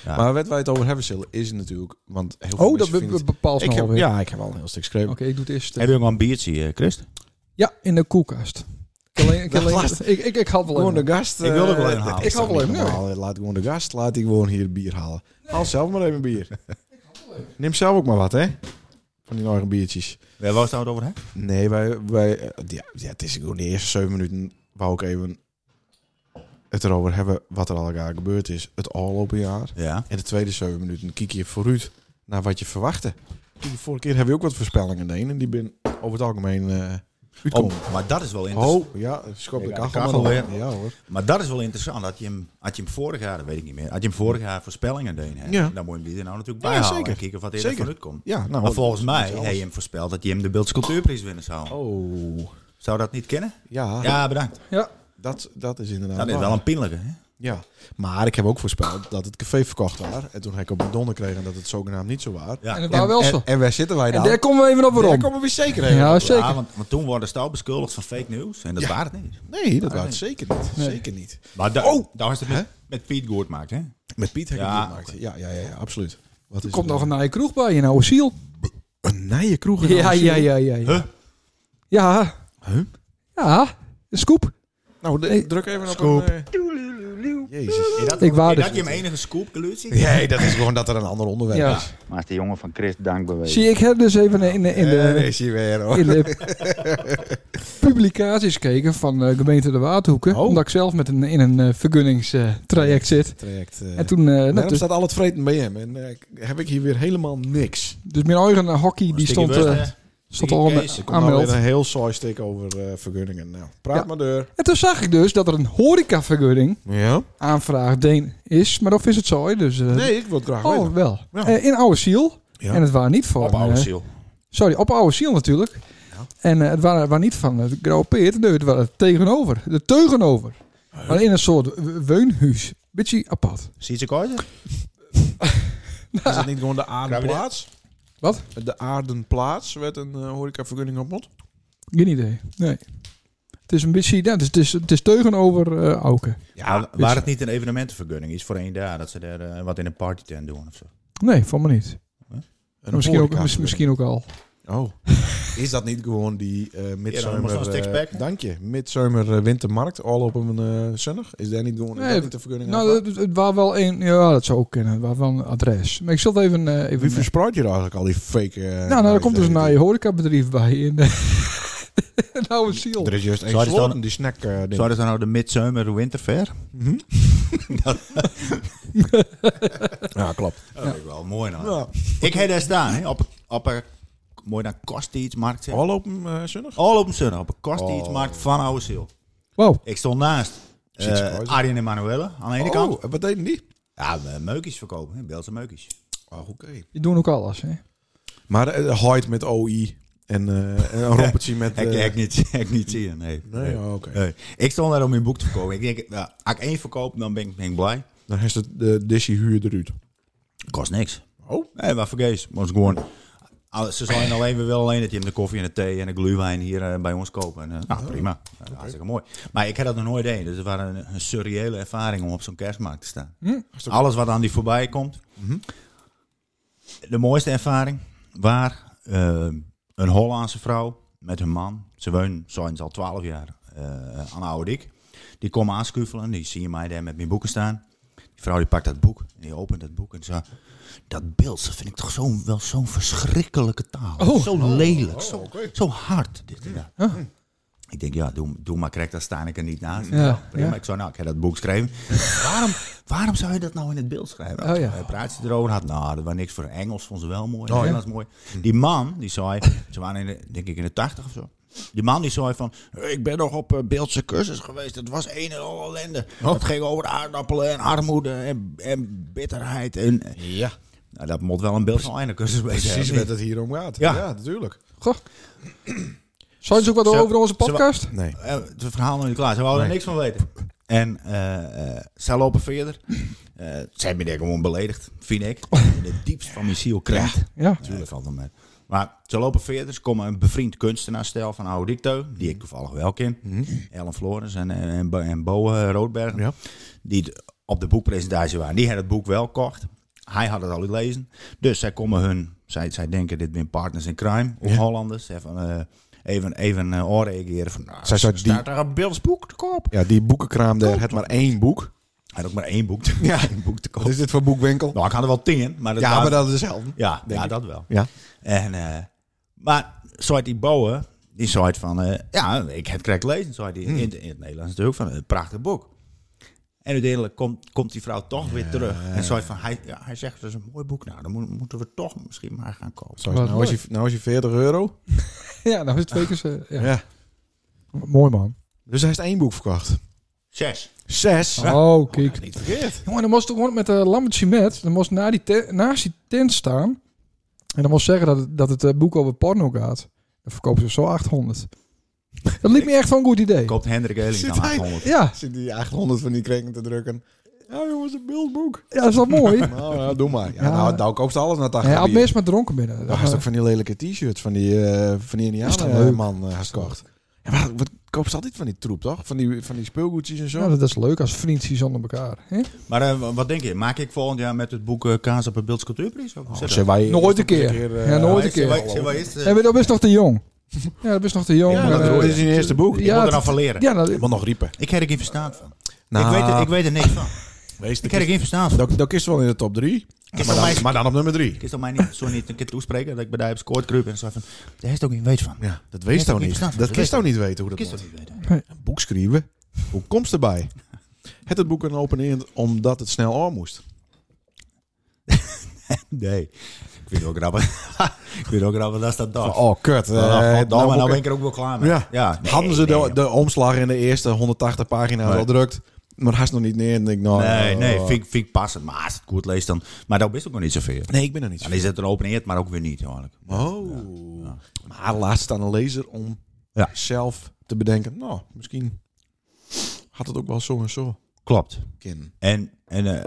Speaker 5: Ja.
Speaker 1: Maar waar wij het over hebben zullen is natuurlijk, want heel veel
Speaker 3: Oh, dat
Speaker 1: mensen
Speaker 3: be-
Speaker 1: vinden
Speaker 3: be-
Speaker 1: het-
Speaker 3: bepaalt
Speaker 1: ik
Speaker 3: nog
Speaker 1: heb,
Speaker 3: alweer.
Speaker 1: ja, ik heb al een heel stuk geschreven.
Speaker 3: Oké, ik doe het eerst.
Speaker 5: Heb je ook al een biertje, eh, Christ?
Speaker 3: Ja, in de koelkast. Ik, alleen, ik,
Speaker 1: Dat
Speaker 3: alleen-
Speaker 1: last.
Speaker 3: ik, ik, ik had wel
Speaker 1: Gewoon
Speaker 3: even-
Speaker 1: de gast.
Speaker 5: Ik wil ook wel
Speaker 1: eh,
Speaker 5: een halen.
Speaker 1: dat
Speaker 3: Ik
Speaker 1: is
Speaker 3: hou
Speaker 1: toch
Speaker 3: wel
Speaker 1: niet
Speaker 3: een, ja.
Speaker 1: normaal. Laat gewoon de gast, laat die gewoon hier bier halen. Haal zelf maar even bier. Neem zelf ook maar wat, hè? Van die eigen biertjes.
Speaker 5: Waar was het nou over hebben?
Speaker 1: Nee, wij, wij eh, ja, ja, het is gewoon de eerste zeven minuten wou ik even het erover hebben wat er al elkaar gebeurd is het afgelopen jaar.
Speaker 5: Ja.
Speaker 1: En de tweede zeven minuten kijk je vooruit naar wat je verwachtte. De vorige keer hebben we ook wat voorspellingen deen en die ben over het algemeen eh uitkomen.
Speaker 5: Oh, maar dat is wel
Speaker 1: Oh,
Speaker 5: interessant.
Speaker 1: ja, schop de
Speaker 5: Ja, de
Speaker 1: kachel,
Speaker 5: kachel
Speaker 1: maar
Speaker 5: weer.
Speaker 1: dan- Ja hoor.
Speaker 5: Maar dat is wel interessant. Had je hem, had je hem vorig jaar, dat weet ik niet meer, had je hem vorig jaar voorspellingen deed. hè?
Speaker 1: Ja.
Speaker 5: Dan moet je hem die er nou natuurlijk
Speaker 1: Ja,
Speaker 5: bij halen
Speaker 1: zeker.
Speaker 5: en kijken wat er
Speaker 1: Zeker.
Speaker 5: vanuit komt.
Speaker 1: Ja, nou.
Speaker 5: Maar volgens mij
Speaker 1: dat is
Speaker 5: heb je hem voorspeld dat je hem de Beeldse Cultuurprijs winnen zou.
Speaker 1: Oh.
Speaker 5: Zou dat niet kennen?
Speaker 1: Ja,
Speaker 5: Ja, bedankt. Nou,
Speaker 3: Ja,
Speaker 1: Dat, dat is inderdaad
Speaker 5: Dat is
Speaker 1: waar.
Speaker 5: wel een pijnlijke. Hè?
Speaker 1: Ja. Maar ik heb ook voorspeld dat het café verkocht was. En toen heb ik op mijn donder gekregen dat het zogenaamd niet zo was.
Speaker 5: Ja.
Speaker 3: en het waren wel zo.
Speaker 1: En, en waar zitten wij
Speaker 3: En
Speaker 1: dan?
Speaker 3: daar komen we even op
Speaker 1: Daar
Speaker 3: waarom.
Speaker 1: komen we zeker heen.
Speaker 3: Ja,
Speaker 5: Ja,
Speaker 3: zeker.
Speaker 5: want, want toen worden Stouw beschuldigd van fake news. En dat
Speaker 1: Ja.
Speaker 5: waar het niet.
Speaker 1: Nee, dat was het zeker niet.
Speaker 3: Nee.
Speaker 1: Zeker niet.
Speaker 5: Maar da
Speaker 1: Oh!
Speaker 5: daar is het met, met Piet Goord maakt, hè?
Speaker 1: Met Piet heb ik
Speaker 5: Ja,
Speaker 1: het gemaakt. Ja, ja, ja, ja, absoluut. Wat
Speaker 3: Er
Speaker 1: is
Speaker 3: komt
Speaker 1: er
Speaker 3: nog een
Speaker 1: dan?
Speaker 3: naaie kroeg bij in oude ziel.
Speaker 1: een nije kroeg in
Speaker 3: Ja,
Speaker 1: Amsterdam?
Speaker 3: ja, ja, ja. Ja.
Speaker 5: Huh?
Speaker 3: Ja.
Speaker 1: Huh?
Speaker 3: Ja, een scoop.
Speaker 1: Nou, de-
Speaker 3: Nee.
Speaker 1: druk even op
Speaker 5: Scoop.
Speaker 1: een... eh, Jezus.
Speaker 5: Is dat,
Speaker 3: Ik waardig
Speaker 5: is dat
Speaker 3: het
Speaker 5: je hem enige scoop geluid
Speaker 1: Nee, dat is gewoon dat er een ander onderwerp
Speaker 3: Ja.
Speaker 1: is.
Speaker 6: Maar is de jongen van Christ dankbewezen.
Speaker 3: Zie ik heb dus even in de, in
Speaker 1: Eh,
Speaker 3: de,
Speaker 1: is hij weer hoor.
Speaker 3: in de publicaties gekeken van eh, gemeente de Waardhoeken.
Speaker 1: Oh.
Speaker 3: Omdat ik zelf met een, in een eh, vergunningstraject zit.
Speaker 1: Traject. eh,
Speaker 3: En toen, eh, nou,
Speaker 1: Daarom
Speaker 3: dus,
Speaker 1: staat al het vreten bij hem. En eh, heb ik hier weer helemaal niks.
Speaker 3: dus mijn eigen hockey die stond, eh, stond al
Speaker 5: Sticky
Speaker 3: aan-
Speaker 5: Kees, er
Speaker 1: Komt nou
Speaker 3: aanmeld.
Speaker 1: weer een heel saai stuk over eh, vergunningen. Nou, praat
Speaker 3: Ja.
Speaker 1: maar door.
Speaker 3: En toen zag ik dus dat er een horecavergunning
Speaker 1: Ja?
Speaker 3: aanvraag Deen is. Maar of is het zo, hè? dus... eh,
Speaker 1: Nee, ik wil het graag
Speaker 3: Oh,
Speaker 1: weten.
Speaker 3: wel.
Speaker 1: Ja.
Speaker 3: Eh, in Oude Ziel.
Speaker 1: Ja.
Speaker 3: En het waren niet van...
Speaker 5: Op oude
Speaker 3: eh,
Speaker 5: ziel.
Speaker 3: sorry, op Oude Ziel natuurlijk. En eh, het waren, waren niet van het Grauwe Peert. Nee, het waren het tegenover. De tegenover. Maar in een soort w- weunhuis. Beetje apart.
Speaker 5: Zie je ze
Speaker 1: Is het niet gewoon de aardenplaats?
Speaker 3: Wat?
Speaker 1: De aardenplaats werd een eh, horecavergunning op mot.
Speaker 3: Geen idee. Nee. Het is een beetje... Ja, het, is, het, is, het is tegenover eh Auken.
Speaker 5: Ja, waar het niet een evenementenvergunning is voor één dag, dat ze er eh, wat in een partytent doen of zo.
Speaker 3: Nee, van me niet.
Speaker 1: Een
Speaker 3: misschien, ook,
Speaker 1: horeca-
Speaker 3: mis- misschien ook al.
Speaker 1: Oh, is dat niet gewoon die eh
Speaker 5: moest nog een
Speaker 1: midzomer...
Speaker 5: stuk
Speaker 1: eh,
Speaker 5: spek.
Speaker 1: dank je. Midzomer eh, wintermarkt, al op een eh, zonnig. Is daar niet gewoon
Speaker 3: Nee,
Speaker 1: is dat niet de vergunning?
Speaker 3: Nou,
Speaker 1: aan?
Speaker 3: het, het- het was wel een... Ja, dat zou ook kunnen. Het was wel een adres. Maar ik zal het even... eh, even
Speaker 1: Wie verspreid je eigenlijk al die fake... eh,
Speaker 3: nou, nou,
Speaker 1: nou,
Speaker 3: er komt dus een je horecabedrijf bij. En, nou, het ziel.
Speaker 1: Er is juist één
Speaker 5: Zou je
Speaker 1: slot
Speaker 5: dan-
Speaker 1: in die snack eh, ding.
Speaker 5: Zou dat dan nou de Midsummer Winter Fair?
Speaker 1: Ja, klopt.
Speaker 5: Dat vind ik wel mooi nou.
Speaker 1: Ja.
Speaker 5: Ik heb daar staan, hè, op, op een, mooi dan kost iets markt.
Speaker 1: Al op een eh, zonnig?
Speaker 5: Al op een zondag, op een kost
Speaker 1: Oh.
Speaker 5: iets markt van Oude Ziel.
Speaker 3: Wauw.
Speaker 5: Ik stond naast
Speaker 1: Ziet ze
Speaker 5: eh
Speaker 1: mooi, zeg.
Speaker 5: Arjen en Manuelle aan de ene kant.
Speaker 1: Oh, wat deden die?
Speaker 5: Ja, we meukjes verkopen, hè, Belgische meukjes.
Speaker 1: Oh, oké.
Speaker 3: Die doen ook alles, hè?
Speaker 1: Maar eh, Hyde met OI en eh, en een rompertje met...
Speaker 5: Ik
Speaker 1: eh,
Speaker 5: heb niet, Eh. ik niet zien, nee.
Speaker 1: Nee, oh, oké.
Speaker 5: Nee. Ik stond daar om mijn boek te verkopen. Ik denk, nou, als ik één verkoop, dan ben ik, ben ik blij.
Speaker 1: Dan is het de Dishy huur eruit.
Speaker 5: Kost niks.
Speaker 1: Oh.
Speaker 5: Nee, maar vergeet. Maar het is gewoon... al- Ze zijn alleen, we willen alleen dat je hem de koffie en de thee en de gluwijn hier eh, bij ons kopen. En, eh, nou, prima. Ja, Hartstikke mooi. Maar ik heb dat nog nooit één. Dus het was een, een surreële ervaring om op zo'n kerstmarkt te staan. Alles wat aan die voorbij komt.
Speaker 3: Mhm.
Speaker 5: De mooiste ervaring waar eh, een Hollandse vrouw met hun man, ze wonen sinds al 12 jaar eh, aan Oude Dik. Die komen aanskuffelen, die zien mij daar met mijn boeken staan. Die vrouw die pakt dat boek en die opent dat boek en ze dat beeld dat vind ik toch zo, wel zo'n verschrikkelijke taal.
Speaker 3: Oh.
Speaker 5: zo lelijk, zo, zo hard. Dit en dat. Ik denk, ja, doe, doe maar correct, daar sta ik er niet naast.
Speaker 3: Ja,
Speaker 5: Ja, prima.
Speaker 3: ja.
Speaker 5: Ik zou, nou, ik heb dat boek geschreven. waarom, waarom zou je dat nou in het beeld schrijven?
Speaker 3: Oh, ja.
Speaker 5: Hij praat ze erover had. Nou, dat was niks voor Engels, vond ze wel mooi.
Speaker 1: Oh, ja.
Speaker 5: Nederlands mooi. Die man, die zei, ze waren in de, denk ik in de tachtig of zo. Die man die zei van, ik ben nog op eh, beeldse cursus geweest. Het was een en al ellende.
Speaker 1: Oh.
Speaker 5: Het ging over aardappelen en armoede en, en bitterheid. En,
Speaker 1: Ja.
Speaker 5: nou, dat moet wel een beeldse einde cursus wezen.
Speaker 1: Precies
Speaker 5: hè?
Speaker 1: waar het hier om gaat.
Speaker 5: Ja.
Speaker 1: ja natuurlijk.
Speaker 3: Goh. Zou je dus ook wat
Speaker 5: Zo-
Speaker 3: over onze
Speaker 5: zo-
Speaker 3: podcast?
Speaker 1: Nee.
Speaker 5: Eh, het verhaal nog niet klaar. Ze wouden er niks van weten. En eh, eh, zij lopen verder. Eh ze hebben me daar gewoon beledigd, vind ik. In het diepst van mijn ziel krijgt.
Speaker 3: Ja.
Speaker 5: Natuurlijk valt het mee. Maar ze lopen verder. Ze komen een bevriend kunstenaarstel van Oude Dicto. Die
Speaker 1: Mhm.
Speaker 5: ik toevallig wel ken. Ellen Flores en, en, en Bo- en Bo eh, Roodbergen.
Speaker 1: Ja.
Speaker 5: Die het op de boekpresentatie waren. Die had het boek wel kocht. Hij had het al gelezen. Dus zij komen hun... Zij, zij denken, dit zijn partners in crime. Of Hollanders. Even, eh even, even eh, oorreageren. Van, nou,
Speaker 1: Zij zou
Speaker 5: staat
Speaker 1: die-
Speaker 5: daar een Bills boek te koop?
Speaker 1: Ja, die boekenkraam daar had maar één boek.
Speaker 5: Hij had ook maar één boek te, één boek te koop.
Speaker 1: Wat is dit voor boekwinkel?
Speaker 5: Nou, ik had er wel tien. Maar dat
Speaker 1: ja,
Speaker 5: waren-
Speaker 1: maar dat is hetzelfde.
Speaker 5: Ja,
Speaker 1: denk
Speaker 5: ja
Speaker 1: ik.
Speaker 5: dat wel.
Speaker 1: Ja.
Speaker 5: En, eh, maar soort die bouwen, die soort van, eh, ja, ik heb het correct lezen, soort die
Speaker 1: Hmm.
Speaker 5: in, in het Nederlands natuurlijk, van een prachtig boek. En uiteindelijk komt, komt die vrouw toch weer terug. En soort van, hij, ja, hij zegt, dat is een mooi boek, nou, dan moet- moeten we toch misschien maar gaan kopen.
Speaker 1: Zo is,
Speaker 3: Wat
Speaker 1: nou, is je, nou is je 40 euro.
Speaker 3: Ja, nou is het twee keer... zo- ja.
Speaker 1: Ja.
Speaker 3: Mooi, man.
Speaker 1: Dus hij heeft één boek verkocht.
Speaker 5: Zes.
Speaker 1: Zes?
Speaker 3: Oh, kijk.
Speaker 1: Niet verkeerd.
Speaker 3: Jongen, dan moest ik gewoon met de lammetje met. Dan moest na die te- naast die tent staan. En dan moest zeggen dat het, dat het eh, boek over porno gaat. Dan verkopen ze zo 800. Dat liep me echt van een goed idee.
Speaker 5: Koopt Hendrik Eeling
Speaker 1: Zit
Speaker 5: dan
Speaker 1: hij-
Speaker 5: 800.
Speaker 3: Ja,
Speaker 1: Zit die 800 van die kregen te drukken. Ja jongens, een beeldboek.
Speaker 3: ja, dat is wel mooi.
Speaker 1: Nou, ja, doe maar. Ja,
Speaker 3: Ja.
Speaker 1: Nou, nou koop ze alles naar 80
Speaker 3: Hij had
Speaker 1: bier.
Speaker 3: meest maar dronken binnen.
Speaker 1: Nou, hij heeft ook van die lelijke t-shirts van die, eh, van die
Speaker 3: Is dat
Speaker 1: Indianen
Speaker 3: leuk?
Speaker 1: eh, man eh, gekocht. Ja, maar wat koopt ze altijd van die troep, toch? Van die, van die speelgoedjes en zo.
Speaker 3: Ja, dat is leuk als vriendjes onder elkaar. Hè?
Speaker 5: Maar eh, wat denk je, maak ik volgend jaar met het boek eh, Kaas op een Beelds Cultuurprijs? Ook? Zet
Speaker 1: Zijn wij
Speaker 3: Nooit een keer.
Speaker 1: eh,
Speaker 3: Ja, nooit een
Speaker 5: dat. Zijn wij-
Speaker 3: keer.
Speaker 5: zijn wij eerst, eh,
Speaker 3: Ja, maar dat is nog te jong. Ja, dat is nog te jong.
Speaker 1: Ja, dat
Speaker 3: eh,
Speaker 1: dit is zijn eerste boek.
Speaker 3: ja,
Speaker 5: Ik moet er
Speaker 3: het-
Speaker 5: dan van leren.
Speaker 3: Ja, nou,
Speaker 1: Iemand nog riepen.
Speaker 5: Ik heb er geen verstaan van.
Speaker 1: Nou,
Speaker 5: ik, weet er, ik weet er niks van.
Speaker 1: wees de
Speaker 5: Ik heb er geen verstaan van.
Speaker 1: Dat, dat is wel in de top 3.
Speaker 5: Is
Speaker 1: Maar
Speaker 5: wel
Speaker 1: dan,
Speaker 5: mijn-
Speaker 1: maar dan op nummer 3.
Speaker 5: Ik is dan mij niet, zo niet een keer toespreken dat ik bij daar heb scoort kruipen en zo van, daar heeft ook geen weet van.
Speaker 1: Ja, dat
Speaker 5: Nee,
Speaker 1: wees toch
Speaker 5: ik
Speaker 1: niet.
Speaker 5: snap het.
Speaker 1: Dat
Speaker 5: Dat
Speaker 1: kist
Speaker 5: weet
Speaker 1: toch niet weten hoe dat
Speaker 5: Kist dat
Speaker 1: moet.
Speaker 5: niet weten.
Speaker 1: Een boek schrijven. Hoe komst erbij? Het het boek een open end omdat het snel aan moest.
Speaker 5: Nee. Ik vind het ook grappig. ik vind het ook grappig dat dat dag.
Speaker 1: Oh, kut. eh,
Speaker 5: nou,
Speaker 1: dan
Speaker 5: maar nou ben
Speaker 1: boeken-
Speaker 5: ik er ook wel klaar mee.
Speaker 1: Ja.
Speaker 5: nee,
Speaker 1: Hadden ze
Speaker 5: nee,
Speaker 1: de, de omslag in de eerste 180 pagina's
Speaker 5: Nee.
Speaker 1: al drukt, maar hij is nog niet neer. En ik, nou,
Speaker 5: Nee,
Speaker 1: eh,
Speaker 5: nee, vind, ik- vind ik passend. Maar als het goed leest dan... Maar dat is ook nog niet zoveel.
Speaker 1: nee, ik ben er niet zo.
Speaker 5: Dan is het een open eerd, maar ook weer niet, eigenlijk.
Speaker 1: Oh. Maar laat staan een lezer om
Speaker 5: Ja.
Speaker 1: zelf te bedenken, nou, misschien had het ook wel zo en zo.
Speaker 5: Klopt.
Speaker 1: kunnen.
Speaker 5: En, en eh,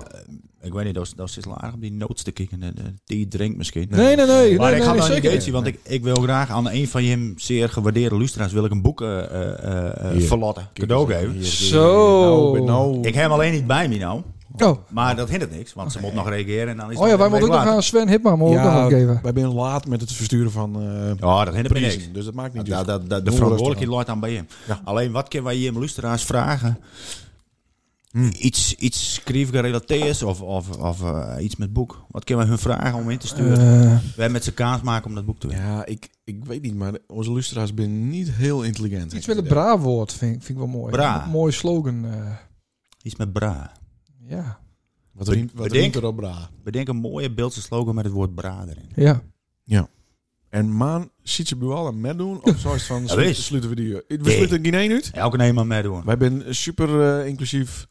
Speaker 5: ik weet niet, dat is- dat is laag om die notes te kikken en eh, die drinkt misschien.
Speaker 3: Nee, nee, nee.
Speaker 5: Maar
Speaker 3: nee,
Speaker 5: ik
Speaker 3: nee,
Speaker 5: ga daar niet
Speaker 3: zeker.
Speaker 5: eens zien, want ik, ik wil graag aan een van je zeer gewaardeerde lustra's wil ik een boek eh, eh, eh, eh,
Speaker 1: Hier.
Speaker 5: verlotten. Cadeau geven.
Speaker 1: Hier, hier,
Speaker 3: Zo.
Speaker 1: Nou, ben nou,
Speaker 5: Ik heb hem alleen niet bij me nou.
Speaker 3: Oh,
Speaker 5: Maar dat hindert niks, want ze moet nog reageren en dan is
Speaker 3: oh ja,
Speaker 5: het
Speaker 3: wij
Speaker 5: een
Speaker 3: moeten ook
Speaker 5: week
Speaker 3: nog aan
Speaker 5: later.
Speaker 3: Sven Hipma mogen we ook nog wat geven.
Speaker 1: wij zijn laat met het versturen van eh
Speaker 5: Ja, dat hindert me niks.
Speaker 1: prijzen, dus dat maakt niet
Speaker 5: Dat-
Speaker 1: uit.
Speaker 5: dat- dat- de
Speaker 1: Doen we
Speaker 5: verantwoordelijkheid loopt aan bij hem.
Speaker 1: Ja.
Speaker 5: Alleen wat kunnen wij hier in luisteraars vragen?
Speaker 1: Hmm.
Speaker 5: Iets, iets creatief gerelateerd of, of, of eh, iets met boek. Wat kunnen wij hun vragen om in te sturen?
Speaker 3: Eh,
Speaker 5: wij met z'n kaas maken om dat boek te winnen.
Speaker 1: Ja, ik, ik weet niet, maar onze luisteraars zijn niet heel intelligent.
Speaker 3: iets met het bra-woord vind, ik- vind ik wel mooi.
Speaker 5: Bra.
Speaker 3: Een mooi slogan. eh,
Speaker 5: Iets met bra.
Speaker 3: ja.
Speaker 1: Wat riemt, wat
Speaker 5: Bedenk.
Speaker 1: riemt er op bra?
Speaker 5: Bedenk een mooie beeldse slogan met het woord bra erin.
Speaker 3: ja.
Speaker 1: En maan, ziet ze bual en met doen? Of zoiets van,
Speaker 5: Ja,
Speaker 1: slu-
Speaker 5: wees.
Speaker 1: sluiten we die... eh, We
Speaker 5: Nee.
Speaker 1: sluiten geen één uit.
Speaker 5: Elke neem maar meedoen.
Speaker 1: Wij zijn super eh, inclusief.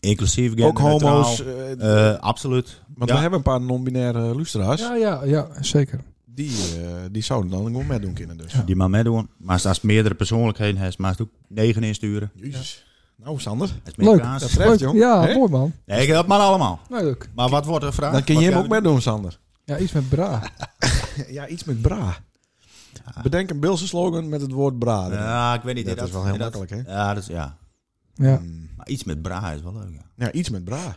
Speaker 5: Inclusief,
Speaker 1: Ook
Speaker 5: genderneutraal.
Speaker 1: homo's. eh,
Speaker 5: Eh, absoluut.
Speaker 1: want
Speaker 5: ja.
Speaker 1: we hebben een paar non-binaire eh, luisteraars.
Speaker 3: ja, ja, ja, zeker.
Speaker 1: Die, eh, die zouden dan gewoon met doen kunnen dus.
Speaker 5: Die maar meedoen. Maar als het meerdere persoonlijkheden heeft, maar het ook negen insturen.
Speaker 1: Jezus. Nou, Sander.
Speaker 5: Als het meer
Speaker 3: Leuk.
Speaker 5: kaas-
Speaker 1: Dat treft,
Speaker 3: Leuk.
Speaker 1: jong.
Speaker 3: Ja,
Speaker 1: Hè?
Speaker 3: mooi man.
Speaker 5: Nee, dat maar allemaal.
Speaker 3: Nee, leuk.
Speaker 5: Maar wat wordt er gevraagd?
Speaker 1: Dan kun
Speaker 5: Wat
Speaker 1: je hem ook
Speaker 5: kunnen we
Speaker 1: met doen, Sander.
Speaker 3: Ja, iets met bra.
Speaker 1: Ja, iets met bra. Bedenk een Beelse slogan met het woord bra.
Speaker 5: doen?
Speaker 1: erin.
Speaker 5: Ja, ik weet niet.
Speaker 1: dat, is wel heel
Speaker 5: dat-
Speaker 1: makkelijk, hè?
Speaker 5: Ja, dat is, ja.
Speaker 3: Ja.
Speaker 1: Mm.
Speaker 5: Maar iets met bra is wel leuk, ja.
Speaker 1: Ja, iets met bra.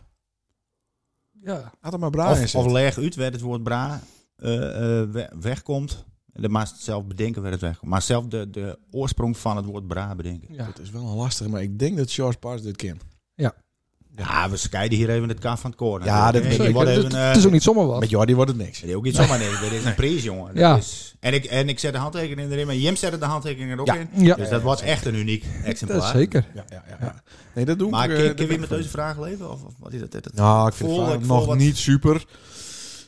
Speaker 3: ja.
Speaker 1: Had er maar bra in
Speaker 5: Of,
Speaker 1: zitten.
Speaker 5: of leg uit waar het woord bra eh, eh, we- wegkomt. En Dan maar zelf bedenken waar het wegkomt. Maar zelf de, de oorsprong van het woord bra bedenken.
Speaker 3: Ja.
Speaker 1: Dat is wel een lastig, maar ik denk dat Charles Pars dit kent.
Speaker 5: Ja, we scheiden hier even het kaart van het koor.
Speaker 1: Ja, dat
Speaker 5: Eh,
Speaker 1: weet
Speaker 5: die
Speaker 1: ik.
Speaker 5: wordt
Speaker 3: Zeker.
Speaker 5: even,
Speaker 3: Het
Speaker 5: eh,
Speaker 3: het is ook niet zomaar wat.
Speaker 1: Met Jordi wordt het niks.
Speaker 5: Dat is ook niet zomaar nee. Dit is een prijs, jongen. Dat
Speaker 3: Ja.
Speaker 5: is- en, ik, en ik zet de handtekening erin, maar Jim zet de handtekening er ook in.
Speaker 3: Ja,
Speaker 5: Dus dat wordt echt een uniek exemplaar.
Speaker 3: dat zeker. eh,
Speaker 1: Ja, ja, ja. ja. Nee, dat doen
Speaker 5: Maar
Speaker 1: we.
Speaker 5: kun kun je met deze vraag leven? Of, of wat is dat? dat, dat-
Speaker 1: Nou, ik vind
Speaker 5: Voel-
Speaker 1: het vaak
Speaker 5: ik voel
Speaker 1: nog
Speaker 5: wat-
Speaker 1: niet super.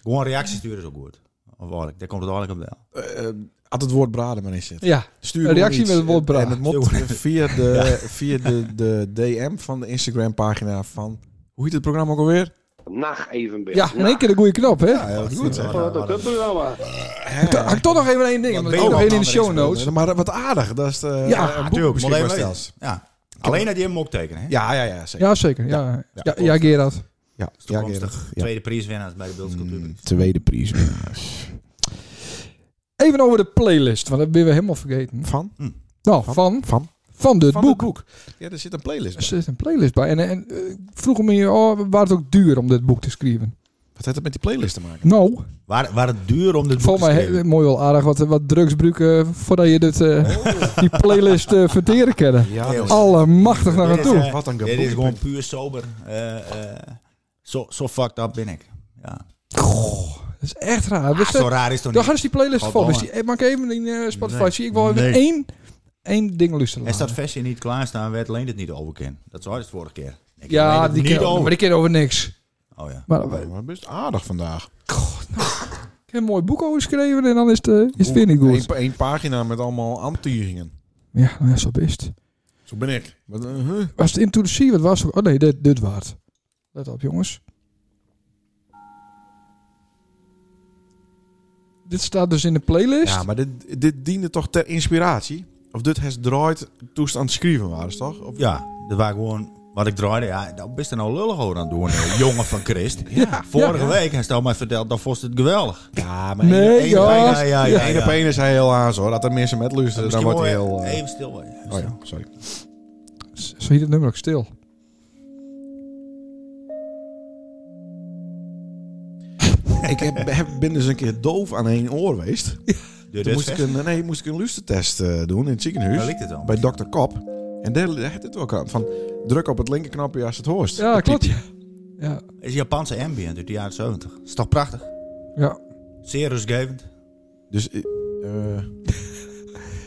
Speaker 5: Gewoon reactie sturen is ook goed. Of eigenlijk, daar komt het eigenlijk op de
Speaker 1: Eh, had het woord braden maar in zit.
Speaker 3: Ja,
Speaker 1: Stuur
Speaker 3: Een
Speaker 1: gewoon
Speaker 3: reactie
Speaker 1: iets.
Speaker 3: met het woord bra.
Speaker 1: En het moet via, de, via de, de DM van de Instagram pagina van... Hoe heet het programma ook alweer?
Speaker 4: Nacht evenbeeld.
Speaker 3: ja in één keer de goede knop, hè?
Speaker 1: heel
Speaker 5: goed, hè?
Speaker 4: Wat een kutprogramma.
Speaker 3: To- had ik toch nog even één ding. want
Speaker 5: ben
Speaker 3: Ik
Speaker 5: je
Speaker 1: Oh,
Speaker 3: heb nog
Speaker 5: dan
Speaker 3: één in de
Speaker 5: aan
Speaker 3: show
Speaker 5: het exploiteren?
Speaker 3: notes.
Speaker 1: Eh, Maar wat aardig. Dat is eh
Speaker 3: Ja,
Speaker 1: een boek
Speaker 5: natuurlijk,
Speaker 1: beschikbaar
Speaker 5: moet even
Speaker 1: stelt.
Speaker 5: Ja. Alleen dat je hem ook tekenen. Hè?
Speaker 1: Ja, ja, ja. Zeker.
Speaker 3: Ja, zeker. Ja,
Speaker 1: Ja,
Speaker 3: ja,
Speaker 1: klopt.
Speaker 3: ja Gerard.
Speaker 1: Ja,
Speaker 5: Dus
Speaker 1: ja,
Speaker 5: toekomstig
Speaker 1: Gerard. ja.
Speaker 5: tweede prijswinnaars bij de Beeldscultuur.
Speaker 3: Hmm.
Speaker 1: Mm, Tweede prijs.
Speaker 3: Even over de playlist, want dat ben we helemaal vergeten.
Speaker 1: Van?
Speaker 3: Nou, van,
Speaker 1: Van?
Speaker 3: van dit
Speaker 1: Van
Speaker 3: boek.
Speaker 1: het boek. Ja, er zit een playlist
Speaker 3: Er
Speaker 1: bij.
Speaker 3: zit een playlist bij. En, en eh, ik vroeg me hier, oh, waar het ook duur om dit boek te schrijven?
Speaker 1: Wat heeft het met die playlist te maken?
Speaker 3: Nou,
Speaker 5: Waar, waar het duur om dit boek
Speaker 3: volgens
Speaker 5: te
Speaker 3: mij
Speaker 5: schrijven.
Speaker 3: he- mooi wel aardig wat, wat drugsbruik eh, voordat je dit, eh,
Speaker 5: Oh.
Speaker 3: die playlist eh verteren kennen.
Speaker 1: Ja, dat is-
Speaker 3: Allemachtig naar aan
Speaker 5: Dit is,
Speaker 3: toe.
Speaker 5: eh,
Speaker 1: Wat een
Speaker 5: Dit
Speaker 1: geboel.
Speaker 5: is gewoon puur sober. eh, eh, zo, zo fucked up ben ik. Ja.
Speaker 3: Dat is echt raar.
Speaker 5: Ah,
Speaker 3: Wist
Speaker 5: zo raar is het
Speaker 3: Daar
Speaker 5: toch
Speaker 3: gaan
Speaker 5: niet?
Speaker 3: ze die playlist vol.
Speaker 5: Goddomme.
Speaker 3: Dus die, eh, maak even in eh, Spotify.
Speaker 5: Nee.
Speaker 3: Zie ik wel even
Speaker 5: Nee.
Speaker 3: één, één ding luisteren.
Speaker 5: Er staat versie niet klaarstaan, werd alleen het niet overken. Dat was het vorige keer. Ik leen
Speaker 3: Ja,
Speaker 5: het
Speaker 3: die
Speaker 5: niet
Speaker 3: keer, maar
Speaker 5: over.
Speaker 3: die keer over niks.
Speaker 5: Oh ja.
Speaker 3: Maar eh,
Speaker 1: Ja, maar best aardig vandaag.
Speaker 3: ik heb een mooi boek over geschreven en dan is het, eh, is het weer niet goed.
Speaker 1: Eén, één pagina met allemaal aantieringen.
Speaker 3: Ja, nou ja, zo best.
Speaker 1: Zo ben ik. Wat, eh, huh?
Speaker 3: Was het introductie? Wat was het? Oh nee, dit, dit waard. Let op, jongens. Dit staat dus in de playlist.
Speaker 1: Ja, maar dit, dit diende toch ter inspiratie? Of dit has draait toest aan het schrijven waren, ze toch? Of,
Speaker 5: Ja, dat waren gewoon wat ik draaide. Ja, nou, best er nou lullig over aan het doen, eh, jongen van Christ.
Speaker 3: Ja,
Speaker 5: Vorige
Speaker 3: ja.
Speaker 5: week heeft hij mij verteld, dat was het geweldig.
Speaker 1: ja maar
Speaker 3: Nee,
Speaker 1: één-
Speaker 3: joh.
Speaker 1: één-
Speaker 5: ja, ja, ja.
Speaker 1: één op één is hij heel aan, hoor. Dat er mensen met luisteren, dan
Speaker 5: Misschien
Speaker 1: wordt hij
Speaker 5: wel
Speaker 1: heel... eh,
Speaker 5: Even stil. worden, even
Speaker 1: oh
Speaker 5: stil.
Speaker 1: ja, sorry.
Speaker 3: Zo hield het nummer ook stil.
Speaker 1: ik heb, heb- ben dus een keer doof aan één oor geweest.
Speaker 5: De
Speaker 1: Toen moest ik,
Speaker 5: rustfest.
Speaker 1: een, eh, nee, moest ik een luistertest eh, doen in het ziekenhuis.
Speaker 5: Daar ligt het dan.
Speaker 1: bij Dr. Kop. En daar had het ook aan. Van druk op het linkerknopje als het hoort.
Speaker 3: Ja,
Speaker 1: Dat
Speaker 3: klopt.
Speaker 1: piept.
Speaker 3: Ja. Ja.
Speaker 5: is Japanse ambient uit de jaren 70. Is toch prachtig?
Speaker 3: ja.
Speaker 5: Zeer rustgevend.
Speaker 1: Dus eh, eh,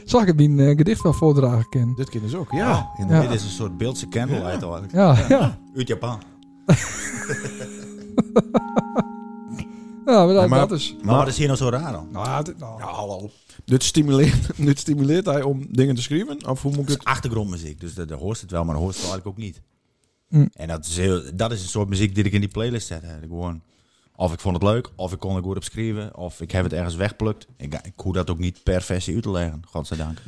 Speaker 3: Zag ik het die eh, gedicht wel voordragen, Ken?
Speaker 1: dit kind is ook. Ja.
Speaker 5: En
Speaker 3: Ja.
Speaker 5: Dit is een soort beeldse candlelight eigenlijk.
Speaker 3: Ja, ja.
Speaker 5: Uit Japan.
Speaker 3: Ja, maar dat,
Speaker 1: Ja, maar-
Speaker 3: dat is...
Speaker 5: Maar wat is hier nou zo raar dan?
Speaker 3: Nou, dit, nou.
Speaker 1: hallo. Dit stimuleert, dit stimuleert hij om dingen te schrijven? Of hoe moet ik
Speaker 5: Het is
Speaker 1: het...
Speaker 5: achtergrondmuziek, dus dat, dat hoort het wel, maar dat hoort het eigenlijk ook niet.
Speaker 3: Hm.
Speaker 1: Mm.
Speaker 5: En dat is, heel, dat is een soort muziek die ik in die playlist zet. hè. Ik Gewoon, of ik vond het leuk, of ik kon er goed op schrijven, of ik heb het ergens weggeplukt. Ik, ik hoef dat ook niet per versie uit te leggen, godzijdank.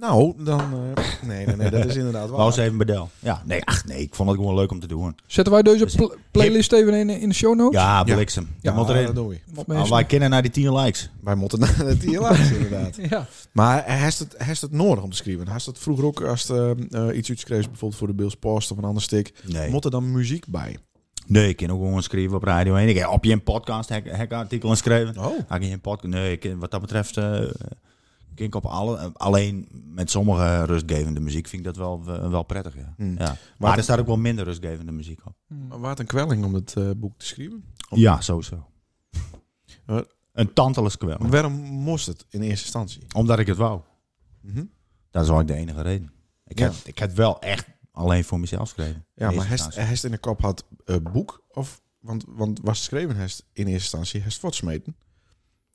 Speaker 1: Nou, dan... eh, nee, nee, nee, dat is inderdaad waar.
Speaker 5: Wou eens even bedel. Ja, nee, ach nee, ik vond het gewoon leuk om te doen.
Speaker 3: Zetten wij deze pl- playlist even in, in de show notes?
Speaker 5: Ja, bliksem.
Speaker 1: ja,
Speaker 5: Dat moet erin.
Speaker 1: dat doe je.
Speaker 3: Of
Speaker 5: Nou,
Speaker 3: mensen-
Speaker 5: wij kennen naar die 10 likes.
Speaker 1: Wij moeten naar het ILA's inderdaad.
Speaker 3: ja.
Speaker 1: Maar heeft het, heeft het nodig om te schrijven? Heeft het vroeger ook, als het, eh, eh, iets uitschreef, bijvoorbeeld voor de Bills Post of een ander stik,
Speaker 5: Nee.
Speaker 1: moet er dan muziek bij?
Speaker 5: Nee, ik kan ook gewoon schrijven op Radio 1. Ik heb op je een podcast hek, hekartikel geschreven.
Speaker 1: Oh.
Speaker 5: Had ik geen podcast? Nee, ik, wat dat betreft. eh ik denk op alle, alleen met sommige rustgevende muziek vind ik dat wel, eh, wel prettig. Ja.
Speaker 1: Hmm.
Speaker 5: Ja. Maar,
Speaker 1: Maar-
Speaker 5: er staat ook wel minder rustgevende muziek op.
Speaker 1: Maar Wat een kwelling om het eh, boek te schrijven.
Speaker 5: Ja, sowieso.
Speaker 1: Wat?
Speaker 5: Een tantele kwel.
Speaker 1: Maar waarom moest het in eerste instantie?
Speaker 5: Omdat ik het wou.
Speaker 1: Mhm.
Speaker 5: Dat is eigenlijk de enige reden. Ik,
Speaker 1: Ja.
Speaker 5: heb, ik heb wel echt alleen voor mezelf geschreven.
Speaker 1: Ja, maar
Speaker 5: In eerste
Speaker 1: hest,
Speaker 5: instantie.
Speaker 1: hest in de kop had eh, boek of want want was geschreven hest in eerste instantie hest voortsmeten.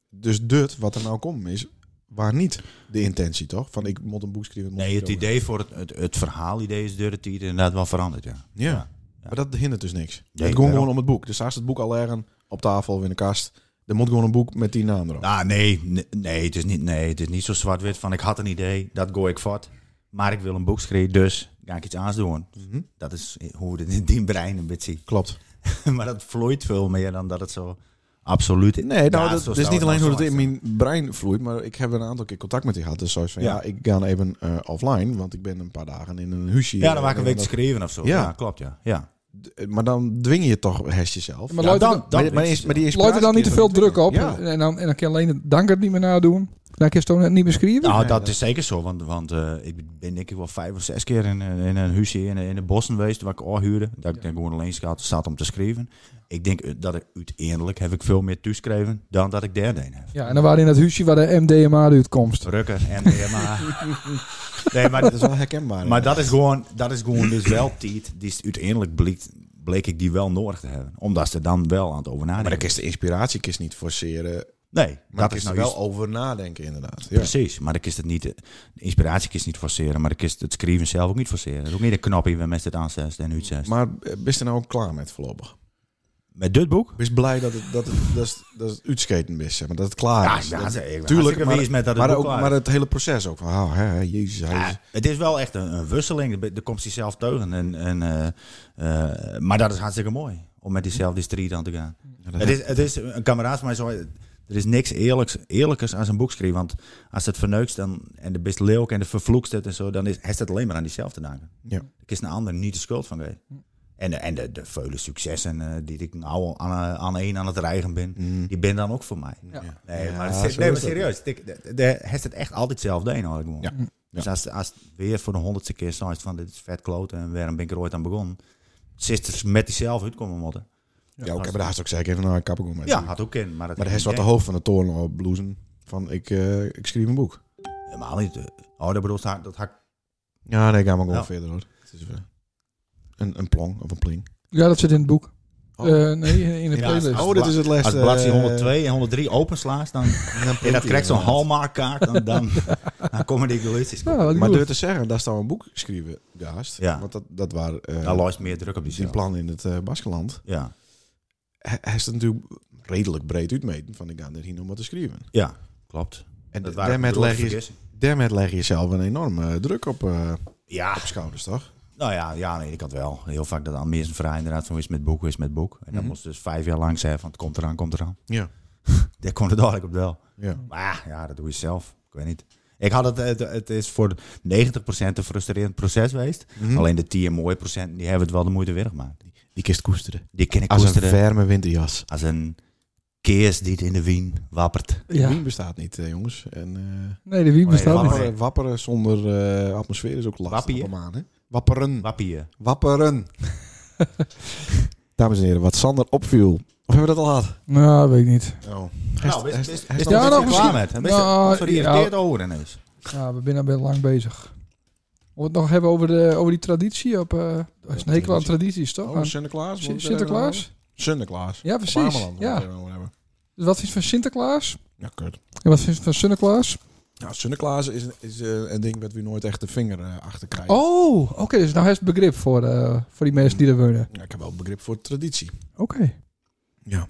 Speaker 1: Dus dit wat er nou komt is waar niet de intentie toch? Van ik moet een boek schrijven. moet
Speaker 5: Nee,
Speaker 1: ik
Speaker 5: het
Speaker 1: zo.
Speaker 5: idee voor het, het, het verhaalidee is door het idee inderdaad wel veranderd, ja.
Speaker 1: Ja.
Speaker 5: Ja.
Speaker 1: Maar dat hindert dus niks. het ging
Speaker 5: daarom.
Speaker 1: gewoon om het boek. Dus daar is het boek al ergens op tafel of in de kast. Er moet gewoon een boek met die naam erop.
Speaker 5: Ah, nee, nee, nee, het is niet, nee, het is niet zo zwart-wit van ik had een idee, dat gooi ik voort. Maar ik wil een boek schrijven, dus ga ik iets anders doen.
Speaker 1: Mhm.
Speaker 5: Dat is hoe het in die brein een beetje
Speaker 1: Klopt.
Speaker 5: ziet. maar dat vloeit veel meer dan dat het zo absoluut is.
Speaker 1: Nee, nou,
Speaker 5: Ja,
Speaker 1: dat,
Speaker 5: zo
Speaker 1: dat
Speaker 5: zou
Speaker 1: is niet alleen hoe
Speaker 5: nou
Speaker 1: het in
Speaker 5: zijn.
Speaker 1: mijn brein vloeit, maar ik heb een aantal keer contact met die gehad. Dus zoals van, ja,
Speaker 5: Ja.
Speaker 1: ik ga even eh, offline, want ik ben een paar dagen in een huisje.
Speaker 5: Ja, dan
Speaker 1: Eh,
Speaker 5: maak ik een
Speaker 1: en
Speaker 5: week te
Speaker 1: dat-
Speaker 5: schrijven of zo.
Speaker 1: Ja.
Speaker 5: Ja, klopt, ja. ja.
Speaker 1: Eh, Maar dan dwing je toch hest jezelf.
Speaker 3: Maar
Speaker 5: Ja,
Speaker 3: luidt er dan-
Speaker 1: maar, maar,
Speaker 5: weet
Speaker 1: is,
Speaker 5: je
Speaker 1: maar die is
Speaker 3: Laat er dan niet te veel druk op.
Speaker 1: Ja.
Speaker 3: En, dan, en dan kan je alleen het dank het niet meer nadoen. Dan kan je het ook net niet meer schrijven.
Speaker 5: Nou,
Speaker 1: Nee,
Speaker 5: dat
Speaker 1: dat-
Speaker 5: is zeker zo. Want, want eh, ik ben denk ik wel vijf of zes keer in, een- in een huisje in, in de bossen geweest waar ik al huurde. Dat ik denk gewoon alleen zat, zat om te schrijven. Ik denk eh, dat ik uiteindelijk heb ik veel meer toeschreven dan dat ik derde een heb.
Speaker 3: Ja, en dan waren we in het huisje waar de MDMA uitkomst.
Speaker 5: Rukken en MDMA. nee, maar, dat
Speaker 1: Dat
Speaker 5: is,
Speaker 1: is wel herkenbaar.
Speaker 5: maar dat is gewoon, dat is gewoon dus wel tijd. Die is uiteindelijk bleek, bleek ik die wel nodig te hebben. Omdat ze er dan wel aan het over
Speaker 1: maar
Speaker 5: nadenken.
Speaker 1: dan is de inspiratie kist niet forceren.
Speaker 5: nee,
Speaker 1: Maar
Speaker 5: dat is nou
Speaker 1: wel
Speaker 5: juist-
Speaker 1: over nadenken inderdaad. Ja.
Speaker 5: Precies, maar ik is het niet, de inspiratie kist niet forceren, maar ik is het schrijven zelf ook niet forceren. Dat is ook niet de knopje waar mensen het aanzet en uitzet.
Speaker 1: Maar eh, ben je er nou ook klaar met voorlopig?
Speaker 5: Met dit boek?
Speaker 1: Ben je blij dat het, dat het, dat het, dat het uitskaten is, zeg maar, dat het klaar
Speaker 5: Ja,
Speaker 1: is?
Speaker 5: ja,
Speaker 1: Dat-
Speaker 5: ze- ik ben
Speaker 1: tuurlijk,
Speaker 5: hartstikke
Speaker 1: maar,
Speaker 5: wees met dat het
Speaker 1: maar,
Speaker 5: boek
Speaker 1: ook,
Speaker 5: klaar
Speaker 1: maar
Speaker 5: is.
Speaker 1: het hele proces ook. Van, oh, hè, hè, jezus, hij is-
Speaker 5: Ja, het is wel echt een, een wisseling, er komt zichzelf teugen. En, en, eh, eh, maar dat is hartstikke mooi, om met diezelfde street aan te gaan. Het is, het is een kameraad van mij zo. Er is niks eerlijks, eerlijkers als een boekschrijver. Want als het verneukt dan, en de best leuk en de vervloekst het en zo, dan is, heeft het alleen maar aan diezelfde danken.
Speaker 1: Ja.
Speaker 5: Ik is een ander niet de schuld van geweest. En, de- en de, de vele successen eh, die ik nou aan, aan één aan het rijgen ben, die ben dan ook voor mij.
Speaker 3: Ja.
Speaker 5: Nee,
Speaker 1: Hm. Ja,
Speaker 5: maar, het
Speaker 1: zo
Speaker 5: zit-
Speaker 1: is
Speaker 5: nee, maar
Speaker 1: dat.
Speaker 5: serieus. ik- de- de- de- Heeft het echt altijd hetzelfde een eigenlijk gewoon.
Speaker 1: Ja. Ja.
Speaker 5: Dus als, als het weer voor de honderdste keer zoiets van dit is vet kloten en waarom ben ik er ooit aan begonnen. Sisters met diezelfde uitkomen moeten.
Speaker 1: Ja, ik heb er haast ook zeker even naar een kapper met.
Speaker 5: Ja, had ook in. Maar dat
Speaker 1: Maar de heeft wat de hoofd van de toren op bloezen. Van, ik, eh, ik schreef een boek.
Speaker 5: Helemaal niet. Oh, dat bedoelt dat, dat hak.
Speaker 1: Ja, nee, ga maar gewoon
Speaker 5: Ja.
Speaker 1: verder hoor. Het is, eh, een, een plong of een pling.
Speaker 3: Ja, dat zit in het boek.
Speaker 1: Oh.
Speaker 3: Eh, nee, in de
Speaker 5: Ja,
Speaker 3: playlist.
Speaker 5: als-
Speaker 1: Oh, dit is het les.
Speaker 5: Als bladzij 102 en 103 openslaat, dan en dat krijgt zo'n hallmarkkaart en dan, dan komen die geluidjes.
Speaker 3: Ja, wat
Speaker 1: Maar
Speaker 3: goed.
Speaker 1: door te zeggen, daar staat een boek geschreven, Gaast.
Speaker 5: Ja. Nou,
Speaker 1: Want dat, dat waren eh,
Speaker 5: Daar loopt meer druk op die
Speaker 1: zijn
Speaker 5: cel.
Speaker 1: plan in het eh Baskeland.
Speaker 5: Ja,
Speaker 1: Hij hij is er natuurlijk redelijk breed uitmeten van ik ga dit hier nog maar te schrijven.
Speaker 5: ja, klopt.
Speaker 1: En
Speaker 5: Dat
Speaker 1: d-
Speaker 5: waren
Speaker 1: daarmee
Speaker 5: grote
Speaker 1: leg, je,
Speaker 5: vergissingen.
Speaker 1: daarmee leg je zelf een enorme druk op, eh,
Speaker 5: Ja,
Speaker 1: op schouders, toch?
Speaker 5: nou ja, ja, nee, ik had wel heel vaak dat aan mensen vragen inderdaad van is het met boek, is het met boek. En
Speaker 1: Mhm.
Speaker 5: dan moest dus vijf jaar lang zeggen van het komt eraan, komt eraan.
Speaker 1: Ja.
Speaker 5: Daar komt het eigenlijk op wel.
Speaker 1: ja.
Speaker 5: Maar ja, dat doe je zelf. Ik weet niet. Ik had het, het, het is voor 90% een frustrerend proces geweest.
Speaker 1: Mhm.
Speaker 5: Alleen de 10 mooie procent, die hebben het wel de moeite weer gemaakt.
Speaker 1: Die kist koesteren.
Speaker 5: Die ken ik
Speaker 1: Als
Speaker 5: koesteren.
Speaker 1: een verme winterjas.
Speaker 5: als een keers die het in de wien wappert.
Speaker 3: Ja.
Speaker 1: Wien bestaat niet, eh, jongens. En, eh,
Speaker 3: Nee, de wie bestaat
Speaker 5: wacht.
Speaker 3: niet.
Speaker 1: wapperen, wapperen zonder eh, atmosfeer is ook lastig
Speaker 5: Wappie,
Speaker 1: op een maan, hè? Wapperen.
Speaker 5: Wappie. eh.
Speaker 1: Wapperen. Dames en heren, wat Sander opviel. Of hebben we dat al gehad?
Speaker 3: Nou, dat weet ik niet.
Speaker 1: Oh.
Speaker 5: Nou, is- is-
Speaker 1: hij
Speaker 5: is
Speaker 1: staat
Speaker 5: daar
Speaker 3: nog
Speaker 5: nog
Speaker 3: misschien-
Speaker 5: klaar
Speaker 1: Oh,
Speaker 5: met? Hij is
Speaker 3: Nou,
Speaker 5: er geïrriteerd
Speaker 3: ja.
Speaker 5: over ineens.
Speaker 3: Ja, we zijn al best lang bezig. Om het nog hebben over, de, over die traditie. Op, eh er is een hekel aan tradities, toch?
Speaker 1: Oh,
Speaker 3: Aan
Speaker 1: Sinterklaas.
Speaker 3: Sin-
Speaker 1: wat is er
Speaker 3: Sinterklaas?
Speaker 1: nou? Sinterklaas.
Speaker 3: Ja,
Speaker 1: Op
Speaker 3: precies,
Speaker 1: Ameland,
Speaker 3: ja.
Speaker 1: wat we nou hebben.
Speaker 3: Dus wat vind je van Sinterklaas?
Speaker 1: Ja, kut.
Speaker 3: En wat vind je van Sinterklaas?
Speaker 1: Nou, Sinterklaas is, een- is eh, een ding dat we nooit echt de vinger eh, achter krijgen.
Speaker 3: Oh, oké. dus nou heeft begrip voor, eh, voor die mensen die er wonen.
Speaker 1: Ja, ik heb wel begrip voor traditie.
Speaker 3: Oké.
Speaker 1: Ja.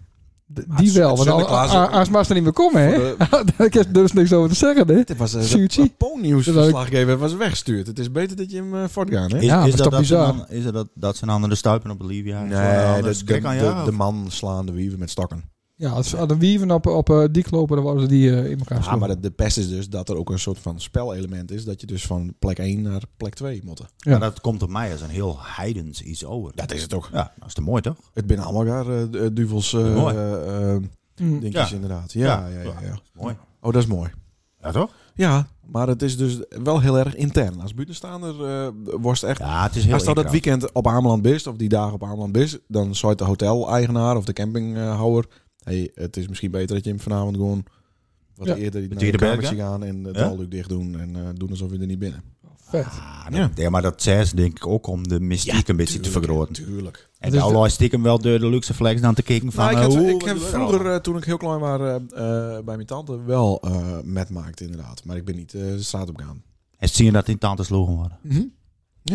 Speaker 3: D-
Speaker 1: Maar
Speaker 3: Die
Speaker 1: het-
Speaker 3: wel,
Speaker 1: het
Speaker 3: want al-
Speaker 1: Sinterklaas-
Speaker 3: a- a- als Maas er niet meer komen, hè?
Speaker 1: Voor
Speaker 3: Daar heb er dus niks over te zeggen, hè?
Speaker 1: Dit was
Speaker 3: Suutje.
Speaker 1: een poonnieuwsverslaggever was weggestuurd. Het is beter dat je hem eh voortgaat, hè?
Speaker 5: Is,
Speaker 3: maar
Speaker 5: is
Speaker 3: is
Speaker 5: dat,
Speaker 3: toch
Speaker 5: dat ze
Speaker 3: bizar?
Speaker 5: dan- is dat dat ze een andere stuipen op de Livia?
Speaker 1: Nee, dat
Speaker 5: dat
Speaker 1: is de,
Speaker 5: aan
Speaker 1: de-
Speaker 5: jou.
Speaker 1: de man slaande wieven met stokken.
Speaker 3: Ja, als als de wieven op, op eh, dik lopen, dan worden die eh, in elkaar
Speaker 1: Ja,
Speaker 3: gesloten.
Speaker 1: maar de, de pest is dus dat er ook een soort van spelelement is. Dat je dus van plek 1 naar plek 2 moet.
Speaker 3: Ja.
Speaker 5: Maar dat komt op mij als een heel heidens iets over.
Speaker 1: Dat is het ook.
Speaker 5: Ja, dat is te mooi toch?
Speaker 1: Het binnen allemaal daar eh, eh, duvels eh
Speaker 5: Mooi.
Speaker 1: eh, eh,
Speaker 3: Mm.
Speaker 1: dingetjes
Speaker 5: Ja.
Speaker 1: inderdaad. Ja, ja,
Speaker 5: Ja.
Speaker 1: ja, ja.
Speaker 5: Mooi.
Speaker 1: Oh, dat is mooi.
Speaker 5: Ja, toch?
Speaker 1: Ja, maar het is dus wel heel erg intern. Als buitenstaander eh worst echt...
Speaker 5: Ja, het is heel
Speaker 1: Als dat het
Speaker 5: ingewikkeld.
Speaker 1: weekend op Ameland bist, of die dagen op Ameland bist, dan zou de hotel-eigenaar of de campinghouder... hey, het is misschien beter dat je hem vanavond gewoon wat
Speaker 3: Ja.
Speaker 1: eerder naar
Speaker 5: je
Speaker 1: de
Speaker 5: de berg,
Speaker 1: kamertje gaan en het
Speaker 5: Ja?
Speaker 1: ja? dicht doen en eh, doen alsof je er niet binnen.
Speaker 3: Vet.
Speaker 5: Ah, dat- ja. maar dat zes denk ik ook om de mystiek een beetje te vergroten.
Speaker 1: Tuurlijk.
Speaker 5: En
Speaker 3: Dus
Speaker 5: nou is stiekem wel door de luxe flex dan te kijken van...
Speaker 1: Nou, ik
Speaker 5: eh,
Speaker 1: heb,
Speaker 5: hoe-
Speaker 1: ik heb vroeger, eh, toen ik heel klein was, eh, eh, bij mijn tante wel eh metmaakt inderdaad. Maar ik ben niet eh, de straat op gaan.
Speaker 5: En zie je dat in tante sloegen worden.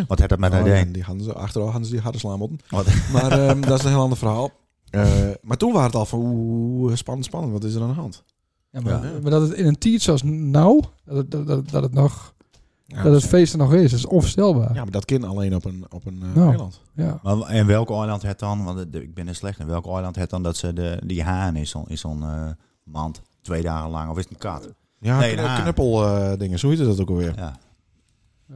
Speaker 5: Wat heeft dat met haar
Speaker 1: Nou,
Speaker 5: idee?
Speaker 1: en die hadden ze achteraf hadden ze die harde slaan moeten.
Speaker 5: Wat?
Speaker 1: Maar ehm, dat is een heel ander verhaal. Eh, maar toen waren het al van oeh, spannend, spannend. Wat is er aan de hand?
Speaker 3: Ja, maar,
Speaker 1: Ja.
Speaker 3: maar dat het in een tiert zoals nou, dat, het- dat, dat, dat het nog,
Speaker 1: Ja,
Speaker 3: dat het feest er nog is, is onvoorstelbaar.
Speaker 1: ja, maar dat kind alleen op een, op een eh,
Speaker 3: Nou.
Speaker 1: eiland.
Speaker 3: Ja.
Speaker 5: Maar en welk eiland het dan? Want het- ik ben er slecht in. Welk eiland het dan dat ze de, die haan in zo'n in zo'n eh, mand twee dagen lang? Of is het een kat?
Speaker 1: Ja,
Speaker 5: Nee,
Speaker 1: kn-
Speaker 5: daar.
Speaker 1: knuppel eh, dingen. Zo heette dat ook alweer.
Speaker 5: Ja.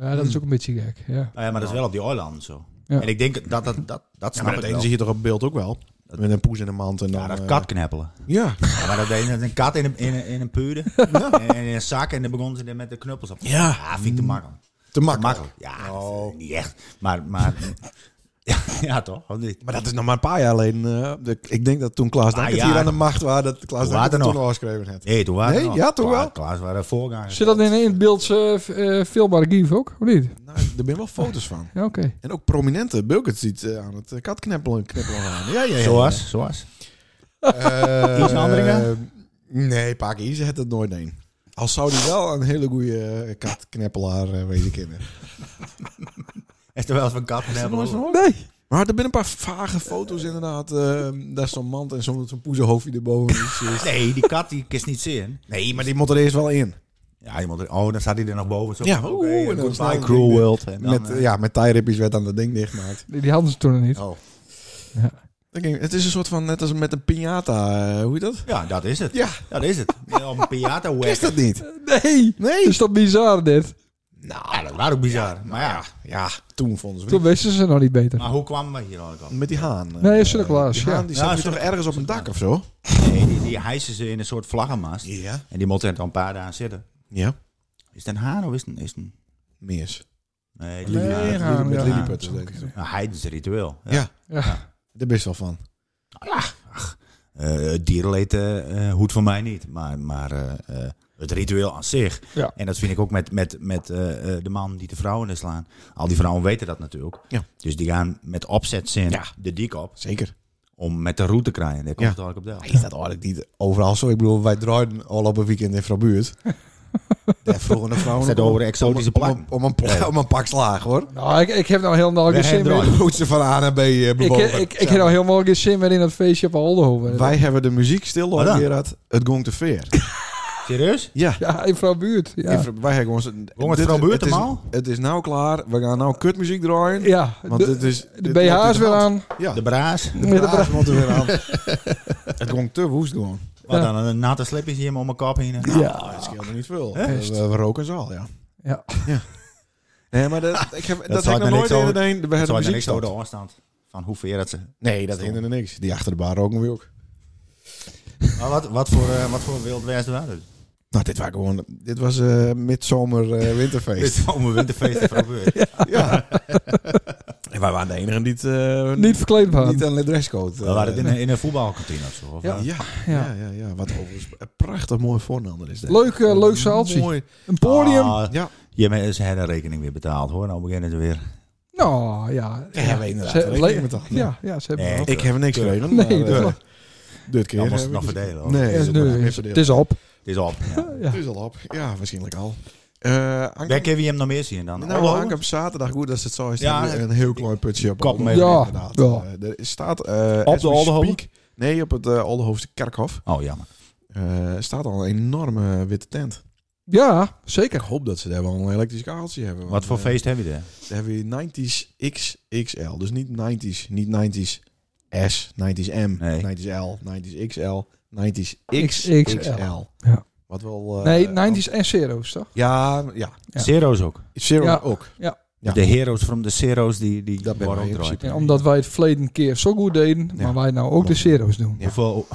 Speaker 3: Ja,
Speaker 1: Hmm.
Speaker 3: dat is ook een beetje gek. Ja.
Speaker 5: Nou ja, maar dat is wel op die eilanden zo.
Speaker 3: Ja.
Speaker 5: En ik denk dat dat, dat, dat
Speaker 1: Ja,
Speaker 5: snap
Speaker 1: maar dat
Speaker 5: ik
Speaker 1: ene
Speaker 5: wel.
Speaker 1: zie je toch op beeld ook wel. Met een poes in de mand en dan...
Speaker 5: Ja,
Speaker 1: eh,
Speaker 5: dat kat kneppelen.
Speaker 1: Ja.
Speaker 5: Ja, maar dat deed net een kat in een, in een, in een pure. En in een zak. En dan begonnen ze er met de knuppels op.
Speaker 1: Ja.
Speaker 5: vind ik te makkelijk.
Speaker 1: Te
Speaker 5: Te
Speaker 1: makkelijk. Oh.
Speaker 5: makkelijk. Ja, dat vind ik niet echt. Maar, maar ja, ja, toch? Of niet?
Speaker 1: Maar dat is nog maar een paar jaar geleden. eh, de- ik denk dat toen Klaas
Speaker 5: Paar
Speaker 1: Dankert
Speaker 5: jaar.
Speaker 1: hier aan de macht was, dat Klaas Dankert
Speaker 5: Hoe later
Speaker 1: het toen
Speaker 5: nog?
Speaker 1: al geschreven had.
Speaker 5: Nee, toen waren
Speaker 1: Nee,
Speaker 5: nog-
Speaker 1: ja, toen
Speaker 5: Klaas-
Speaker 1: wel.
Speaker 5: Klaas waren voorgangers.
Speaker 3: Zit dat in, in het beeld eh, v- eh, filmbare gif ook, of niet?
Speaker 1: Nou, er zijn wel foto's van.
Speaker 3: Ja, oké.
Speaker 1: En ook prominente Bulkert ziet eh, aan het eh, katkneppelen knippelen aan. Ja, ja, ja.
Speaker 5: Zoals, zoals.
Speaker 1: Eh,
Speaker 5: Kies een andere
Speaker 1: eh, Nee, Paak Ize had dat nooit een. Al zou die wel een hele goede katkneppelaar eh, wezen kennen.
Speaker 5: Is er wel eens een kat kneppelen?
Speaker 3: Nee.
Speaker 1: Maar er zijn een paar vage foto's inderdaad. eh, daar is zo'n mand en zo'n zo'n poezenhoofdje erboven. Dus, eh,
Speaker 5: Nee, die kat die kist niet zien.
Speaker 1: nee, maar die moet er eerst wel in.
Speaker 5: Ja, je moet er- oh, dan staat hij er nog boven. Zo.
Speaker 1: Ja,
Speaker 5: oké,
Speaker 1: oeh, en dan
Speaker 5: goodbye,
Speaker 1: staat hij
Speaker 5: cruel
Speaker 1: er-
Speaker 5: world. En dan,
Speaker 1: met,
Speaker 5: eh,
Speaker 1: ja, met tie werd dan dat ding dichtgemaakt.
Speaker 3: Die, die hadden ze toen nog niet.
Speaker 1: Oh.
Speaker 3: Ja.
Speaker 1: Oké, het is een soort van, net als met een piñata, eh, hoe heet dat?
Speaker 5: ja, dat is het.
Speaker 1: Ja.
Speaker 5: Dat is het. Ja, Op een piata
Speaker 1: Is dat niet?
Speaker 3: Nee!
Speaker 1: Nee.
Speaker 3: Is dat bizar dit?
Speaker 5: Nou, dat was ook bizar. maar ja,
Speaker 1: Ja, nou toen vonden ze
Speaker 3: Toen
Speaker 1: het.
Speaker 3: wisten ze nog niet beter.
Speaker 5: maar hoe kwamen we hier al?
Speaker 1: Met die haan. eh,
Speaker 3: Nee, Sinterklaas,
Speaker 1: Die haan
Speaker 3: ja.
Speaker 1: die
Speaker 5: Ja,
Speaker 1: staat nu toch
Speaker 5: Sinterklaas.
Speaker 1: ergens op een dak of zo?
Speaker 5: Nee, die, die hijsen ze in een soort vlaggenmast.
Speaker 1: Ja.
Speaker 5: En die moeten er dan een paar dagen zitten.
Speaker 1: Ja.
Speaker 5: Is het een haan of is het een... Is het een
Speaker 1: Meers.
Speaker 5: nee,
Speaker 3: Nee,
Speaker 5: die-
Speaker 3: een
Speaker 1: Met
Speaker 3: haan,
Speaker 1: met
Speaker 3: ja.
Speaker 1: lilliputters, denk ik.
Speaker 5: een heidens ritueel. Ja.
Speaker 1: Ja.
Speaker 3: Ja.
Speaker 1: Daar best wel van.
Speaker 5: Eh, dierenleed eh, eh, hoeft van mij niet. Maar, maar eh, eh, het ritueel aan zich.
Speaker 3: Ja.
Speaker 5: En dat vind ik ook met, met, met eh, eh, de man die de vrouwen er slaan. Al die vrouwen weten dat natuurlijk.
Speaker 1: Ja.
Speaker 5: Dus die gaan met opzet zin
Speaker 1: Ja.
Speaker 5: de dik op.
Speaker 1: Zeker.
Speaker 5: Om met de route te krijgen. Daar komt
Speaker 1: Ja.
Speaker 5: het eigenlijk op de
Speaker 1: Is dat eigenlijk niet overal zo? Ik bedoel, wij draaiden al op een weekend in Frabuurt. Daar vroegen de vrouwen
Speaker 5: Is dat
Speaker 1: nog om-
Speaker 5: over exotische
Speaker 1: om- om-
Speaker 5: plakken?
Speaker 1: Om een pla- om een pak slaag, hoor.
Speaker 3: Nou, ik, ik heb nou helemaal geen
Speaker 5: Wij
Speaker 3: zin
Speaker 5: hebben
Speaker 3: meer.
Speaker 5: er
Speaker 1: Hoe ze van A naar B eh,
Speaker 3: Ik,
Speaker 1: bewogen.
Speaker 3: ik, ik heb nou helemaal geen zin meer in dat feestje op Aldehoven.
Speaker 1: Wij hebben de muziek stil,
Speaker 5: Wat
Speaker 1: hoor,
Speaker 5: dan?
Speaker 1: Gerard. Het gong te veer.
Speaker 5: Serieus?
Speaker 1: Ja.
Speaker 3: Ja, in vrouw Buurt.
Speaker 1: Ja.
Speaker 3: Ja.
Speaker 1: Even, wij gaan gewoon... z-
Speaker 5: Jongens,
Speaker 1: dit-
Speaker 5: Frau Beurt
Speaker 1: het is-
Speaker 5: allemaal?
Speaker 1: Het is nou klaar. We gaan nou kutmuziek draaien.
Speaker 3: ja.
Speaker 1: Want
Speaker 3: de,
Speaker 1: dit is...
Speaker 3: de
Speaker 1: dit loopt uit
Speaker 3: BH's
Speaker 1: de
Speaker 3: weer
Speaker 1: hand.
Speaker 3: aan.
Speaker 1: Ja,
Speaker 5: De
Speaker 1: de
Speaker 5: braas.
Speaker 3: Met de
Speaker 1: BH's moeten weer aan. Het klonk te woest gewoon.
Speaker 5: Wat
Speaker 3: Ja.
Speaker 5: dan? Een natte slipjes hier om mijn kop heen. Nou,
Speaker 3: Ah, Ja.
Speaker 1: Het scheelt me niet veel.
Speaker 5: Hè?
Speaker 1: We, we roken ze al, ja.
Speaker 3: Ja.
Speaker 1: Nee, maar dat, ik heb, Ah, dat, heb
Speaker 5: zou het
Speaker 1: ik nog
Speaker 5: nou niks
Speaker 1: nooit eerder
Speaker 5: over-
Speaker 1: gedaan. We
Speaker 5: Het
Speaker 1: hebben
Speaker 5: zou
Speaker 1: muziek
Speaker 5: niks over de
Speaker 1: stil.
Speaker 5: afstand. Van hoe ver dat ze...
Speaker 1: Nee, dat hinderde niks. Die achter de bar roken we ook.
Speaker 5: Maar wat, wat, voor, eh, wat voor wild west waren het?
Speaker 1: Nou, dit, waren gewoon, dit was eh midzomer eh,
Speaker 5: Dit
Speaker 1: winterfeest.
Speaker 5: is om een winterfeest te proberen.
Speaker 1: ja. En wij waren de enigen die het... eh,
Speaker 3: Niet verkleed waren.
Speaker 1: niet aan de dresscode.
Speaker 5: We
Speaker 1: eh,
Speaker 5: waren het in, een- in een voetbalkantine of zo. Of
Speaker 1: Ja,
Speaker 5: eh,
Speaker 1: ja,
Speaker 3: Ja.
Speaker 1: ja, ja, ja. Wat overigens een prachtig mooi voornander is. dat.
Speaker 3: Leuk, eh, leuk zaaltje.
Speaker 1: Mooi.
Speaker 3: Een podium.
Speaker 5: ah,
Speaker 1: Ja.
Speaker 5: Je hebt ze hebben de rekening weer betaald hoor. Nou beginnen ze weer.
Speaker 3: Nou, ja.
Speaker 1: Ja, ja, we inderdaad.
Speaker 3: Ze-
Speaker 1: We
Speaker 3: le-
Speaker 1: rekenen met dat.
Speaker 3: Ja, ja, ze hebben
Speaker 5: Nee,
Speaker 3: wel.
Speaker 1: Ik heb niks
Speaker 5: Tuurlijk.
Speaker 1: gekregen.
Speaker 3: Nee,
Speaker 1: maar,
Speaker 3: dat
Speaker 1: eh,
Speaker 3: klopt.
Speaker 1: dit keer.
Speaker 5: Dan moest
Speaker 1: heb
Speaker 5: het nog
Speaker 1: ik-
Speaker 5: verdelen. hoor.
Speaker 1: Nee,
Speaker 3: Ja,
Speaker 1: is
Speaker 3: nu is- Het is op.
Speaker 5: Het is op. Ja.
Speaker 1: Het is al op. Ja, waarschijnlijk al. Eh Anke-
Speaker 5: Waar kunnen we hem nog meer zien dan? Oh,
Speaker 1: nou,
Speaker 5: Oorlogen?
Speaker 1: Anke op zaterdag, goed dat is het zo is,
Speaker 5: Ja,
Speaker 1: dan weer een heel klein putje op
Speaker 5: Kap mee.
Speaker 1: Aldenhoven,
Speaker 3: Ja,
Speaker 1: inderdaad.
Speaker 3: ja.
Speaker 1: Eh, er staat... eh,
Speaker 5: Op
Speaker 1: as
Speaker 5: de
Speaker 1: we
Speaker 5: Aldenhoven?
Speaker 1: speak- Nee, op het eh Aldenhoofdse kerkhof.
Speaker 5: Oh jammer.
Speaker 1: Eh, staat al een enorme eh, witte tent.
Speaker 3: Ja,
Speaker 1: Ik
Speaker 3: zeker.
Speaker 1: hoop dat ze daar wel een elektrisch kabeltje hebben. eh,
Speaker 5: Wat voor
Speaker 1: feest?
Speaker 5: feest heb je daar?
Speaker 1: Dan hebben we 90s XXL. Dus niet 90s, niet 90s S, 90s M,
Speaker 5: Nee.
Speaker 1: 90s L, 90s XL, 90s
Speaker 3: XXL.
Speaker 1: XXL.
Speaker 3: Ja.
Speaker 1: Wat wel... eh,
Speaker 3: nee, 90s en zero's, toch?
Speaker 1: Ja, ja.
Speaker 3: Ja.
Speaker 5: Zero's ook.
Speaker 1: Zero
Speaker 3: Ja.
Speaker 1: ook. Ja.
Speaker 5: De heroes from the zero's die, die
Speaker 1: Dat ben
Speaker 5: worden
Speaker 1: ik in
Speaker 5: opgedraaid.
Speaker 1: principe.
Speaker 3: Ja, omdat wij het verleden keer zo goed deden,
Speaker 1: Ja.
Speaker 3: maar wij nou ook de zero's doen.
Speaker 1: Ja.
Speaker 5: Hoeveel,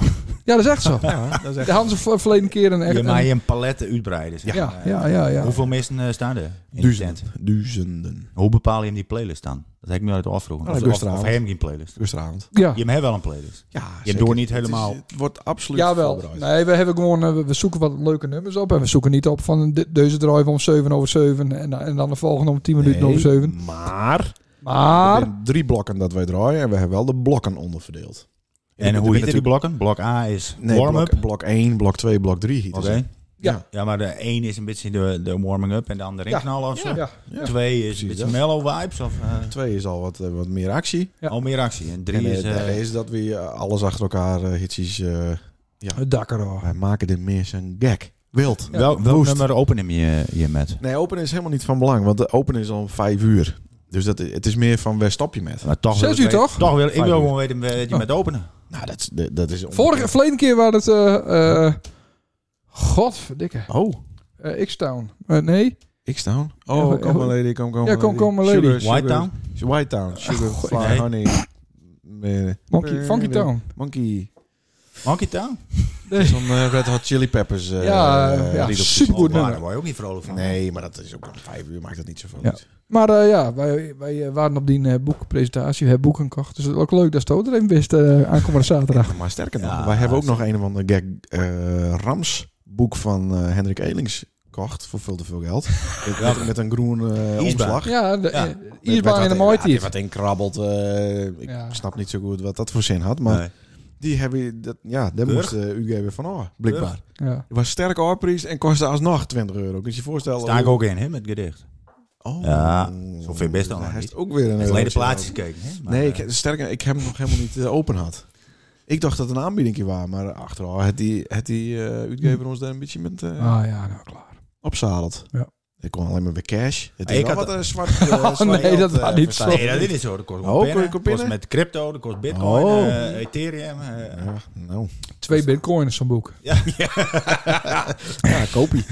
Speaker 3: Ja, dat is echt zo.
Speaker 1: Ja, dat is echt...
Speaker 3: De hadden ze ver- verleden keer een echt...
Speaker 5: je
Speaker 3: een-
Speaker 5: mag je een paletten uitbreiden. zeg.
Speaker 3: ja,
Speaker 5: Eh,
Speaker 3: ja, ja, ja.
Speaker 5: Hoeveel mensen eh, staan er? in de tent?
Speaker 1: Duizenden. Duizenden.
Speaker 5: Hoe bepaal je hem die playlist dan? Dat heb ik me nooit afvroegen.
Speaker 1: Oh,
Speaker 5: of,
Speaker 1: dat
Speaker 5: of,
Speaker 1: is
Speaker 5: of
Speaker 1: trouwens.
Speaker 5: heb je geen playlist?
Speaker 1: Gisteravond.
Speaker 3: Ja,
Speaker 5: Je hebt wel een playlist.
Speaker 1: Ja,
Speaker 5: Je
Speaker 1: zeker.
Speaker 5: door niet
Speaker 1: Het is-
Speaker 5: helemaal.
Speaker 1: Het, wordt absoluut
Speaker 3: Jawel.
Speaker 1: voorbereid.
Speaker 3: Nee, we hebben gewoon, eh, we- we zoeken wat leuke nummers op. En we zoeken niet op van de- deze drive om 7 over 7 en, en dan de volgende om 10 minuten
Speaker 1: Nee,
Speaker 3: over 7.
Speaker 1: Maar...
Speaker 3: Maar
Speaker 1: Er zijn drie blokken dat wij draaien en we hebben wel de blokken onderverdeeld.
Speaker 5: En
Speaker 1: Er
Speaker 5: hoe
Speaker 1: zijn
Speaker 5: heet die blokken? Blok A is
Speaker 1: Nee,
Speaker 5: warm-up.
Speaker 1: blok, blok 1, blok 2, blok 3.
Speaker 5: Oké.
Speaker 1: Ja.
Speaker 5: Ja, maar de 1 is een beetje de, de warming-up en de andere
Speaker 3: Ja.
Speaker 5: knallen of zo.
Speaker 3: ja,
Speaker 5: 2 is
Speaker 1: Precies
Speaker 5: een beetje
Speaker 1: dat.
Speaker 5: mellow vibes of eh,
Speaker 1: 2 is al wat, eh, wat meer actie.
Speaker 3: Ja.
Speaker 5: al meer actie. En 3
Speaker 1: En
Speaker 5: is...
Speaker 1: is,
Speaker 5: eh,
Speaker 1: is dat we eh, alles achter elkaar eh, hitjes... eh,
Speaker 3: het dakker hoor.
Speaker 1: wij maken dit meer zijn gek. Wild.
Speaker 5: Wel, welk
Speaker 1: Woest.
Speaker 5: nummer open hem je, je met?
Speaker 1: Nee, open is helemaal niet van belang, want de open is al om 5 uur. Dus dat, het is meer van waar stop je met.
Speaker 5: Maar toch wil
Speaker 3: Zes
Speaker 5: ik
Speaker 3: uur
Speaker 5: weten-
Speaker 3: toch?
Speaker 5: Toch wil, ik wil
Speaker 1: Vijf uur.
Speaker 5: gewoon weten wat je
Speaker 3: Oh.
Speaker 5: met openen.
Speaker 1: Nou, dat, is- dat- dat is...
Speaker 3: Vorige, verleden keer waren het... eh eh Godverdikke.
Speaker 1: Oh,
Speaker 3: Eh, X-Town. Eh, nee.
Speaker 1: X-Town. Oh,
Speaker 3: Ja,
Speaker 1: kom maar lady, kom, kom
Speaker 3: Ja, kom, kom maar lady.
Speaker 1: Sugar,
Speaker 5: White Town?
Speaker 1: Sugar, White Town. Sugar,
Speaker 3: Goh,
Speaker 1: fly,
Speaker 5: nee.
Speaker 1: honey. Eh,
Speaker 3: Monkey, Funky Town.
Speaker 1: Monkey.
Speaker 5: Monkey Town?
Speaker 1: Zo'n eh, Red Hot Chili Peppers. eh,
Speaker 3: Ja, eh, ja,
Speaker 1: lied op de
Speaker 3: supergoed
Speaker 1: zon.
Speaker 5: Maar
Speaker 3: nummer.
Speaker 5: Oh, daar word je ook niet vrolijk van.
Speaker 1: Nee, maar dat is ook om vijf uur, maakt dat niet zoveel
Speaker 3: Ja.
Speaker 1: uit.
Speaker 3: Maar eh, ja, wij, wij eh, waren op die eh, boekpresentatie. We hebben boeken gekocht. Dus het is ook leuk dat Stoot er even wist eh, aankomende zaterdag.
Speaker 1: Maar sterker nog,
Speaker 5: Ja,
Speaker 1: wij hebben ook nog een of ander gag eh, Rams boek van eh, Hendrik Elings gekocht voor veel te veel geld. Met- met, met een groen eh
Speaker 5: Ijsbaan.
Speaker 1: omslag.
Speaker 3: Ja, de,
Speaker 5: Ja.
Speaker 3: eh, Iersbaan in de
Speaker 1: mooi
Speaker 3: mooie tiet.
Speaker 1: Wat in krabbelt. eh, ik
Speaker 3: Ja.
Speaker 1: snap niet zo goed wat dat voor zin had. Maar
Speaker 5: Nee.
Speaker 1: die hebben, je- dat, ja, daar
Speaker 5: Keurig.
Speaker 1: moest eh, UG weer van af, blijkbaar.
Speaker 5: Keurig.
Speaker 3: Ja.
Speaker 1: Het was sterk oorprijs en kostte alsnog 20 euro. Kun je je voorstellen?
Speaker 5: Sta ik
Speaker 1: hoe-
Speaker 5: ook in, hè, met gedicht.
Speaker 1: Oh,
Speaker 5: Ja, zo vind ik best dan nog
Speaker 1: Hij
Speaker 5: niet.
Speaker 1: heeft ook weer een eh,
Speaker 5: Verleden
Speaker 1: eurotje
Speaker 5: plaatjes gekeken. Hè? maar,
Speaker 1: nou- Nee,
Speaker 5: eh,
Speaker 1: ik, sterker, ik heb hem nog helemaal niet eh, open had. Ik dacht dat het een aanbieding was, maar achteraf had die, had die eh uitgever ons daar een beetje met eh
Speaker 3: Ah ja, nou klaar.
Speaker 1: opzadeld.
Speaker 3: Ja. Oh,
Speaker 1: Ik kon alleen maar bij cash. Het is
Speaker 5: Ik
Speaker 1: wel
Speaker 5: had-
Speaker 1: wat een zwart, eh, zwart
Speaker 3: nee,
Speaker 1: geld,
Speaker 3: dat
Speaker 1: eh,
Speaker 3: was niet
Speaker 1: verstaan.
Speaker 3: zo.
Speaker 5: Nee, dat is niet zo. Dat kost,
Speaker 1: Oh,
Speaker 5: gewoon
Speaker 1: kon je
Speaker 5: pinnen.
Speaker 1: kon
Speaker 5: Dat kost
Speaker 1: pinnen?
Speaker 5: met crypto, dat kost bitcoin,
Speaker 1: Oh.
Speaker 5: eh, ethereum. eh,
Speaker 1: Ja, nou,
Speaker 3: Twee bitcoins zo'n boek.
Speaker 5: ja, ja.
Speaker 1: ja, kopie.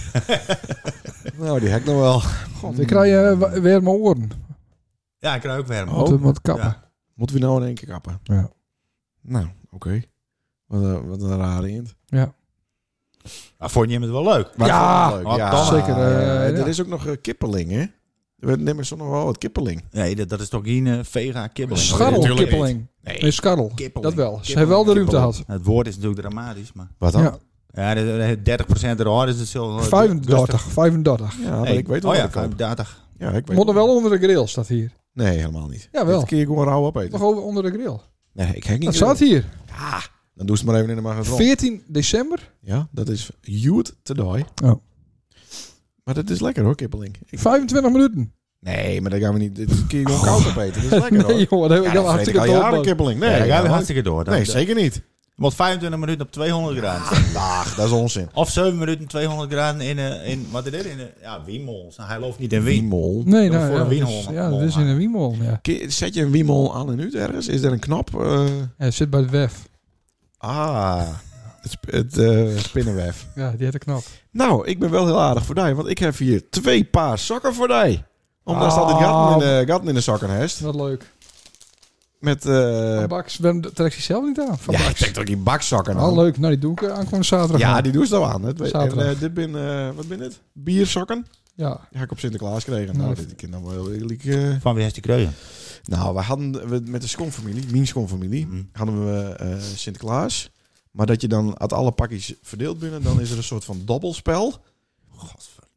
Speaker 1: nou, die hek nog wel.
Speaker 3: God, ik krijg eh, wa- weer mijn oren.
Speaker 5: ja, ik krijg ook warm.
Speaker 1: Oh,
Speaker 3: Moet hem wat kappen.
Speaker 5: Oh. Ja.
Speaker 1: Moeten we nou in één keer kappen?
Speaker 3: Ja.
Speaker 1: Nou, oké. Wat, een- wat een rare eend.
Speaker 5: Maar vond je hem het wel leuk?
Speaker 1: Maar
Speaker 3: Ja,
Speaker 1: ik vond het leuk.
Speaker 5: wat dan?
Speaker 3: Zeker, eh,
Speaker 1: Er
Speaker 3: ja.
Speaker 1: is ook nog eh, kippeling, hè? We nemen zo nog wel wat kippeling.
Speaker 5: Nee, dat, dat is toch geen eh, vega kibbeling?
Speaker 3: Scharrel,
Speaker 5: Natuurlijk niet.
Speaker 3: kippeling.
Speaker 1: Nee.
Speaker 3: Nee, scharrel.
Speaker 5: Kippeling.
Speaker 3: Dat wel. Ze
Speaker 5: Kippeling,
Speaker 3: hebben wel de ruimte
Speaker 5: kippeling.
Speaker 3: gehad.
Speaker 5: Het woord is natuurlijk dramatisch, maar...
Speaker 1: Wat dan?
Speaker 3: Ja,
Speaker 5: Ja, de- de 30% eruit is dus het zo...
Speaker 3: 35, 35.
Speaker 1: Ja, maar
Speaker 5: Hey,
Speaker 1: ik weet wel
Speaker 5: oh
Speaker 1: wat
Speaker 5: ja,
Speaker 1: ik koop.
Speaker 5: 35.
Speaker 1: Ja, ik weet
Speaker 3: Moet er wel onder de grill, staat hier.
Speaker 1: Nee, helemaal niet.
Speaker 3: Jawel.
Speaker 1: Dit kun je gewoon rauw opeten.
Speaker 3: Nog over onder de grill.
Speaker 1: Nee, ik hang niet.
Speaker 3: Dat staat hier.
Speaker 1: Dan doe ze het maar even in de magnetron.
Speaker 3: 14 december.
Speaker 1: Ja, dat is youth to die.
Speaker 3: Oh.
Speaker 1: Maar dat is lekker hoor, kippeling. Ik-
Speaker 3: 25 minuten.
Speaker 1: Nee, maar dat gaan we niet. Dit kun je gewoon koud opeten. Dat is lekker hoor.
Speaker 3: Oh. Nee joh, dat heb
Speaker 1: ja,
Speaker 3: ik al
Speaker 1: dat vreet ik
Speaker 3: hartstikke
Speaker 1: al jaren
Speaker 3: dood.
Speaker 1: kippeling. Nee,
Speaker 5: Nee, daar
Speaker 1: ja,
Speaker 5: gaan we
Speaker 1: hoor.
Speaker 5: hartstikke door. Dat,
Speaker 1: nee zeker niet.
Speaker 5: Want 25 minuten op 200 graden.
Speaker 1: Ach, dat is onzin.
Speaker 5: Of 7 minuten 200 graden in, eh, in wat is dit? In, eh, ja, Wiemels. Nou, hij loopt niet in Wien.
Speaker 1: Wiemol.
Speaker 3: Nee, nou,
Speaker 5: Dat we voor
Speaker 3: ja,
Speaker 5: een
Speaker 3: dat
Speaker 5: wiemel
Speaker 3: is-
Speaker 5: ma-
Speaker 3: ja,
Speaker 5: mol
Speaker 3: dat is in een wiemel. Ja.
Speaker 1: Kun je- Zet je een wiemol aan en uit ergens? Is er een knop? Eh,
Speaker 3: Ja, het zit bij het WEF.
Speaker 1: ah, het, sp- het eh, spinnenwef.
Speaker 3: Ja, die had een knap.
Speaker 1: Nou, ik ben wel heel aardig voor die, want ik heb hier twee paar sokken voor die. Omdat staat dit gaten in de, gaten in de sokken heeft.
Speaker 3: Wat leuk.
Speaker 1: Eh, Met eh
Speaker 3: Van Bax, waarom trekt hij zelf niet aan? Van
Speaker 1: ja, ik
Speaker 3: Bax.
Speaker 1: trek toch die bakzakken
Speaker 3: Ah,
Speaker 1: aan.
Speaker 3: leuk. Nou, die doe ik eh, aankomende zaterdag.
Speaker 1: Ja,
Speaker 3: nog.
Speaker 1: die doe ze wel aan. Het, en,
Speaker 3: Zaterdag.
Speaker 1: eh, dit ben, eh, wat ben dit? Bierzakken.
Speaker 3: Ja.
Speaker 1: Die heb ik op Sinterklaas kregen.
Speaker 3: Nou,
Speaker 1: Nou,
Speaker 3: dat-
Speaker 1: dit kind dan wel eerlijk. eh.
Speaker 5: Van wie heeft die kreugen?
Speaker 1: Nou, we hadden we, met de schoonfamilie, mijn schoonfamilie,
Speaker 5: Mhm.
Speaker 1: hadden we eh, Sinterklaas. Maar dat je dan uit alle pakjes verdeeld binnen, dan is er een soort van dobbelspel.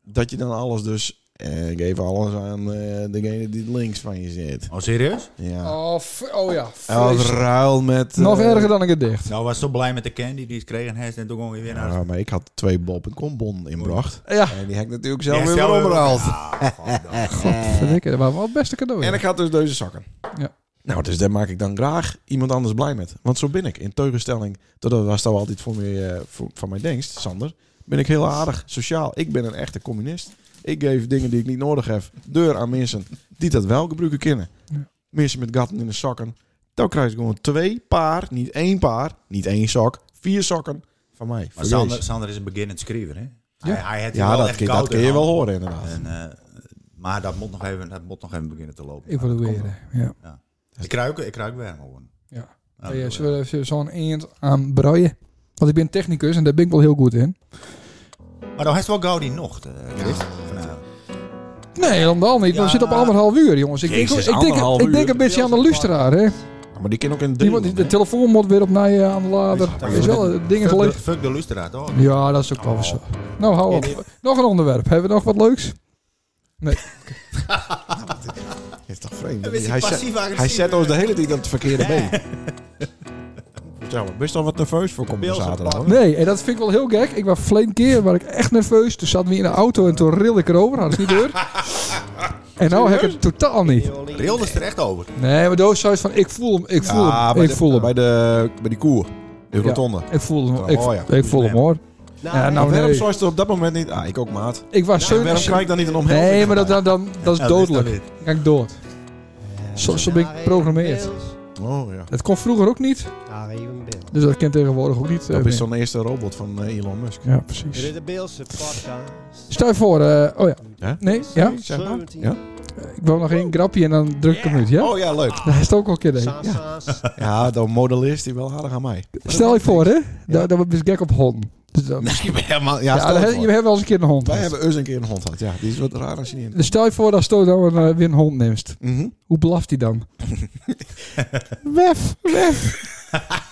Speaker 1: Dat je dan alles dus... eh, ik geef alles aan eh, degene die links van je zit.
Speaker 5: Oh, serieus?
Speaker 1: Ja.
Speaker 3: Oh, f- oh ja.
Speaker 1: En als
Speaker 3: vreselijk.
Speaker 1: ruil met... eh,
Speaker 3: Nog erger dan ik het dicht.
Speaker 5: Nou, was zo blij met de candy die ze kregen. Hij is net ook gewoon weer naar...
Speaker 1: Ja, maar ik had twee bol.com bon inbracht.
Speaker 3: Ja.
Speaker 1: En die heb ik natuurlijk
Speaker 5: Ja,
Speaker 1: zelf weer
Speaker 5: stel-
Speaker 1: omgehaald.
Speaker 5: Ah,
Speaker 1: Eh,
Speaker 5: godverdamme.
Speaker 3: Verdikke, dat waren wel het beste cadeau.
Speaker 1: En
Speaker 3: Oh, ja.
Speaker 1: ik had dus deze zakken.
Speaker 3: Ja.
Speaker 1: Nou, dus daar maak ik dan graag iemand anders blij met. Want zo ben ik. In tegenstelling, tot dat was dat wel altijd voor mij, eh, voor, van mij denkst, Sander. Ben ik heel aardig, sociaal. Ik ben een echte communist. Ik geef dingen die ik niet nodig heb, deur aan mensen die dat wel gebruiken kunnen.
Speaker 3: Ja.
Speaker 1: Mensen met gatten in de zakken. Dan krijg ik gewoon twee paar, niet één paar, niet één sok, vier sokken Van mij.
Speaker 5: Maar
Speaker 1: Van
Speaker 5: Sander,
Speaker 1: Jezus.
Speaker 5: Sander is een beginnend schrijver, hè?
Speaker 3: Ja.
Speaker 5: Hij, hij heeft
Speaker 1: ja,
Speaker 5: wel
Speaker 1: dat,
Speaker 5: echt
Speaker 1: kun-
Speaker 5: koud
Speaker 1: dat kun je
Speaker 5: in
Speaker 1: wel
Speaker 5: handen.
Speaker 1: horen inderdaad.
Speaker 5: En, eh, maar dat moet, nog even, dat moet nog even beginnen te lopen. Maar dat komt
Speaker 3: Evalueren. eh, Ja.
Speaker 5: wel. Ik ruik, ik ruik weer gewoon.
Speaker 3: Ja. Oh
Speaker 5: Nou,
Speaker 3: ja,
Speaker 5: dat-
Speaker 3: eh, zullen we even zo'n eend aan broeien? Want ik ben technicus en daar ben ik wel heel goed in.
Speaker 5: Maar dan heeft wel Gaudi nog, eh, Chris. Vanavond.
Speaker 3: Nee, dan wel niet. We
Speaker 5: Ja.
Speaker 3: zitten op anderhalf uur, jongens. Ik,
Speaker 1: Jezus,
Speaker 3: denk, ik, denk,
Speaker 1: anderhalf
Speaker 3: ik denk
Speaker 1: uur.
Speaker 3: een beetje aan de luisteraar, hè.
Speaker 1: Ja, maar die kan ook in
Speaker 3: Die moet-
Speaker 1: delen,
Speaker 3: de
Speaker 1: hè?
Speaker 3: telefoon moet weer op mij eh, aan de lader.
Speaker 1: Ja,
Speaker 3: Er is wel eh, dingen
Speaker 5: Fuck de,
Speaker 3: geleverd.
Speaker 5: fuck de Lustraat, hoor.
Speaker 3: Ja, dat is ook wel
Speaker 1: Oh.
Speaker 3: weer zo. Nou, hou op. Nog een onderwerp. Hebben we nog wat leuks?
Speaker 1: Dat is toch vreemd.
Speaker 5: Dan is hij
Speaker 1: Hij zet-
Speaker 5: passief-agressief.
Speaker 1: Hij zet ons de hele tijd aan het verkeerde been. Vertel me, ben je dan wat nerveus voor komt
Speaker 5: Pils op
Speaker 1: zaterdag?
Speaker 5: pad.
Speaker 1: hoor?
Speaker 3: Nee, en dat vind ik wel heel gek. Ik was verleden keer waar ik echt nerveus. Toen zat we in de auto en toen rilde ik erover. Had ik niet door. En nou heb ik het totaal niet.
Speaker 5: Rilde is er echt over.
Speaker 3: Nee, maar Doos zei van ik voel hem, ik voel
Speaker 1: Ja,
Speaker 3: hem,
Speaker 1: bij
Speaker 3: ik
Speaker 1: de-
Speaker 3: voel hem.
Speaker 1: Bij, de, bij die koer. De rotonde.
Speaker 3: Ik voel hem, ik,
Speaker 1: Oh ja.
Speaker 3: ik voel hem hoor. Ja, nou
Speaker 1: Waarom
Speaker 3: nee.
Speaker 1: zou je het op dat moment niet... Ah, ik ook, maat.
Speaker 3: Ik was
Speaker 1: Waarom
Speaker 3: zo...
Speaker 1: krijg ik dan niet een omhelzing?
Speaker 3: Nee, maar dat,
Speaker 1: erbij?
Speaker 3: dat, dan, dat is
Speaker 5: Ja, dat is
Speaker 3: dodelijk.
Speaker 5: dan
Speaker 3: Dan ga ik dood. Zo, zo ben ik geprogrammeerd.
Speaker 1: Oh ja.
Speaker 3: Dat kon vroeger ook niet.
Speaker 2: Daar even Beels.
Speaker 3: Dus dat kent tegenwoordig ook niet. eh,
Speaker 1: Dat
Speaker 3: meer.
Speaker 1: is zo'n eerste robot van eh, Elon Musk.
Speaker 3: Ja, precies.
Speaker 2: Dit de Beelse podcast.
Speaker 3: Stel je voor, eh, oh ja.
Speaker 1: Ja?
Speaker 3: Nee, ja.
Speaker 1: Zeg maar.
Speaker 2: 17.
Speaker 1: Ja?
Speaker 3: Ik wil nog één grapje en dan druk ik hem uit, ja?
Speaker 1: Oh ja, leuk.
Speaker 3: Dat is het ook al een keer deed.
Speaker 2: Saas, saas.
Speaker 1: Ja, de modelist die wel harder aan mij.
Speaker 3: Stel je voor, hè? Dat dat we best gek op honden. Dus dan-
Speaker 1: Nee, maar helemaal... Ja,
Speaker 3: ja,
Speaker 1: stel
Speaker 3: dan
Speaker 1: je
Speaker 3: heb-
Speaker 1: voor.
Speaker 3: je hebt wel eens een keer een hond.
Speaker 1: Wij
Speaker 3: gehad.
Speaker 1: hebben eens een keer een hond gehad. Ja, die is wat raar als je niet...
Speaker 3: Dus Stel je voor dat Stoot dan eh, weer een hond neemt.
Speaker 1: Mhm.
Speaker 3: Hoe blaft hij dan? wef, wef.